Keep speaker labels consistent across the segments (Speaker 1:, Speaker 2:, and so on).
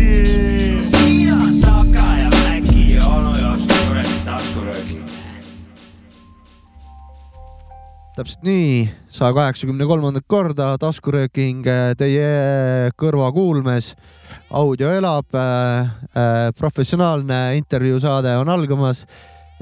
Speaker 1: siin on Saka ja Mäki , onu jaoks kuradi taskurööki .
Speaker 2: täpselt nii , saja kaheksakümne kolmandat korda taskurööking äh, teie kõrvakuulmes . audio elab äh, , äh, professionaalne intervjuusaade on algamas .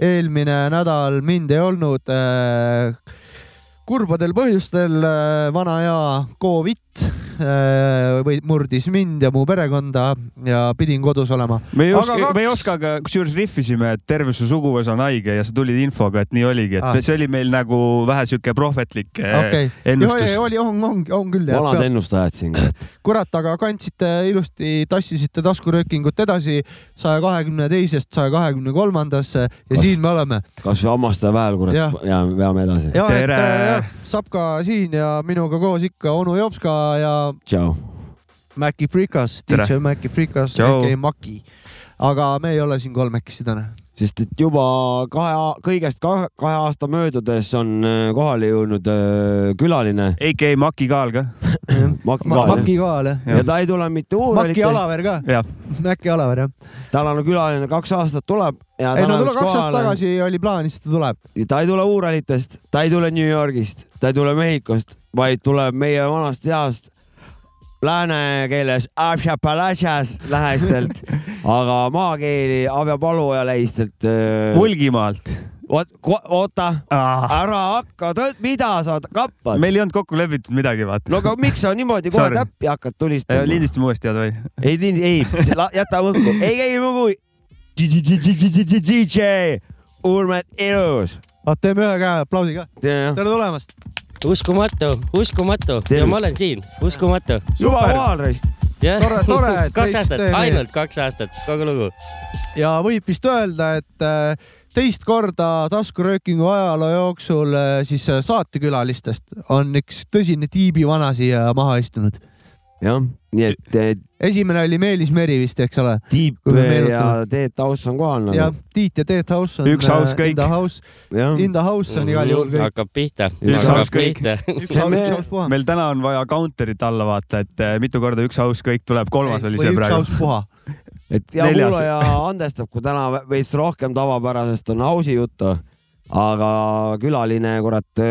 Speaker 2: eelmine nädal mind ei olnud äh, kurbadel põhjustel äh, vana hea Covid äh, või murdis mind ja mu perekonda ja pidin kodus olema .
Speaker 3: me ei
Speaker 2: Aga
Speaker 3: oska , me ei
Speaker 2: kaks-
Speaker 3: oska ka , kusjuures rihvisime , et terve su suguvõsa on haige ja sa tulid infoga , et nii oligi , et
Speaker 2: Ah.
Speaker 3: see oli meil nagu vähe sihuke prohvetlik eh,
Speaker 2: okei
Speaker 3: okay. ,
Speaker 2: oli ,.
Speaker 3: ennustus
Speaker 2: oli , on , on , on küll jah .
Speaker 4: vanad ennustajad siin .
Speaker 2: kurat , aga kandsite ilusti , tassisite taskuröökingut edasi saja kahekümne teisest saja kahekümne kolmandasse ja
Speaker 4: Kas-
Speaker 2: siin me oleme .
Speaker 4: kas või hammaste vahel ,
Speaker 2: Jah.
Speaker 4: kurat , ja veame edasi .
Speaker 2: ja et
Speaker 3: Tere!
Speaker 2: äh, jah, Sapka siin ja minuga koos ikka onu Jopska ja
Speaker 4: tšau .
Speaker 2: Maci Frikas ,
Speaker 3: Tere!
Speaker 2: DJ Maci Frikas ,
Speaker 3: Tšau!
Speaker 2: AK Maki . aga me ei ole siin kolmekesi täna .
Speaker 4: sest et juba kahe , kõigest kahe, kahe aasta möödudes on äh, kohale jõudnud äh, külaline
Speaker 3: AK Maki Kaal ka .
Speaker 4: Maki Kaal
Speaker 2: Maki kohal jah ?
Speaker 4: ja ta ei tule mitte
Speaker 2: Maki
Speaker 4: uurijatest ,
Speaker 2: Alaver ka ,
Speaker 3: jah ,
Speaker 2: Maci Alaver jah .
Speaker 4: tal on külaline kaks aastat tuleb ja
Speaker 2: ei
Speaker 4: ta
Speaker 2: no
Speaker 4: on
Speaker 2: tule
Speaker 4: üks
Speaker 2: kaks aastat
Speaker 4: kohale ,
Speaker 2: tagasi oli plaanis , et ta tuleb .
Speaker 4: ta ei tule Uuralitest , ta ei tule New Yorgist , ta ei tule Mehhikost , vaid tuleb meie vanast heast lääne keeles lähestelt , aga maakeeli Avjapalu ja lähistelt .
Speaker 3: Mulgimaalt
Speaker 4: vot , oota ,
Speaker 3: ah. .
Speaker 4: ära hakka , mida sa kappad ?
Speaker 3: meil ei olnud kokku lepitud midagi , vaata
Speaker 4: no
Speaker 3: no, .
Speaker 4: aga miks sa niimoodi kohe
Speaker 3: Sorry.
Speaker 4: täppi hakkad tulistama ?
Speaker 3: lindistame uuesti , Ado , või ?
Speaker 4: ei , ei , jäta õhku , ei käi lugu . DJ Urmet Ilus .
Speaker 2: teeme ühe käe aplausi ka . tere tulemast .
Speaker 5: uskumatu , uskumatu ja
Speaker 4: Tervist.
Speaker 5: ma olen siin , uskumatu .
Speaker 4: juba kohal raisk .
Speaker 2: Tore- tore, et
Speaker 5: kaks
Speaker 2: leidsid
Speaker 5: aastat
Speaker 2: tee , meie-
Speaker 5: ainult kaks aastat , kogu lugu .
Speaker 2: ja võib vist öelda , et äh, teist korda taskuröökingu ajaloo jooksul äh, siis äh, saatekülalistest on üks tõsine tiibivana siia maha istunud .
Speaker 4: jah , nii et eh,
Speaker 2: esimene oli Meelis Meri vist , eks ole ?
Speaker 4: Tiip
Speaker 2: Kui me
Speaker 4: ja
Speaker 2: meenutame.
Speaker 4: Teet Taus on kohal
Speaker 2: ja
Speaker 4: nagu .
Speaker 2: Tiit ja Teet House on . äh,
Speaker 3: Üks house kõik.
Speaker 2: In the house ,
Speaker 4: jah ,
Speaker 2: in the house on igal juhul kõik .
Speaker 5: hakkab pihta ,
Speaker 4: Üks
Speaker 5: hakkab
Speaker 3: house kõik.
Speaker 5: pihta .
Speaker 2: üks
Speaker 4: see
Speaker 2: house ,
Speaker 4: me-
Speaker 2: üks house puha .
Speaker 3: meil täna on vaja counter'it alla vaata , et eh, mitu korda üks aus kõik tuleb , kolmas oli see
Speaker 2: või üks
Speaker 3: praegu .
Speaker 2: house puha .
Speaker 4: et ja
Speaker 3: neljas.
Speaker 4: kuulaja andestab , kui täna ve- veits rohkem tavapärasest on ausi juttu , aga külaline , kurat ,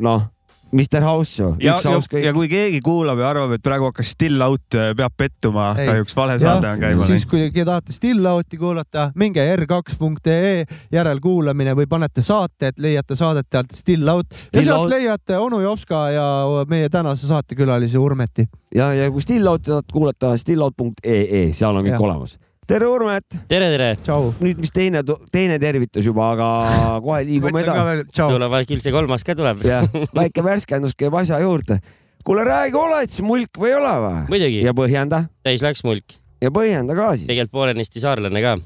Speaker 4: noh , Mr House ju ,
Speaker 3: ja ,
Speaker 4: üks
Speaker 3: ja,
Speaker 4: aus kõik
Speaker 3: ja . kui keegi kuulab ja arvab , et praegu hakkas Still Out , peab pettuma ,
Speaker 2: Ei.
Speaker 3: kahjuks vale saade on käimas
Speaker 2: siis . kui te tahate Still-Outi kuulata , minge r2.ee järelkuulamine või panete saate , et leiate saadet sealt Still-Out ja
Speaker 4: Still
Speaker 2: sealt
Speaker 4: Out.
Speaker 2: leiate onu Jopska ja meie tänase saatekülalise Urmeti .
Speaker 4: ja , ja kui Stillouti tahad kuulata , stillout.ee , E seal on kõik
Speaker 2: Jah.
Speaker 4: ja. olemas . tere , Urmet ,
Speaker 5: tere , tere .
Speaker 2: tšau .
Speaker 4: nüüd vist teine , teine tervitus juba , aga kohe liigume edasi .
Speaker 2: tšau .
Speaker 5: tuleb , küll see kolmas ka tuleb .
Speaker 4: jah , väike värskendus käib asja juurde . kuule , räägi , oled sa mulk või ei ole või ?
Speaker 5: muidugi ,
Speaker 4: ja põhjenda
Speaker 5: täis läks mulk ,
Speaker 4: ja põhjenda ka siis .
Speaker 5: tegelikult poolenisti saarlane ka .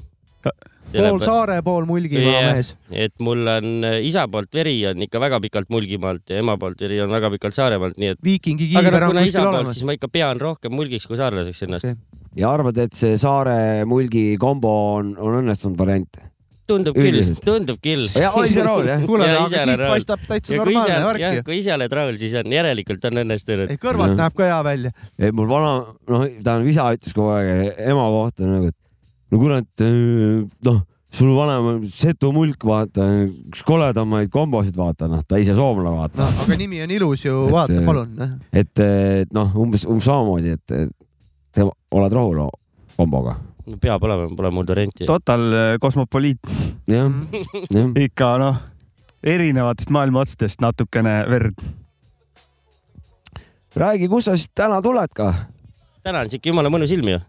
Speaker 2: pool saare , pool Mulgimaa
Speaker 5: Jah.
Speaker 2: mees .
Speaker 5: et mul on äh, isa poolt veri on ikka väga pikalt Mulgimaalt ja ema poolt veri on väga pikalt Saaremaalt , nii et .
Speaker 2: viikingi
Speaker 5: aga
Speaker 2: kiiver
Speaker 5: noh ,
Speaker 2: on
Speaker 5: kuna isa
Speaker 2: kuskil
Speaker 5: poolt ,
Speaker 2: olemas
Speaker 5: siis . ma ikka pean rohkem mulgiks kui saarlaseks ennast
Speaker 2: Okei. .
Speaker 4: ja arvad , et see saare mulgi kombo on , on õnnestunud variant ?
Speaker 5: tundub küll
Speaker 4: Üldiselt. ,
Speaker 5: tundub küll .
Speaker 4: jah , oli see rool jah ?
Speaker 2: kuule ,
Speaker 5: Ja
Speaker 2: aga
Speaker 5: ise
Speaker 2: siit
Speaker 5: olen rahul.
Speaker 2: paistab täitsa
Speaker 5: ja kui ise
Speaker 2: normaalne , värk
Speaker 5: jah ,
Speaker 2: ju .
Speaker 5: kui ise oled rahul , siis on järelikult on õnnestunud .
Speaker 2: ei , kõrvalt
Speaker 4: Jah.
Speaker 2: näeb ka hea välja .
Speaker 4: ei , mul vana , noh , tähendab isa ütles kogu aeg ema kohta nagu , et no kurat , noh , sul vanem on setu mulk , vaata , üks koledamaid kombosid , vaata , noh , ta ise soomlane , vaata .
Speaker 2: no aga nimi on ilus ju ,
Speaker 4: Et,
Speaker 2: vaata
Speaker 4: eh,
Speaker 2: palun . noh.
Speaker 4: et , et noh , umbes , umbes samamoodi , et et te oled rahul o- komboga .
Speaker 5: No peab olema , pole muud varianti .
Speaker 3: Total eh, kosmopoliit
Speaker 4: jah , jah .
Speaker 3: ikka noh , erinevatest maailma otstest natukene verd .
Speaker 4: räägi , kust sa siis täna tuled ka ?
Speaker 5: täna on siuke jumala mõnus ilm ju .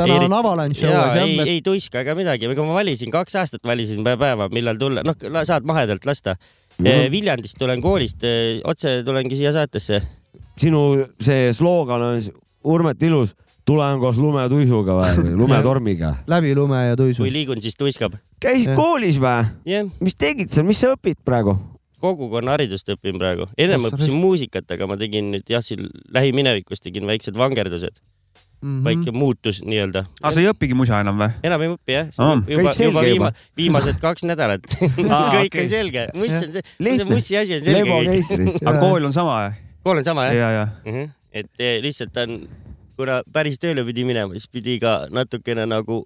Speaker 2: täna
Speaker 5: Eerik-
Speaker 2: on avalanš
Speaker 5: jaa ,
Speaker 2: õues
Speaker 5: ei ,
Speaker 2: jah .
Speaker 5: ei tuiska ega midagi , kui ma valisin , kaks aastat valisin pä- päeva , millal tulla , noh , saad mahedalt lasta . Eh, Viljandist tulen koolist , otse tulengi siia saatesse .
Speaker 4: sinu see sloogan on s- Urmet Ilus , tulen koos lumetuisuga või lumetormiga .
Speaker 2: läbi lume ja tuisu
Speaker 5: kui . liigun , siis tuiskab .
Speaker 4: käisid
Speaker 2: Jah.
Speaker 4: koolis või ?
Speaker 5: jah ,
Speaker 4: mis tegid seal , mis sa õpid praegu ?
Speaker 5: kogukonnaharidust õpin praegu . ennem
Speaker 2: Kas sa
Speaker 5: õppisin muusikat , aga ma tegin nüüd jah , siin lähiminevikus tegin väiksed vangerdused .
Speaker 2: mm
Speaker 5: väike muutus nii-öelda .
Speaker 2: Ah,
Speaker 3: aga Ah, sa ei õpigi musa enam või ?
Speaker 5: enam ei õpi jah
Speaker 3: Aa, .
Speaker 5: juba
Speaker 4: kõik , selge
Speaker 5: juba
Speaker 4: juba.
Speaker 5: viima- , viimased kaks nädalat . kõik
Speaker 3: okei.
Speaker 5: on selge , muss on see , see
Speaker 4: Lihtne.
Speaker 5: mussi asi on
Speaker 4: lebo
Speaker 5: selge .
Speaker 4: keisri .
Speaker 3: aga kool on sama jah?
Speaker 5: kool on sama jah ?
Speaker 3: ja , ja .
Speaker 5: Mhm. et eh, lihtsalt on , kuna päris tööle pidi minema , siis pidi ka natukene nagu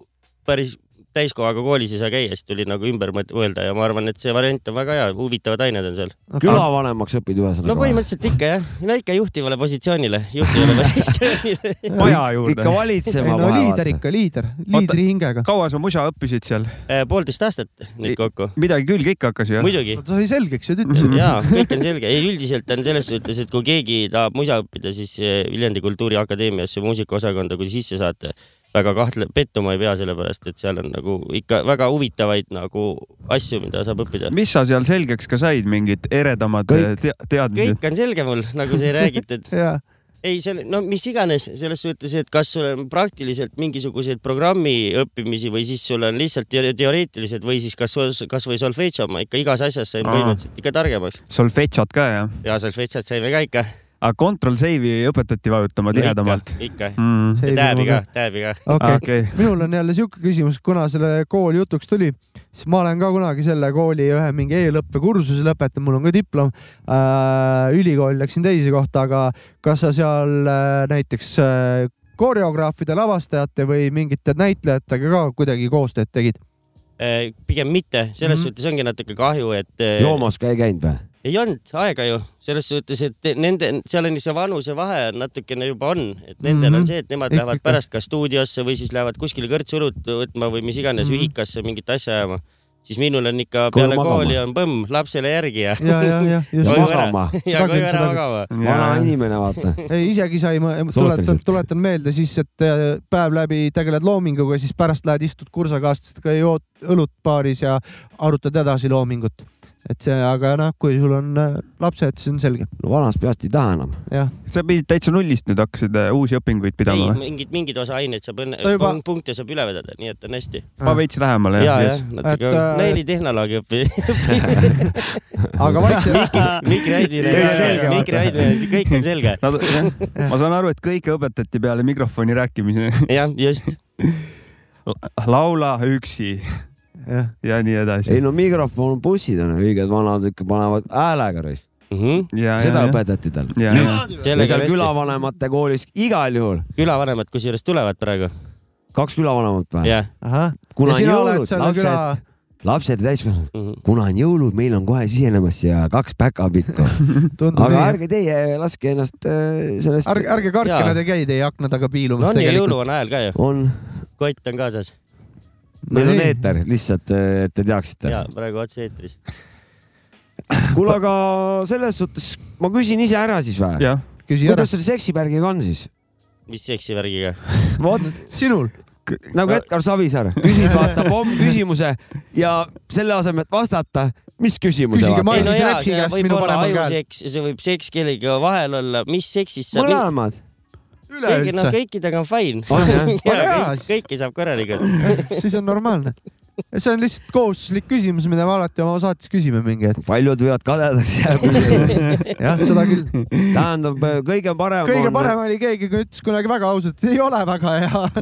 Speaker 5: päris täiskohaga koolis ei saa käia , siis tuli nagu ümber mõt- mõelda ja ma arvan , et see variant on väga hea , huvitavad ained on seal .
Speaker 4: külavanemaks õpid ühesõnaga
Speaker 5: no . põhimõtteliselt ikka jah , no ikka juhtivale positsioonile , juhtivale positsioonile .
Speaker 3: maja
Speaker 4: ikka
Speaker 3: juurde .
Speaker 2: ei
Speaker 4: valitsema
Speaker 2: no liider . ikka , liider , liidri hingega .
Speaker 3: kaua sa musa õppisid seal ?
Speaker 5: poolteist aastat nüüd kokku ,
Speaker 3: midagi külge ikka hakkas ju ?
Speaker 5: muidugi .
Speaker 2: ta sai selgeks ja ta
Speaker 3: Mhm.
Speaker 2: ütles , et
Speaker 5: jaa , kõik on selge , ei üldiselt on selles suhtes , et kui keegi tahab musa õppida , siis eh, Viljandi Kultuuriakadeemiasse muusikaosakonda , kui sisse saate , väga kahtle- , pettuma ei pea , sellepärast et seal on nagu ikka väga huvitavaid nagu asju , mida saab õppida .
Speaker 3: mis sa seal selgeks ka said , mingid eredamad
Speaker 4: Kõik.
Speaker 3: te teadmised ?
Speaker 5: kõik on selge mul , nagu sai räägitud .
Speaker 2: jaa ,
Speaker 5: ei , seal , no mis iganes selles suhtes , et kas sul on praktiliselt mingisuguseid programmi õppimisi või siis sul on lihtsalt teo- teoreetilised või siis kas , kasvõi solfedžo , ma ikka igas asjas sain
Speaker 3: Aa.
Speaker 5: põhimõtteliselt ikka targemaks
Speaker 3: solfedžot ka jah ?
Speaker 5: ja solfedžot saime ka ikka .
Speaker 3: aga control save'i õpetati vajutama tihedamalt ?
Speaker 5: ikka ,
Speaker 3: Mm.
Speaker 2: see
Speaker 5: ja
Speaker 2: ei
Speaker 5: tääbi ka , tääbi ka .
Speaker 2: okei okay. ,
Speaker 3: okei ,
Speaker 2: minul on jälle siuke küsimus , kuna selle kool jutuks tuli , siis ma olen ka kunagi selle kooli ühe mingi eelõppekursuse lõpetanud , mul on ka diplom äh, . ülikool läksin teise kohta , aga kas sa seal äh, näiteks äh, koreograafide , lavastajate või mingite näitlejatega ka kuidagi koostööd tegid ?
Speaker 5: Eh, pigem mitte , selles
Speaker 2: Mhm.
Speaker 5: mm -hmm. suhtes ongi natuke kahju , et eh,
Speaker 4: joomas ka ei käinud või ?
Speaker 5: ei olnud aega ju selles suhtes , et nende , seal on see vanusevahe on natukene juba on , et nendel mm -hmm.
Speaker 2: Mhm.
Speaker 5: on see , et nemad lähevad
Speaker 2: Ikkagi.
Speaker 5: pärast ka stuudiosse või siis lähevad kuskile kõrtsulut võtma või mis iganes mm
Speaker 2: Mhm.
Speaker 5: -hmm. ühikasse mingit asja ajama , siis minul on
Speaker 4: Koju
Speaker 5: ikka peale
Speaker 4: magama.
Speaker 5: kooli on põmm lapsele järgi ja ,
Speaker 2: ja , ja , ja
Speaker 5: Oi,
Speaker 2: just .
Speaker 5: Oi, ära.
Speaker 4: magama ,
Speaker 5: ja
Speaker 2: Seda
Speaker 5: koju
Speaker 2: küll,
Speaker 5: ära
Speaker 2: seda küll.
Speaker 5: magama .
Speaker 4: vana inimene , vaata .
Speaker 2: ei , isegi sai , ma tuletan
Speaker 4: Suhteliselt. ,
Speaker 2: tuletan meelde siis , et äh, päev läbi tegeled loominguga , siis pärast lähed istud kursakaaslastega , jood õlut baaris ja arutad edasi loomingut . et see , aga noh , kui sul on äh, lapsed , siis on selge ,
Speaker 4: no vanast peast ei taha enam .
Speaker 2: jah .
Speaker 3: sa pidid täitsa nullist nüüd hakkasid äh, uusi õpinguid
Speaker 5: ei
Speaker 3: pidama , või ?
Speaker 5: mingid , mingid osa aineid saab õnne
Speaker 2: Ta , juba-
Speaker 5: punkte saab üle vedada , nii et on hästi .
Speaker 3: ma veits lähemale
Speaker 5: ja ,
Speaker 3: jah ,
Speaker 5: jah
Speaker 3: jess .,
Speaker 5: natuke
Speaker 2: Et, äh, ,
Speaker 5: neli tehnoloogi õppi
Speaker 2: aga vaikselt ,
Speaker 5: Mikri Aidile
Speaker 3: Kõik , selge,
Speaker 5: Mikri
Speaker 3: vaata.
Speaker 5: Aidile , kõik on selge .
Speaker 3: Nad , ma saan aru , et kõike õpetati peale mikrofoni rääkimise .
Speaker 5: jah , just .
Speaker 3: laula üksi
Speaker 2: jah ,
Speaker 3: ja nii edasi
Speaker 4: ei . no mikrofon , bussid on õiged vanad , ikka panevad häälega raisk .
Speaker 5: Mhm.
Speaker 4: seda . õpetati tal .
Speaker 3: ja , ja ,
Speaker 4: ja seal
Speaker 5: küla ,
Speaker 4: külavanemate koolis igal juhul ,
Speaker 5: külavanemad kusjuures tulevad praegu .
Speaker 4: kaks külavanemat või ?
Speaker 5: jah .
Speaker 2: ahah . ja
Speaker 4: kuna on
Speaker 2: sina oled
Speaker 4: jõulud ,
Speaker 2: selle küla
Speaker 4: lapsed ,, lapsed ja täiskasvanud ,
Speaker 5: Mhm.
Speaker 4: kuna on jõulud , meil on kohe sisenemas siia kaks päkapikku ,
Speaker 2: tundub
Speaker 4: aga
Speaker 2: nii .
Speaker 4: ärge teie laske ennast äh, sellest ,
Speaker 2: ärge , ärge kartke ,
Speaker 5: Jaa.
Speaker 2: nad ei käi teie akna taga piilumas
Speaker 5: no on ju ,
Speaker 2: tegelikult .
Speaker 5: jõuluvana ajal ka ju .
Speaker 4: on ,
Speaker 5: kott on kaasas
Speaker 4: meil on . eeter lihtsalt , et te teaksite .
Speaker 5: ja praegu otse-eetris .
Speaker 4: kuule , aga selles suhtes ma küsin ise ära siis või ?
Speaker 3: jah .
Speaker 2: küsi ära
Speaker 4: kuidas , selle seksipärgiga on siis ?
Speaker 5: mis seksi värgiga ?
Speaker 4: vot
Speaker 2: sinul ,
Speaker 4: nagu Edgar Savisaar , küsid vaata pomm küsimuse ja selle asemel , et vastata , mis küsimuse
Speaker 2: Küsige
Speaker 4: vaata.
Speaker 2: Mailis
Speaker 5: ei no jaa ,
Speaker 2: Repsi
Speaker 5: see
Speaker 2: käest
Speaker 5: võib
Speaker 2: minu
Speaker 5: olla
Speaker 2: paremal käel.
Speaker 5: ajuseks , see võib seks kellegi vahel olla , mis seksist saab .
Speaker 4: mõlemad .
Speaker 5: keegi , no
Speaker 2: üleüldse ,
Speaker 5: kõikidega on fine .
Speaker 4: on jah ,
Speaker 2: Ole hea.
Speaker 5: kõike saab korralikult .
Speaker 2: siis on normaalne . see on lihtsalt kohustuslik küsimus , mida me alati oma saates küsime mingi hetk .
Speaker 4: paljud võivad kadedaks jääda .
Speaker 2: jah , seda küll .
Speaker 4: tähendab , kõige parem
Speaker 2: kõige
Speaker 4: on ,
Speaker 2: parem oli keegi , kes ütles kunagi väga ausalt , ei ole väga hea .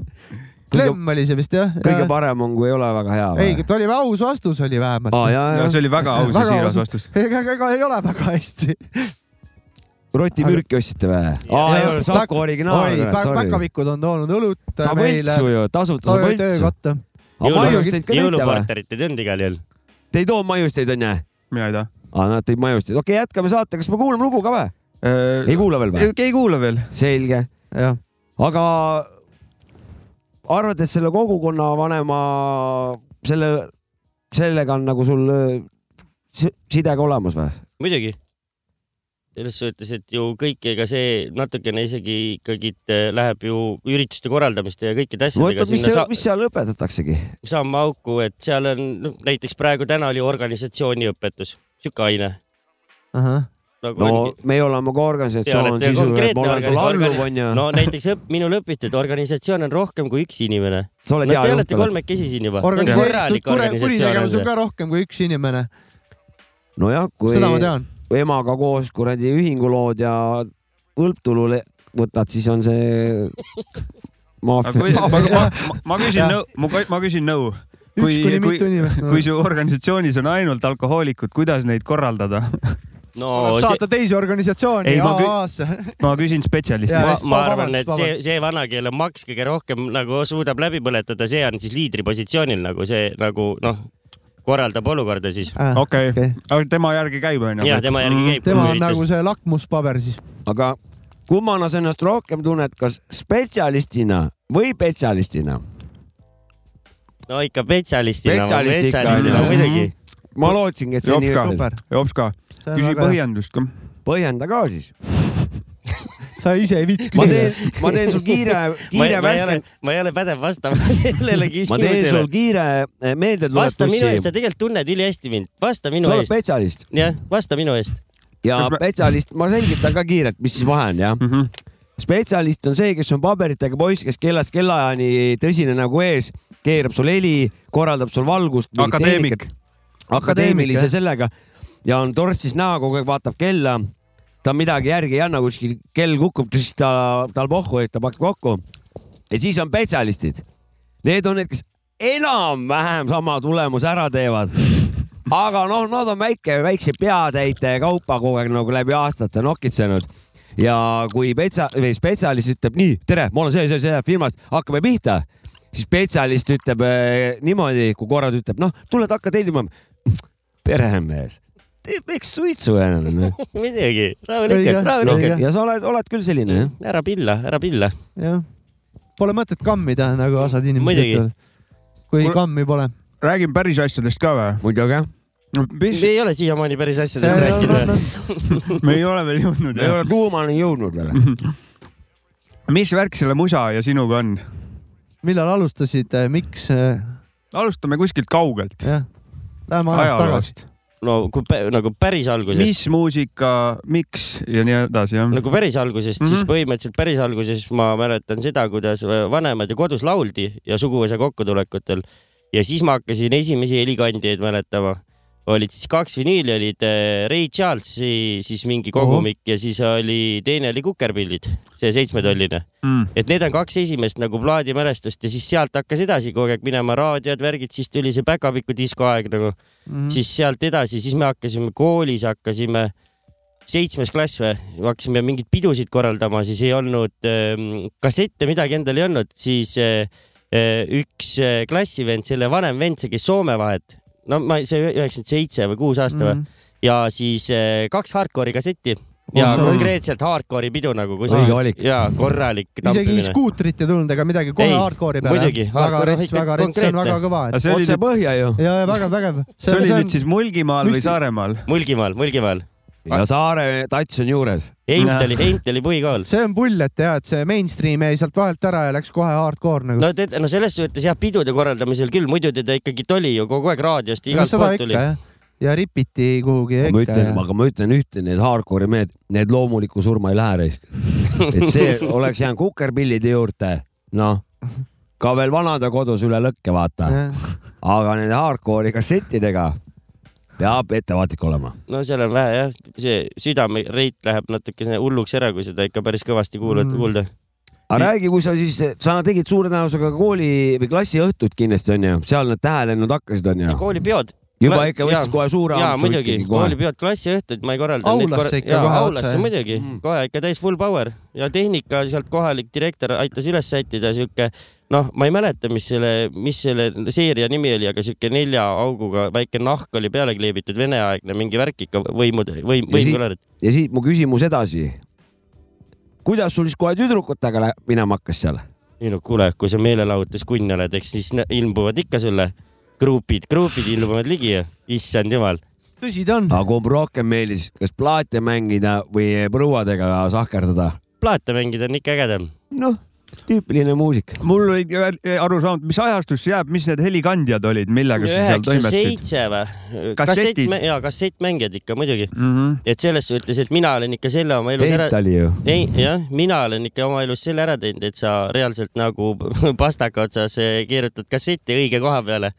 Speaker 2: Klemm oli see vist jah ?
Speaker 4: kõige parem on , kui ei ole väga hea .
Speaker 2: ei , ta oli aus vastus oli vähemalt .
Speaker 4: aa , ja , ja
Speaker 3: see oli väga aus ja
Speaker 2: Väga
Speaker 3: siiras
Speaker 2: aus.
Speaker 3: vastus .
Speaker 2: ega , ega ei ole väga hästi .
Speaker 4: rotimürki ostsite või ? aa , ei ole , Saku originaal .
Speaker 2: päkapikud on toonud õlut
Speaker 4: saab
Speaker 2: meile .
Speaker 4: õltsu ju , tasuta saab
Speaker 2: saab
Speaker 4: õltsu .
Speaker 2: töökotta .
Speaker 4: aga maiusteid ka tõite või ?
Speaker 5: jõuluporterit ei tundnud igal juhul .
Speaker 4: Te ei too maiusteid onju ?
Speaker 3: mina ei
Speaker 4: aa , nad tõid maiusteid , okei okay, , jätkame saate , kas me kuulame lugu ka või ? ei
Speaker 3: taha .
Speaker 4: kuula veel või ?
Speaker 3: Äh, ei kuula veel .
Speaker 4: selge
Speaker 2: jah ,
Speaker 4: aga arvad , et selle kogukonna vanema selle , sellega on nagu sul öö, si- side ka olemas või ?
Speaker 5: muidugi . selles suhtes , et ju kõik , ega see natukene isegi ikkagi eh, läheb ju ürituste korraldamiste ja kõikide asjadega
Speaker 4: mis
Speaker 5: sinna
Speaker 4: seal ,
Speaker 5: sa-
Speaker 4: mis seal õpetataksegi ?
Speaker 5: samma auku , et seal on no, näiteks praegu täna oli organisatsiooniõpetus , sihuke aine
Speaker 2: ahah .
Speaker 5: nagu
Speaker 4: no
Speaker 5: oligi.
Speaker 4: meie oleme ka organisatsioon ,
Speaker 5: Te olete
Speaker 4: siis
Speaker 5: konkreetne
Speaker 4: ma olen sul
Speaker 5: organi-
Speaker 4: alluv onju
Speaker 5: no näiteks õp, minul õpiti , et organisatsioon on rohkem kui üks inimene .
Speaker 4: sa
Speaker 5: no
Speaker 4: oled
Speaker 5: te
Speaker 4: hea
Speaker 5: olete
Speaker 4: juht .
Speaker 5: kolmekesi siin juba .
Speaker 2: organiseeritud
Speaker 5: korralik
Speaker 2: kure-
Speaker 5: organisatsioon on
Speaker 2: kuritegevus on
Speaker 5: see .
Speaker 2: ka rohkem kui üks inimene ,
Speaker 4: nojah , kui
Speaker 2: seda ma tean .
Speaker 4: emaga koos kuradi ühingu lood ja õlptulu le- võtad , siis on see maffia
Speaker 3: kui, ma, ma, ma, ma küsin
Speaker 2: Jah.
Speaker 3: nõu , ma, ma küsin nõu .
Speaker 2: üks
Speaker 3: kui
Speaker 2: kuni ,
Speaker 3: kui
Speaker 2: mitu , inimest
Speaker 3: kui . su organisatsioonis on ainult alkohoolikud , kuidas neid korraldada ?
Speaker 5: no see ,
Speaker 2: saata teise organisatsiooni
Speaker 3: Ei, ma kü-
Speaker 2: AA-sse .
Speaker 3: ma küsin spetsialisti
Speaker 2: Jaa. .
Speaker 5: ma,
Speaker 2: vabandust,
Speaker 5: ma arvan , et
Speaker 2: vabandust.
Speaker 5: see , see vanakeel on maks kõige rohkem nagu suudab läbi põletada , see on siis liidri positsioonil nagu see nagu noh , korraldab olukorda siis .
Speaker 3: okei , aga tema järgi käib Mm-hmm. onju ?
Speaker 5: ja tema järgi .
Speaker 3: Mhm.
Speaker 5: käib .
Speaker 2: tema on nagu see lakmuspaber siis .
Speaker 4: aga kummana sa ennast rohkem tunned , kas spetsialistina või spetsialistina ?
Speaker 5: no ikka spetsialistina .
Speaker 4: Spetsialist ikka,
Speaker 5: spetsialistina
Speaker 3: jah.
Speaker 5: muidugi .
Speaker 4: Mhm. ma lootsingi , et see nii
Speaker 3: Jopska.
Speaker 4: on .
Speaker 2: super .
Speaker 3: jops ka , küsi . põhjendust ka .
Speaker 4: põhjenda ka siis .
Speaker 2: sa ise ei viitsi
Speaker 4: ma
Speaker 2: küsida
Speaker 4: teen . , ma teen sul kiire ,
Speaker 5: ma
Speaker 4: kiire
Speaker 5: ma ei ole
Speaker 4: värske ,,
Speaker 5: ma ei ole pädev vastama
Speaker 4: ma
Speaker 5: sellele
Speaker 4: teen sul
Speaker 5: küsimusele .
Speaker 4: kiire
Speaker 5: vasta minu eest ,
Speaker 4: meeldetuletusi .
Speaker 5: sa tegelikult tunned ülihästi mind , vasta minu
Speaker 4: sa oled
Speaker 5: eest .
Speaker 4: spetsialist
Speaker 5: jah , vasta minu eest .
Speaker 4: ja
Speaker 3: Kas me- Mhm.
Speaker 4: spetsialist , ma selgitan ka kiirelt , mis siis vahe on , jah . spetsialist on see , kes on paberitega poiss , kes kellast kellaajani tõsine nagu ees , keerab sul heli , korraldab sul valgust .
Speaker 3: akadeemik .
Speaker 4: akadeemilise
Speaker 2: Akadeemik, jah.
Speaker 4: sellega ja on tortsis näo , kogu aeg vaatab kella . ta midagi järgi ei anna , kuskil kell kukub , siis ta , tal pohhu , et ta pakib kokku . ja siis on spetsialistid . Need on need , kes enam-vähem sama tulemuse ära teevad . aga noh , nad on väike , väikse peatäite kaupa kogu aeg nagu läbi aastate nokitsenud ja kui petsa- või spetsialist ütleb nii , tere , ma olen see , see , see firmast , hakkame pihta , siis spetsialist ütleb eh, niimoodi , kui korra ta ütleb , noh , tuled hakka tellima . peremees , tee väikse suitsu enam .
Speaker 2: Õige,
Speaker 5: muidugi ,
Speaker 2: Noh,
Speaker 5: rahulikult , rahulikult .
Speaker 2: õige.
Speaker 4: ja sa oled , oled küll selline jah ?
Speaker 5: ära pilla , ära pilla .
Speaker 2: jah . Pole mõtet kammida , nagu osad inimesed
Speaker 5: Muidugi.
Speaker 2: ütlevad . kui
Speaker 3: Mul-
Speaker 2: kammi pole .
Speaker 3: räägime päris asjadest ka või ?
Speaker 4: muidugi jah .
Speaker 3: mis ,
Speaker 5: ei ole siiamaani päris asjadest
Speaker 2: noh,
Speaker 5: rääkida .
Speaker 3: me ei ole veel jõudnud
Speaker 4: ei
Speaker 3: jah .
Speaker 4: ole tuumani jõudnud veel .
Speaker 3: mis värk selle musa ja sinuga on ?
Speaker 2: millal alustasid , miks , jah ?
Speaker 3: alustame kuskilt kaugelt .
Speaker 2: Läheme ajas
Speaker 3: Ajaloost.
Speaker 2: tagasi .
Speaker 5: no kui pä- nagu päris algusest ,
Speaker 3: mis muusika , miks ja nii edasi jah ?
Speaker 5: nagu päris algusest mm , -hmm. siis põhimõtteliselt päris alguses ma mäletan seda , kuidas vanemad ju kodus lauldi ja suguvõsa kokkutulekutel ja siis ma hakkasin esimesi helikandjaid mäletama . olid siis kaks vinüüli olid eh, Ray Charlesi siis mingi kogumik ja siis oli , teine oli Kukerpillid , see seitsmetolline .
Speaker 3: Mm.
Speaker 5: et need on kaks esimest nagu plaadimälestust ja siis sealt hakkas edasi kogu aeg minema raadiod , värgid , siis tuli see päkapiku diskoaeg nagu
Speaker 2: Mhm.
Speaker 5: siis sealt edasi , siis me hakkasime koolis , hakkasime seitsmes klass või , hakkasime mingeid pidusid korraldama , siis ei olnud ähm, kassette , midagi endal ei olnud , siis äh, äh, üks äh, klassivend , selle vanem vend , see käis Soome vahet , no ma , see üheksakümmend seitse või kuus aasta
Speaker 2: Mhm. Mm.
Speaker 5: või , ja siis äh, kaks hardcore'i kasseti ja
Speaker 2: Oh,
Speaker 5: konkreetselt hardcore'i pidu nagu , kus
Speaker 4: Õige valik.
Speaker 5: ja korralik
Speaker 2: isegi
Speaker 5: tampimine .
Speaker 2: skuutrit ei tulnud ega midagi , kohe
Speaker 5: Ei,
Speaker 2: hardcore'i peale .
Speaker 5: muidugi,
Speaker 2: väga
Speaker 5: hardcore on
Speaker 2: rets ,
Speaker 5: ikka
Speaker 2: väga rets , see on väga
Speaker 5: konkreetne.
Speaker 2: kõva , et
Speaker 3: see oli
Speaker 4: otse
Speaker 3: nüüd ,
Speaker 4: põhja ju .
Speaker 2: ja , ja väga vägev .
Speaker 3: see oli nüüd siis Mulgimaal või
Speaker 2: Müsti-
Speaker 3: Saaremaal ?
Speaker 5: Mulgimaal , Mulgimaal ,
Speaker 4: ja Saare tats on juures .
Speaker 5: Heint oli , Heint oli puikaal .
Speaker 2: see on pull , et jah , et see mainstream jäi sealt vahelt ära ja läks kohe hardcore nagu .
Speaker 5: no te , no selles suhtes jah , pidude korraldamisel küll , muidu teda ikkagi oli ju kogu aeg raadiost ja igalt
Speaker 2: seda
Speaker 5: poolt
Speaker 2: ikka
Speaker 5: tuli .
Speaker 2: jah , ja ripiti kuhugi
Speaker 4: ma
Speaker 2: ikka
Speaker 4: ütlen ,
Speaker 2: ja .
Speaker 4: aga ma ütlen ühte , need hardcore'i mehed , need loomulikku surma ei lähe raisk . et see oleks jäänud kukerpillide juurde , noh , ka veel vanade kodus üle lõkke , vaata . aga nende hardcore'i kassettidega peab ettevaatlik olema .
Speaker 5: no seal on vähe jah , see südamereit läheb natukene hulluks ära , kui seda ikka päris kõvasti kuulad
Speaker 2: Mm.
Speaker 5: mm. , kuulda .
Speaker 4: aga räägi , kui sa siis , sa tegid suure tõenäosusega kooli või klassiõhtut kindlasti onju , seal need tähelennud hakkasid onju .
Speaker 5: koolipeod ,
Speaker 4: juba
Speaker 5: Kla-
Speaker 4: ikka võttis
Speaker 5: jaa.
Speaker 4: kohe suure
Speaker 5: jaa
Speaker 4: ampsu
Speaker 5: muidugi
Speaker 4: ikkagi , kohe .
Speaker 5: koolipeod , klassiõhtud ma ei korralda .
Speaker 2: Aulasse ikka kohe otse,
Speaker 5: aulasse
Speaker 2: jah?
Speaker 5: muidugi
Speaker 4: Mm.
Speaker 5: mm. , kohe ikka täis full power ja tehnika sealt kohalik direktor aitas üles sättida siuke , noh , ma ei mäleta , mis selle , mis selle seeria nimi oli , aga siuke nelja auguga väike nahk oli peale kleebitud , veneaegne mingi värk ikka võimude , võim ,
Speaker 4: Ja siit-
Speaker 5: võimkõlarid .
Speaker 4: ja siit mu küsimus edasi . kuidas sul siis kohe tüdrukutega lä- minema hakkas seal ?
Speaker 5: ei no kuule , kui sa meelelahutuskunn oled , eks siis nä- ilmuvad ikka sulle grupid , grupid ilmuvad ligi ju , issand jumal .
Speaker 2: tõsi ta on .
Speaker 4: aga kumb rohkem meeldis , kas plaate mängida või prouadega sahkerdada ?
Speaker 5: plaate mängida on ikka ägedam .
Speaker 4: noh , tüüpiline muusik .
Speaker 3: mul oli aru saanud , mis ajastus see jääb , mis need helikandjad olid , millega sa seal
Speaker 5: üheksa ,
Speaker 3: toimetasid ?
Speaker 5: seitse või ?
Speaker 3: Kassetid.
Speaker 5: jaa , kassettmängijad ikka muidugi ,
Speaker 3: Mm -hmm.
Speaker 5: et selles suhtes , et mina olen ikka selle oma elus ära
Speaker 4: Peit , oli ju .
Speaker 5: ei jah , mina olen ikka oma elus selle ära teinud , et sa reaalselt nagu pastaka otsas eh, keerutad kasseti õige koha peale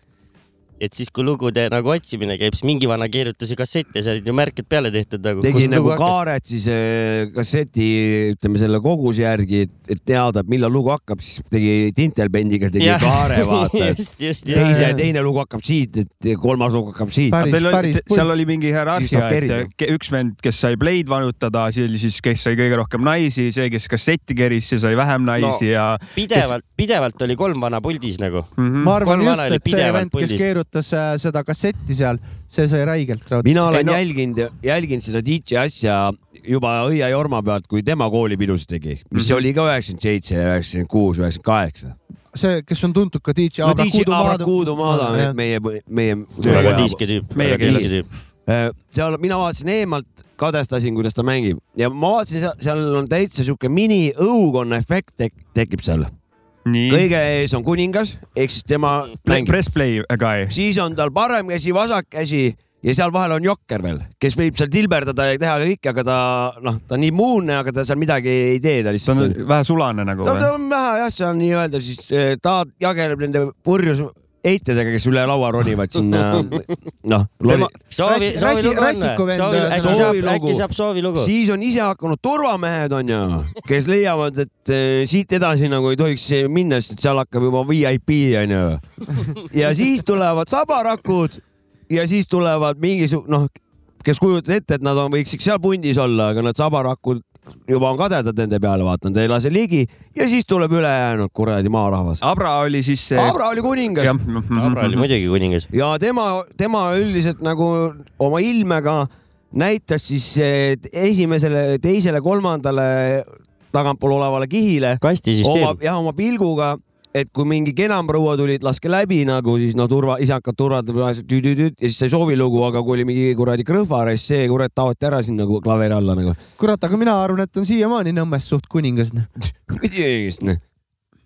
Speaker 5: et siis , kui lugude nagu otsimine käib , siis mingi vana kirjutas ju kassette , seal olid ju märked peale tehtud nagu .
Speaker 4: tegi nagu . kaaret siis eh, kasseti , ütleme selle koguse järgi , et teada , millal lugu hakkab , siis tegi tintelpendiga tegi kaare , vaata .
Speaker 5: just , just , just .
Speaker 4: teise , teine lugu hakkab siit , et kolmas lugu hakkab siit .
Speaker 2: Päris-
Speaker 3: Teil oli ,
Speaker 2: pull.
Speaker 3: seal oli mingi
Speaker 4: Siis
Speaker 3: hierarhia
Speaker 4: saab , kerida.
Speaker 3: et ke- üks vend , kes sai pleid vanutada , see oli siis , kes sai kõige rohkem naisi , see , kes kassetti keris , see sai vähem naisi no. ja
Speaker 5: pidevalt , pidevalt oli kolm vana puldis nagu .
Speaker 3: mm .
Speaker 2: ma arvan
Speaker 5: Kolm
Speaker 2: just ,
Speaker 5: vana oli
Speaker 2: et see
Speaker 5: pidevalt
Speaker 2: vend , kes
Speaker 5: puldis.
Speaker 2: keerutas äh, seda kasseti seal , see sai räigelt raudselt .
Speaker 4: mina olen
Speaker 3: Ei,
Speaker 4: no...
Speaker 3: no-
Speaker 4: jälginud , jälginud seda DJ asja juba Õia Jorma pealt , kui tema koolipidusid tegi , mis mm -hmm. oli ka üheksakümmend seitse , üheksakümmend kuus , üheksakümmend kaheksa .
Speaker 2: see , kes on tuntud ka DJ
Speaker 4: no DJ Abrakuudu Maada ,
Speaker 2: Jah.
Speaker 4: meie , meie .
Speaker 5: väga tiiske tüüp ,
Speaker 3: Meie
Speaker 5: väga tiiske
Speaker 4: keeles.
Speaker 5: tüüp .
Speaker 4: seal mina vaatasin eemalt , kadestasin , kuidas ta mängib ja ma vaatasin , seal on täitsa sihuke mini õukonna efekt tek tekib seal .
Speaker 3: nii ,
Speaker 4: kõige ees on kuningas ehk siis tema mängib ,
Speaker 3: press play äh, guy .
Speaker 4: siis on tal parem käsi , vasak käsi ja seal vahel on jokker veel , kes võib seal tilberdada ja teha kõike , aga ta noh , ta on immuunne , aga ta seal midagi ei tee , ta
Speaker 3: see
Speaker 4: lihtsalt
Speaker 3: on . vähe sulane nagu
Speaker 4: no ta
Speaker 3: või ?
Speaker 4: on vähe jah , seal nii-öelda siis eh, ta jageleb nende purjus eitedega , kes üle laua ronivad sinna noh ,
Speaker 5: soovi ,
Speaker 2: Räti-
Speaker 5: soovi lugu on
Speaker 2: Rätiku vend- ?
Speaker 5: või soovi , äkki saab
Speaker 4: soovilugu. ,
Speaker 5: äkki saab soovi lugu ?
Speaker 4: siis on ise hakanud turvamehed onju , kes leiavad , et eh, siit edasi nagu ei tohiks minna , sest seal hakkab juba VIP onju . ja siis tulevad sabarakud ja siis tulevad mingisugune noh , kes kujutavad ette , et nad on , võiksid seal pundis olla , aga nad sabarakud juba on kadedad nende peale , vaata , nad ei lase ligi ja siis tuleb ülejäänud kuradi maarahvas .
Speaker 3: Abra oli siis see . mhm.
Speaker 4: Abra oli kuningas Mhm.
Speaker 5: Abra oli muidugi kuningas .
Speaker 4: ja tema , tema üldiselt nagu oma ilmega näitas siis eh, esimesele , teisele , kolmandale tagantpool olevale kihile oma
Speaker 5: kastisüsteem ,.
Speaker 4: jah , oma pilguga , et kui mingi kenamproua tulid , laske läbi nagu siis no turva , isakad turvad tüütüütüüt ja siis sai soovilugu , aga kui oli mingi kuradi krõhvaress , see kurat taoti ära sinna nagu klaveri alla nagu .
Speaker 2: kurat , aga mina arvan , et on siiamaani Nõmmes suht kuningas .
Speaker 4: noh?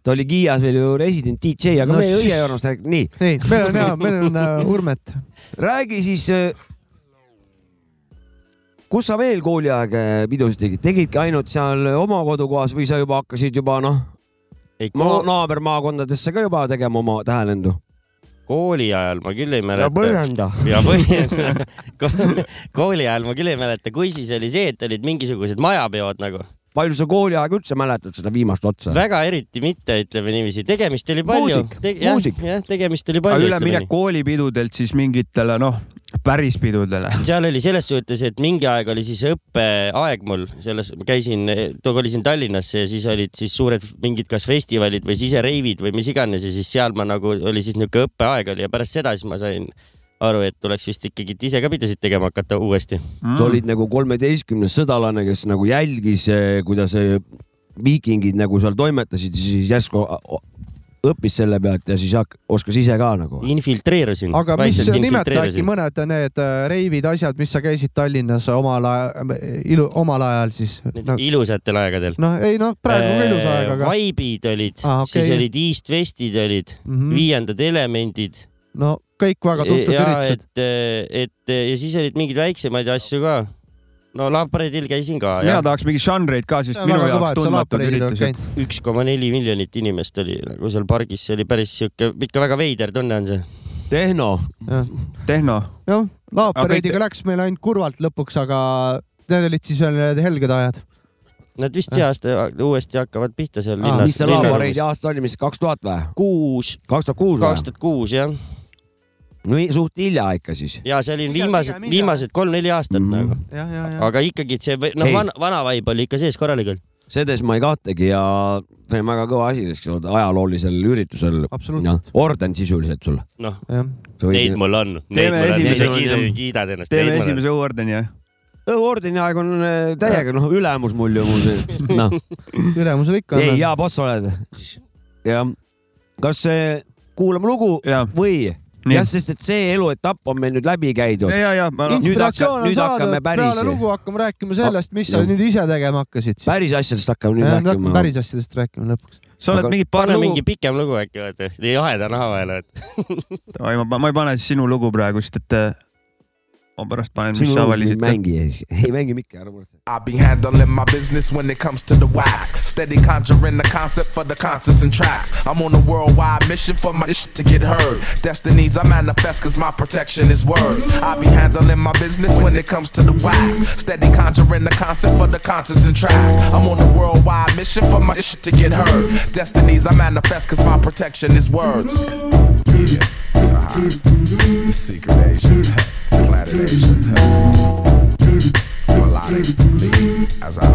Speaker 4: ta oli Kiias veel ju resident DJ , aga
Speaker 2: No
Speaker 4: no, meie
Speaker 2: siis-
Speaker 4: õiejoonest räägime , nii ,
Speaker 2: ei , meil on hea , meil on äh, Urmet .
Speaker 4: räägi siis . kus sa veel kooliaeg äh, pidusid tegid , tegidki ainult seal äh, oma kodukohas või sa juba hakkasid juba noh ,
Speaker 5: ma
Speaker 4: naabermaakondadesse ka juba tegema oma tähelendu ?
Speaker 5: kooli ajal ma küll ei mäleta . ja põhjenda . kooli ajal ma küll ei mäleta , kui siis oli see , et olid mingisugused majapeod nagu ,
Speaker 4: palju sa kooliaega üldse mäletad seda viimast otsa ?
Speaker 5: väga eriti mitte , ütleme niiviisi , tegemist oli palju
Speaker 4: Muusik,
Speaker 5: Te, .
Speaker 4: muusik.
Speaker 5: jah , tegemist oli
Speaker 3: aga
Speaker 5: palju .
Speaker 3: üleminek koolipidudelt siis mingitele noh , päris pidudele .
Speaker 5: seal oli selles suhtes , et mingi aeg oli siis õppeaeg mul , selles , ma käisin , tookord olisin Tallinnas ja siis olid siis suured mingid kas festivalid või sisereivid või mis iganes ja siis seal ma nagu oli siis niisugune õppeaeg oli ja pärast seda siis ma sain aru , et tuleks vist ikkagi ise ka pidasid tegema hakata uuesti .
Speaker 4: sa olid nagu kolmeteistkümnes sõdalane , kes nagu jälgis , kuidas eh, viikingid nagu seal toimetasid , siis järsku äh, o- õppis selle pealt ja siis hak- oskas ise ka nagu .
Speaker 5: infiltreerusin .
Speaker 2: aga mis , nimeta äkki mõned need äh, reivid , asjad , mis sa käisid Tallinnas omal ajal , ilu , omal ajal siis .
Speaker 5: Need Äh, ilusatel aegadel .
Speaker 2: noh , ei noh , praegu on ka ilus aeg , aga
Speaker 5: Vibe'id olid
Speaker 2: Ah,
Speaker 5: ah, ,
Speaker 2: okei.
Speaker 5: okay. siis olid East Westid olid mm ,
Speaker 2: Mhm.
Speaker 5: -hmm. viiendad elemendid .
Speaker 2: no kõik
Speaker 5: E-
Speaker 2: väga tuntud üritused .
Speaker 5: et , et eh, ja siis olid mingeid väiksemaid asju ka . no Lamparedil käisin ka
Speaker 3: mina
Speaker 5: jah ,
Speaker 3: tahaks mingeid žanreid ka , sest minu jaoks tundmatud üritused .
Speaker 5: üks koma neli miljonit inimest oli nagu seal pargis , see oli päris siuke , ikka väga veider tunne on see .
Speaker 4: tehno ,
Speaker 3: tehno ,
Speaker 2: jah , laopereidiga
Speaker 3: Aga
Speaker 2: läks meil ainult kurvalt lõpuks , aga need olid siis veel need helged ajad .
Speaker 5: Nad vist see aasta uuesti hakkavad pihta seal
Speaker 2: Aa,
Speaker 5: linnas .
Speaker 4: mis see laavareidi aasta oli , mis kaks tuhat või ?
Speaker 5: kuus ,
Speaker 4: kaks tuhat kuus
Speaker 5: kaks
Speaker 4: või ?
Speaker 5: tuhat kuus jah ,
Speaker 4: no i- suht hilja ikka siis .
Speaker 5: ja see oli
Speaker 2: Mida-
Speaker 5: viimased
Speaker 2: mida- , mida?
Speaker 5: viimased kolm-neli aastat mm
Speaker 4: Mhm.
Speaker 5: -hmm. nagu ,
Speaker 2: jah , ja , ja .
Speaker 5: aga ikkagi et see , noh
Speaker 4: Ei. ,
Speaker 5: vana , vana vibe oli ikka sees korralikult .
Speaker 4: selles ma ei kahtlegi ja see on väga kõva asi , eks ole , ajaloolisel üritusel .
Speaker 2: absoluutselt ,
Speaker 4: noh , orden sisuliselt sulle .
Speaker 5: noh ,
Speaker 2: jah .
Speaker 5: neid mul on , neid
Speaker 3: Teeme
Speaker 5: mul on , ise
Speaker 3: esimese-
Speaker 5: kiidad , kiidad ennast .
Speaker 3: teeme esimese õuordeni ja
Speaker 4: ordeni aeg on äh, täiega , noh , ülemus mul ju , mul see , noh ,
Speaker 2: ülemusel ikka
Speaker 4: ei ,
Speaker 2: on .
Speaker 4: hea boss oled . jah , kas äh, kuulame lugu
Speaker 3: ja ,
Speaker 4: või ?
Speaker 3: Nii.
Speaker 4: jah , sest et see eluetapp on meil nüüd läbi käidud .
Speaker 3: ja , ja ma
Speaker 4: Inst- nüüd hakka-
Speaker 2: inspiratsioon on
Speaker 4: nüüd
Speaker 2: saadud
Speaker 4: hakkame , päris-
Speaker 2: peale lugu hakkame rääkima sellest , mis sa
Speaker 4: Jah.
Speaker 2: nüüd ise tegema hakkasid siis .
Speaker 4: päris asjadest hakkame nüüd
Speaker 2: hakkame
Speaker 4: rääkima .
Speaker 2: päris asjadest rääkima lõpuks .
Speaker 3: sa oled
Speaker 4: Aga-
Speaker 3: mingit paar
Speaker 5: pane
Speaker 3: lugu
Speaker 5: mingi , pikem lugu äkki , vaata , nii jaheda naha vahele , et
Speaker 3: ma , ma ei pane siis sinu lugu praegu , sest et äh, ma pärast panen , mis
Speaker 4: sinu
Speaker 3: sa
Speaker 4: elus ei
Speaker 3: valisid .
Speaker 4: mängi , ei mängi Mikki , ära muretse .
Speaker 6: I be handling my business when it comes to the wax. Steady conjuring the concept for the concerts and tracks. I'm on a worldwide mission for my shit to get heard. Destinies I manifest cause my protection is words. I be handling my business when it comes to the wax. Steady conjuring the concept for the concerts and tracks. I'm on a worldwide mission for my shit to get heard. Destinies I manifest cause my protection is words. Yeah. Uh-huh. The secret agent. Planet agent melodic lead as I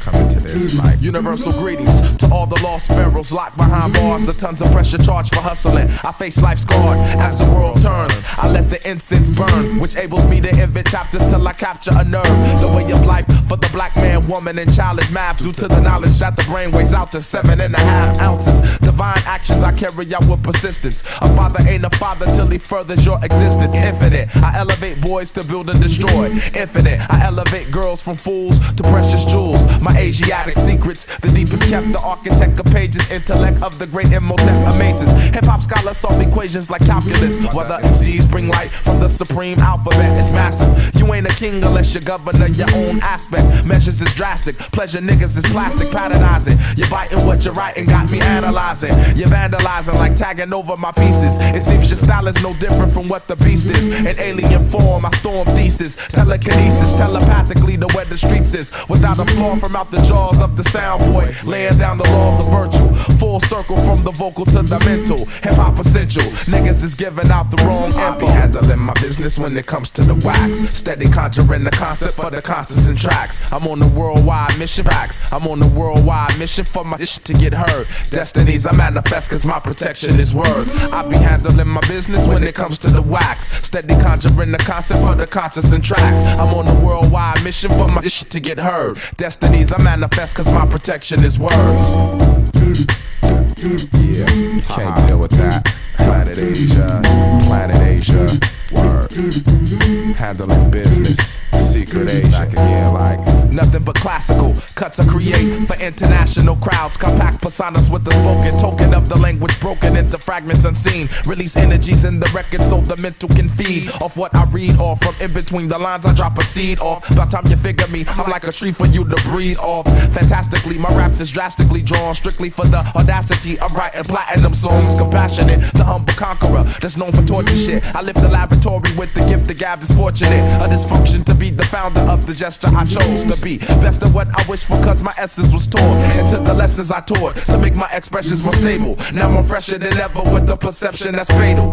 Speaker 6: come into this life. Universal greetings to all the lost pharaohs locked behind bars. The tons of pressure charged for hustling. I face life scarred as the world turns. I let the incense burn, which ables me to invent chapters till I capture a nerve. The way of life for the black man, woman, and child is mapped due to the knowledge that the brain weighs out to seven and a half ounces. Divine actions I carry out with persistence. A father ain't a father till he furthers your existence. Infinite, I elevate boys to build and destroy. Infinite, I elevate girls from fools to precious jewels. My Asiatic secrets, the deepest kept. The architect of pages, intellect of the great Imhotep amazes. Hip hop scholars solve equations like calculus. While the MCs bring light from the supreme alphabet, it's massive. You ain't a king unless you governor your own aspect. Measures is drastic, pleasure niggas is plastic, patternizing. You're biting what you're writing, got me analyzing. You're vandalizing like tagging over my pieces. It seems your style is no different from what the beast is. In alien form, I storm thesis, telekinesis, telepathically to where the streets is. Without a flaw from out the jaws of the soundboy, laying down the laws of virtue. Full circle from the vocal to the mental. Hip hop essential. Niggas is giving out the wrong info. I be handling my business when it comes to the wax. Steady conjuring the concept for the concerts and tracks. I'm on the worldwide mission facts. I'm on the worldwide mission for my shit to get heard. Destinies I manifest cause my protection is words. I be handling my business when it comes to the wax. Steady conjuring the concept for the concerts and tracks. I'm on the worldwide mission for my shit to get heard. Destinies I manifest cause my protection is words. Yeah, you can't deal with that. Planet Asia, Planet Asia, word. Handling business, secret Asia. Back again, like nothing but classical cuts I create for international crowds. Compact personas with the spoken token of the language broken into fragments unseen. Release energies in the record so the mental can feed off what I read or from in between the lines I drop a seed off. By the time you figure me, I'm like a tree for you to breathe off. Fantastically, my raps is drastically drawn strictly for the audacity of writing platinum songs. Compassionate, the humble conqueror that's known for torture shit. I live the laboratory with the gift the gab is fortunate. A dysfunction to be the founder of the gesture I chose to be. Best of what I wish for, cause my essence was torn. And took the lessons I taught to make my expressions more stable. Now I'm fresher than ever with the perception that's fatal.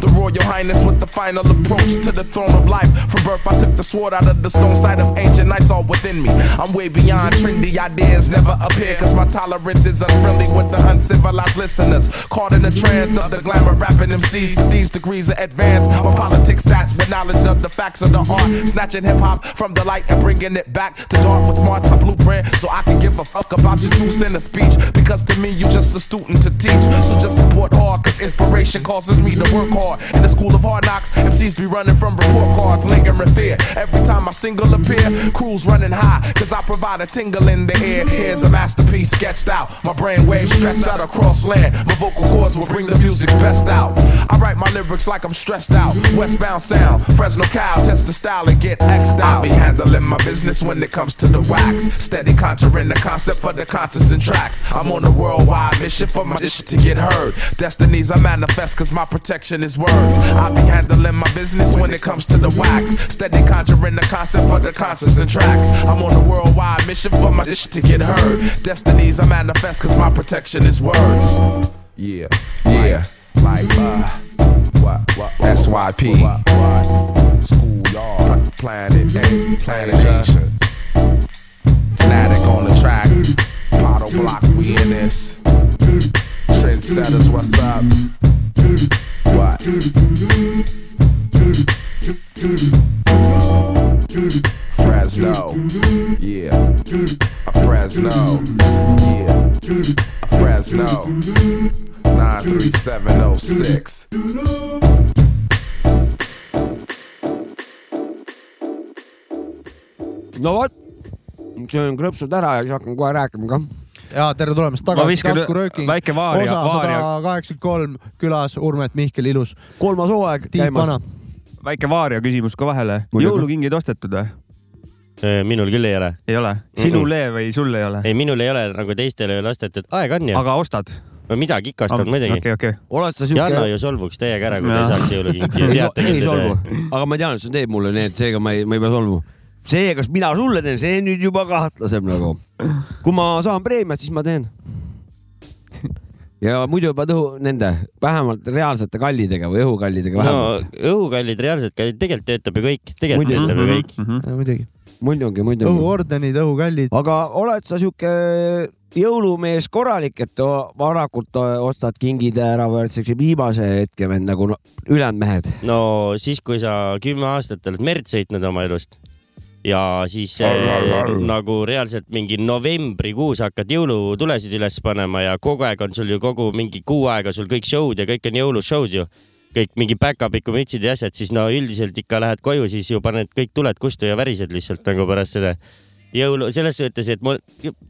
Speaker 6: The Royal Highness with the final approach to the throne of life. From birth, I took the sword out of the stone side of ancient knights all within me. I'm way beyond trendy ideas, never appear, cause my tolerance is unfriendly with the uncivilized listeners. Caught in the trance of the glamour rapping MCs. These degrees are advanced, my politics stats, but knowledge of the facts of the art. Snatching hip hop from the light and bringing it back to dark with smarts, I blueprint. So I can give a fuck about your two center speech, because to me, you just a student to teach. So just support hard, cause inspiration causes me to work hard. In the school of hard knocks, MCs be running from report cards, lingering fear. Every time I single appear, crews running high, cause I provide a tingle in the air. Here's a masterpiece sketched out, my brain waves stretched out across land. My vocal cords will bring the music's best out. I write my lyrics like I'm stressed out. Westbound sound, Fresno cow, test the style and get X'd out. I be handling my business when it comes to the wax. Steady conjuring the concept for the concerts and tracks. I'm on a worldwide mission for my shit to get heard. Destinies I manifest cause my protection is words. I be handling my business when it comes to the wax. Steady conjuring the concept for the concerts and tracks. I'm on a worldwide mission for my shit to get heard. Destinies I manifest cause my protection is words. Yeah, yeah, like, uh, what, what, SYP, schoolyard, planet A, planet Asia, fanatic on the track, bottle block, we in this, trendsetters, what's up? What? Fresno, yeah, a Fresno, yeah, a Fresno, 93706.
Speaker 4: no vot , söön krõpsud ära ja siis hakkan kohe rääkima ka .
Speaker 2: ja tere tulemast
Speaker 3: ma
Speaker 2: tagasi ,
Speaker 3: viskan
Speaker 2: taskurööking ,
Speaker 3: väike
Speaker 2: osa
Speaker 3: vaaria ,
Speaker 2: sada
Speaker 3: vaaria ,
Speaker 2: kaheksakümmend kolm , külas Urmet Mihkel Ilus ,
Speaker 4: kolmas hooaeg
Speaker 2: Tiit
Speaker 4: käimas
Speaker 2: Vana ..
Speaker 3: väike Vaaria küsimus ka vahele .
Speaker 4: Muidugi.
Speaker 3: jõulukingeid ostetud või ?
Speaker 5: Äh, minul küll ei ole .
Speaker 3: ei ole , sinule või sul ei ole ?
Speaker 5: ei , minul ei ole nagu teistele ei ole ostetud , aega on ju .
Speaker 3: aga ostad ?
Speaker 5: no midagi ikastanud muidugi .
Speaker 3: okei , okei .
Speaker 4: oled sa
Speaker 5: Janno
Speaker 4: siuke ?
Speaker 5: ju solvuks täiega ära , kui
Speaker 3: Jaa.
Speaker 5: ta ei saaks jõulukinki .
Speaker 4: ei ei solvu , aga ma tean , et sa teed mulle need , seega ma ei , ma ei pea solvuma . see , kas mina sulle teen , see nüüd juba kahtlasem nagu . kui ma saan preemiat , siis ma teen . ja muidu juba tõhu- , nende vähemalt reaalsete kallidega või õhukallidega
Speaker 5: no
Speaker 4: vähemalt no. .
Speaker 5: õhukallid , reaalselt kallid , tegelikult töötab ju kõik , tegelikult
Speaker 4: Muidugi. Mhm.
Speaker 5: töötab
Speaker 3: Mhm,
Speaker 5: ju kõik .
Speaker 2: muidugi .
Speaker 4: muidugi , muidugi .
Speaker 2: õhuordenid , õhukallid .
Speaker 4: aga oled sa sihuke jõulumees korralik , et o- varakult o- ostad kingid ära või oled siukse viimase hetke vend nagu no, ülejäänud mehed ?
Speaker 5: no siis , kui sa kümme aastat oled merd sõitnud oma elust ja siis
Speaker 6: Arr, arr,
Speaker 5: äh,
Speaker 6: arr.
Speaker 5: nagu reaalselt mingi novembrikuus hakkad jõulutulesid üles panema ja kogu aeg on sul ju kogu mingi kuu aega sul kõik show'd ja kõik on jõulushow'd ju . kõik mingi päkapikku mütsid ja asjad , siis no üldiselt ikka lähed koju , siis ju paned kõik tuled kustu ja värised lihtsalt nagu pärast seda jõulu , selles suhtes , et mul ,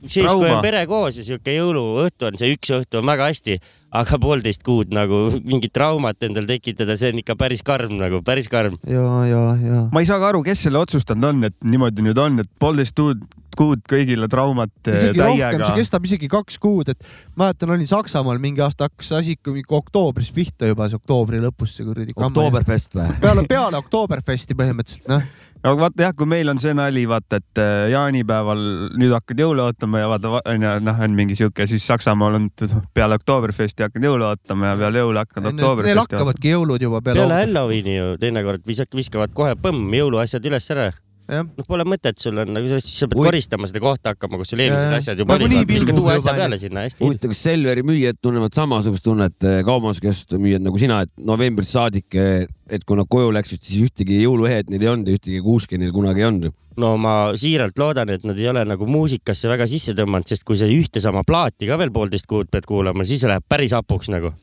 Speaker 5: siis kui
Speaker 3: Trauma.
Speaker 5: on pere koos ja sihuke jõuluõhtu on , see üks õhtu on väga hästi , aga poolteist kuud nagu mingit traumat endal tekitada , see on ikka päris karm nagu , päris karm .
Speaker 2: ja , ja , ja .
Speaker 3: ma ei saa ka aru , kes selle otsustanud on , et niimoodi nüüd on , et poolteist tuud- kuud kõigile traumat eh,
Speaker 2: isegi rohkem ,
Speaker 3: täiega
Speaker 2: see . kestab isegi kaks kuud , et mäletan , olin Saksamaal mingi aasta , hakkas asi ikka mingi oktoobris pihta juba , see oktoobri lõpus see kuradi .
Speaker 4: Oktoberfest või ?
Speaker 2: peale , peale Oktoberfesti põhimõtteliselt , noh .
Speaker 3: aga vaata jah , kui meil on see nali , vaata , et eh, jaanipäeval nüüd hakkad jõule ootama ja vaata , onju , noh , on mingi sihuke , siis Saksamaal on t- peale Oktoberfesti hakkad jõule ootama ja peale jõule hakkad
Speaker 2: Neil
Speaker 3: Oktoberfesti .
Speaker 2: hakkavadki jõulud juba peale,
Speaker 5: peale Halloweeni ju teinekord visak- , viskavad kohe põmm jõuluasjad üles ära .
Speaker 2: jah ,
Speaker 5: noh , pole mõtet , sul on nagu , siis sa pead
Speaker 4: Ui.
Speaker 5: koristama seda kohta hakkama , kus sul eelmised
Speaker 2: Jaa.
Speaker 5: asjad juba
Speaker 2: Nagunii
Speaker 5: olid , viskad
Speaker 2: pilgub
Speaker 5: uue
Speaker 2: juba,
Speaker 5: asja
Speaker 2: onju.
Speaker 5: peale sinna , hästi .
Speaker 4: huvitav , kas Selveri müüjad tunnevad samasugust tunnet , eh, kaubanduskeskuste müüjad nagu sina , et novembrist saadik , et kui nad koju läksid , siis ühtegi jõuluehet neil ei olnud ja ühtegi kuuski neil kunagi ei olnud .
Speaker 5: no ma siiralt loodan , et nad ei ole nagu muusikasse väga sisse tõmmanud , sest kui sa ühte sama plaati ka veel poolteist kuud pead kuulama , siis läheb päris hapuks nagu .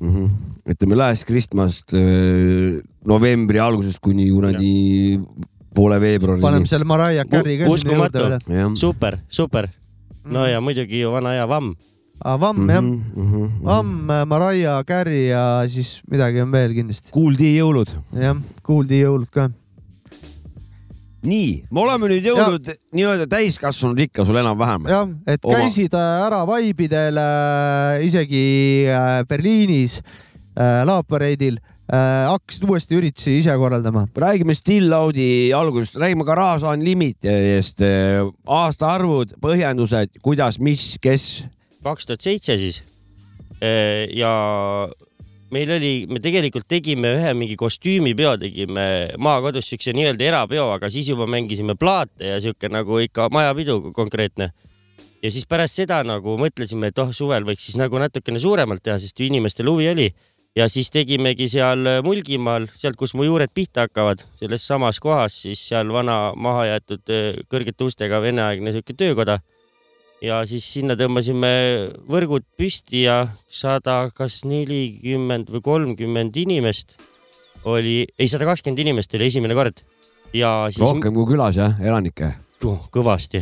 Speaker 2: Mhm.
Speaker 4: ütleme Last Christmas'st eh, novembri algusest kuni kuradi poole
Speaker 2: paneme
Speaker 4: veebruarini .
Speaker 2: selle Mariah Carey ka sinna
Speaker 5: uskumatu.
Speaker 2: juurde veel .
Speaker 4: jah .
Speaker 5: super , super . no
Speaker 2: Mhm.
Speaker 5: ja muidugi ju vana hea vamm .
Speaker 2: Ah, Vamm
Speaker 4: Mhm,
Speaker 2: jah ,
Speaker 3: Mhm.
Speaker 2: Ah,
Speaker 4: Am- .
Speaker 2: Vamm , Mariah Carey ja siis midagi on veel kindlasti ,
Speaker 4: kuuldi jõulud .
Speaker 2: jah , kuuldi jõulud ka .
Speaker 4: nii , me oleme nüüd jõudnud nii-öelda täiskasvanud ikka sul enam-vähem .
Speaker 2: jah , et
Speaker 4: Oma-
Speaker 2: käisid äh, ära vaibidel äh, isegi äh, Berliinis äh, laopareidil , hakkasid uuesti üritusi ise korraldama .
Speaker 4: räägime Still Audi algusest , räägime Garage Unlimited'ist , aastaarvud , põhjendused , kuidas , mis , kes .
Speaker 5: kaks tuhat seitse siis . ja meil oli , me tegelikult tegime ühe mingi kostüümipeo , tegime maakodus siukse nii-öelda erapeo , aga siis juba mängisime plaate ja siuke nagu ikka majapidu konkreetne . ja siis pärast seda nagu mõtlesime , et oh , suvel võiks siis nagu natukene suuremalt teha , sest ju inimestel huvi oli ja siis tegimegi seal äh, Mulgimaal , sealt , kus mu juured pihta hakkavad , selles samas kohas , siis seal vana mahajäetud eh, kõrgete ustega veneaegne siuke töökoda . ja siis sinna tõmbasime võrgud püsti ja sada , kas nelikümmend või kolmkümmend inimest oli , ei , sada kakskümmend inimest oli esimene kord ja siis
Speaker 4: rohkem kui külas jah , elanikke .
Speaker 5: Tuh, kõvasti .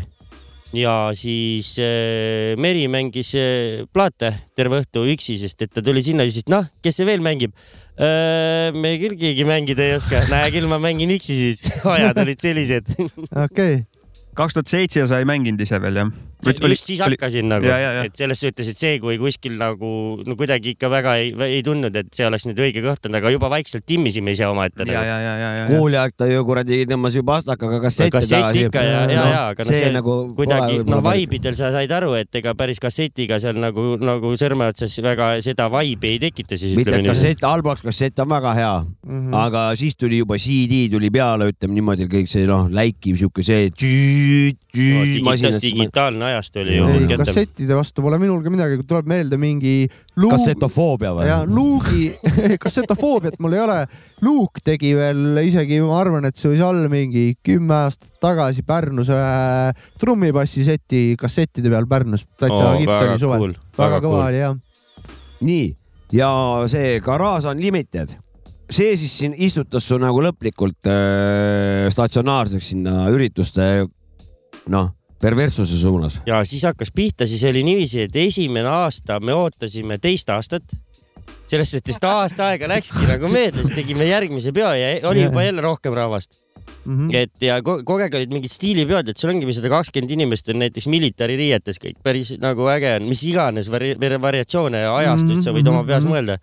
Speaker 5: ja siis äh, Meri mängis äh, plaate terve õhtu üksi , sest et ta tuli sinna ja ütles , et noh , kes see veel mängib äh, . me küll keegi mängida ei oska , näe küll ma mängin üksi siis . ajad olid sellised .
Speaker 2: okei okay. ,
Speaker 3: kaks tuhat seitse sa ei mänginud ise veel jah ?
Speaker 5: just siis hakkasin nagu
Speaker 3: Ja, ja, ja. ,
Speaker 5: et selles suhtes , et see , kui kuskil nagu no kuidagi ikka väga ei, ei tundnud , et see oleks nüüd õige kõht olnud , aga juba vaikselt timmisime ise
Speaker 3: ja ,
Speaker 5: omaette nagu. .
Speaker 3: ja , ja , ja , ja ,
Speaker 4: kooli aeg ta ju kuradi tõmbas ju pastakaga kassette
Speaker 5: kassett ikka ja , ja , ja , aga noh ,
Speaker 4: see
Speaker 5: see
Speaker 4: nagu
Speaker 5: kuidagi noh ,. vaibidel sa said aru , et ega päris kassetiga seal nagu , nagu sõrme otsas väga seda vaibi ei tekita siis
Speaker 4: mitte et
Speaker 5: ütleme nii .
Speaker 4: kassett , Albox kassett on väga hea mm ,
Speaker 2: Mhm.
Speaker 4: -hmm. aga siis tuli juba CD tuli peale , ütleme niimoodi , kõik see noh , läikiv sihuke see .
Speaker 5: No, digita- digitaalne ajastu oli
Speaker 4: Ei,
Speaker 5: ju mul
Speaker 4: Jõulud
Speaker 2: ei
Speaker 5: kätte .
Speaker 2: kassettide vastu pole minul ka midagi , tuleb meelde mingi luu-
Speaker 4: kassettofoobia või ?
Speaker 2: ja luugi , kassetofoobiat mul ei ole . Luuk tegi veel isegi , ma arvan , et see võis olla mingi kümme aastat tagasi Pärnus ühe trummibassiseti kassettide peal Pärnus . täitsa kihvt oli suvel . väga kõva . oli jah .
Speaker 4: nii , ja see Garage Unlimited , see siis siin istutas su nagu lõplikult äh, statsionaarseks sinna ürituste noh , perverssuse suunas .
Speaker 5: ja siis hakkas pihta , siis oli niiviisi , et esimene aasta me ootasime teist aastat selles suhtes ta aasta aega läkski nagu meedias , tegime järgmise peo ja oli juba jälle rohkem rahvast .
Speaker 2: Mhm.
Speaker 3: Mhm.
Speaker 5: et ja ko- kogu aeg olid mingid stiilipeod , et sul ongi sada kakskümmend inimest on näiteks militaaririietes kõik päris nagu äge on , mis iganes vari- vari- variatsioone ja
Speaker 3: Mhm,
Speaker 5: ajastuid sa võid oma peas mõelda .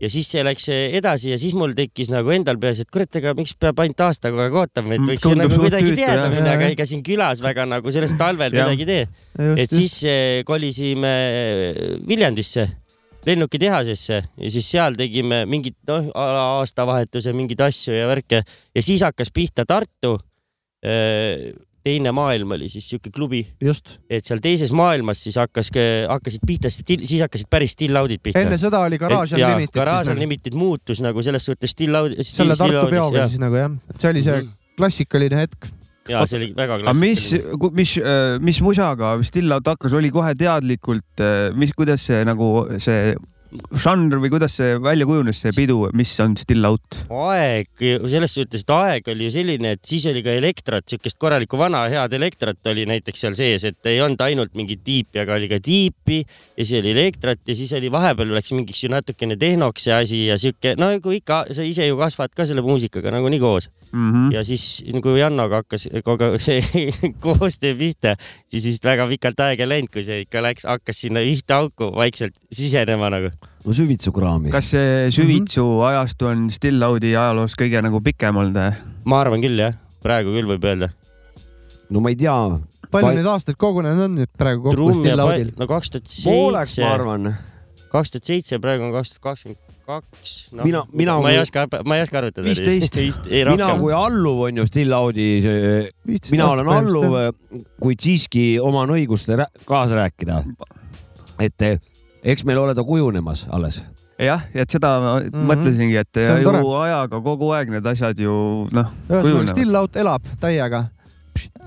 Speaker 5: ja siis see läks eh, edasi ja siis mul tekkis nagu endal peas , et kurat , aga miks peab ainult aasta kogu aeg ootama , et
Speaker 3: Mm,
Speaker 5: võiks ju
Speaker 3: tundub
Speaker 5: nagu
Speaker 3: suht
Speaker 5: kuidagi
Speaker 3: tüütu,
Speaker 5: teada
Speaker 3: jah.
Speaker 5: minna , aga ega siin külas väga nagu sellest talvel
Speaker 3: Jah.
Speaker 5: midagi ei tee . et siis eh, kolisime eh, Viljandisse , lennukitehasesse ja siis seal tegime mingit noh , aastavahetuse mingeid asju ja värke ja siis hakkas pihta Tartu . teine maailm oli siis sihuke klubi ,
Speaker 2: just ,
Speaker 5: et seal teises maailmas siis hakkas , hakkasid pihta , siis hakkasid päris still audid pihta .
Speaker 2: enne seda oli garaaž on limited .
Speaker 5: garaaž on limited muutus nagu selles suhtes still audi .
Speaker 2: selle tarku peoga siis nagu jah , et see oli
Speaker 5: Mm.
Speaker 2: see klassikaline hetk .
Speaker 5: ja see oli väga
Speaker 3: aga mis
Speaker 5: klassikaline .,
Speaker 3: mis , mis musaga Still Out hakkas , oli kohe teadlikult , mis , kuidas see nagu see žanr või kuidas see välja kujunes , see pidu , mis on Still Out ?
Speaker 5: aeg , selles suhtes , et aeg oli ju selline , et siis oli ka elektrat , siukest korralikku vana head elektrat oli näiteks seal sees , et ei olnud ainult mingit tiipi , aga oli ka tiipi ja siis oli elektrat ja siis oli vahepeal läks mingiks ju natukene tehnoks see asi ja siuke , no kui ikka sa ise ju kasvad ka selle muusikaga nagunii koos
Speaker 3: Mhm.
Speaker 5: ja siis nagu Jannoga hakkas kogu aeg see koostöö pihta , siis vist väga pikalt aega ei läinud , kui see ikka läks , hakkas sinna ühte auku vaikselt sisenema nagu .
Speaker 4: no süvitsukraami .
Speaker 3: kas see süvitsu
Speaker 2: Mhm.
Speaker 3: ajastu on Still Out'i ajaloos kõige nagu pikem olnud ?
Speaker 5: ma arvan küll jah , praegu küll võib öelda .
Speaker 4: no ma ei tea ,
Speaker 2: palju
Speaker 4: Pai-
Speaker 2: neid aastaid kogunenud on nüüd praegu kokku
Speaker 5: trumm ja
Speaker 2: Still
Speaker 5: pall
Speaker 2: Audil ?,
Speaker 5: no kaks tuhat
Speaker 4: pooleks ma
Speaker 5: seitse ,
Speaker 4: arvan .
Speaker 5: kaks tuhat seitse , praegu on kaks tuhat kakskümmend kaks .
Speaker 4: Mina- mina
Speaker 5: ma ei
Speaker 4: kui-
Speaker 5: oska , ma ei oska arvutada .
Speaker 3: 15.
Speaker 5: ei
Speaker 4: mina
Speaker 5: rohkem .
Speaker 4: kui alluv on ju Still Audi , mina
Speaker 2: noh,
Speaker 4: olen alluv ,
Speaker 5: äh,
Speaker 4: kuid siiski oman õigust rää- kaasa rääkida . et eh, eks meil ole ta kujunemas alles .
Speaker 3: jah , et seda ma mm -hmm.
Speaker 2: Mhm.
Speaker 3: mõtlesingi , et
Speaker 2: See on
Speaker 3: ju
Speaker 2: tore.
Speaker 3: ajaga kogu aeg need asjad ju noh ,
Speaker 2: ühesõnaga
Speaker 3: kujunevad .
Speaker 2: Still Out elab täiega .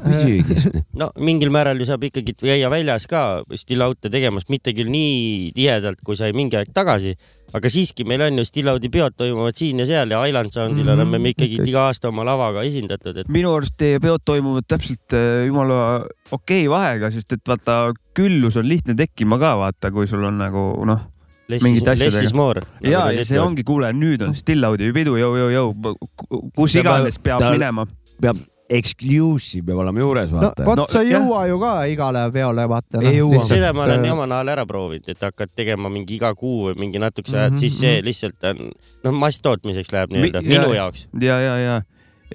Speaker 4: küsigi .
Speaker 5: no mingil määral ju saab ikkagi käia väljas ka stillaute tegemas , mitte küll nii tihedalt , kui sai mingi aeg tagasi , aga siiski meil on ju stillaudi peod toimuvad siin ja seal ja Island Soundil
Speaker 2: Mhm.
Speaker 5: mm -hmm. oleme me ikkagi
Speaker 2: Okei.
Speaker 5: iga aasta oma lavaga esindatud , et
Speaker 3: minu arust teie peod toimuvad täpselt äh, jumala okei vahega , sest et vaata , küllus on lihtne tekkima ka vaata , kui sul on nagu noh ,
Speaker 5: less is
Speaker 3: Mingite , asjadega.
Speaker 5: less is more .
Speaker 3: ja , ja see . ongi , kuule , nüüd on Still Audi pidu , jõu , jõu , jõu , kus iganes peab
Speaker 4: Ta-
Speaker 3: minema .
Speaker 4: peab , exclusive peab olema juures ,
Speaker 2: no
Speaker 4: vaata .
Speaker 2: vot
Speaker 3: No,
Speaker 2: no, , sa ei
Speaker 3: jah.
Speaker 2: jõua ju ka igale peole vaata . noh. äh,
Speaker 4: Ei jõua.
Speaker 5: seda ma olen oma nahal ära proovinud , et hakkad tegema mingi iga kuu või mingi natukese ajad mm ,
Speaker 2: Mhm,
Speaker 5: -hmm. siis see lihtsalt on , noh , masstootmiseks läheb nii-öelda
Speaker 3: Mi-
Speaker 5: minu
Speaker 3: jaa.
Speaker 5: jaoks .
Speaker 3: ja , ja , ja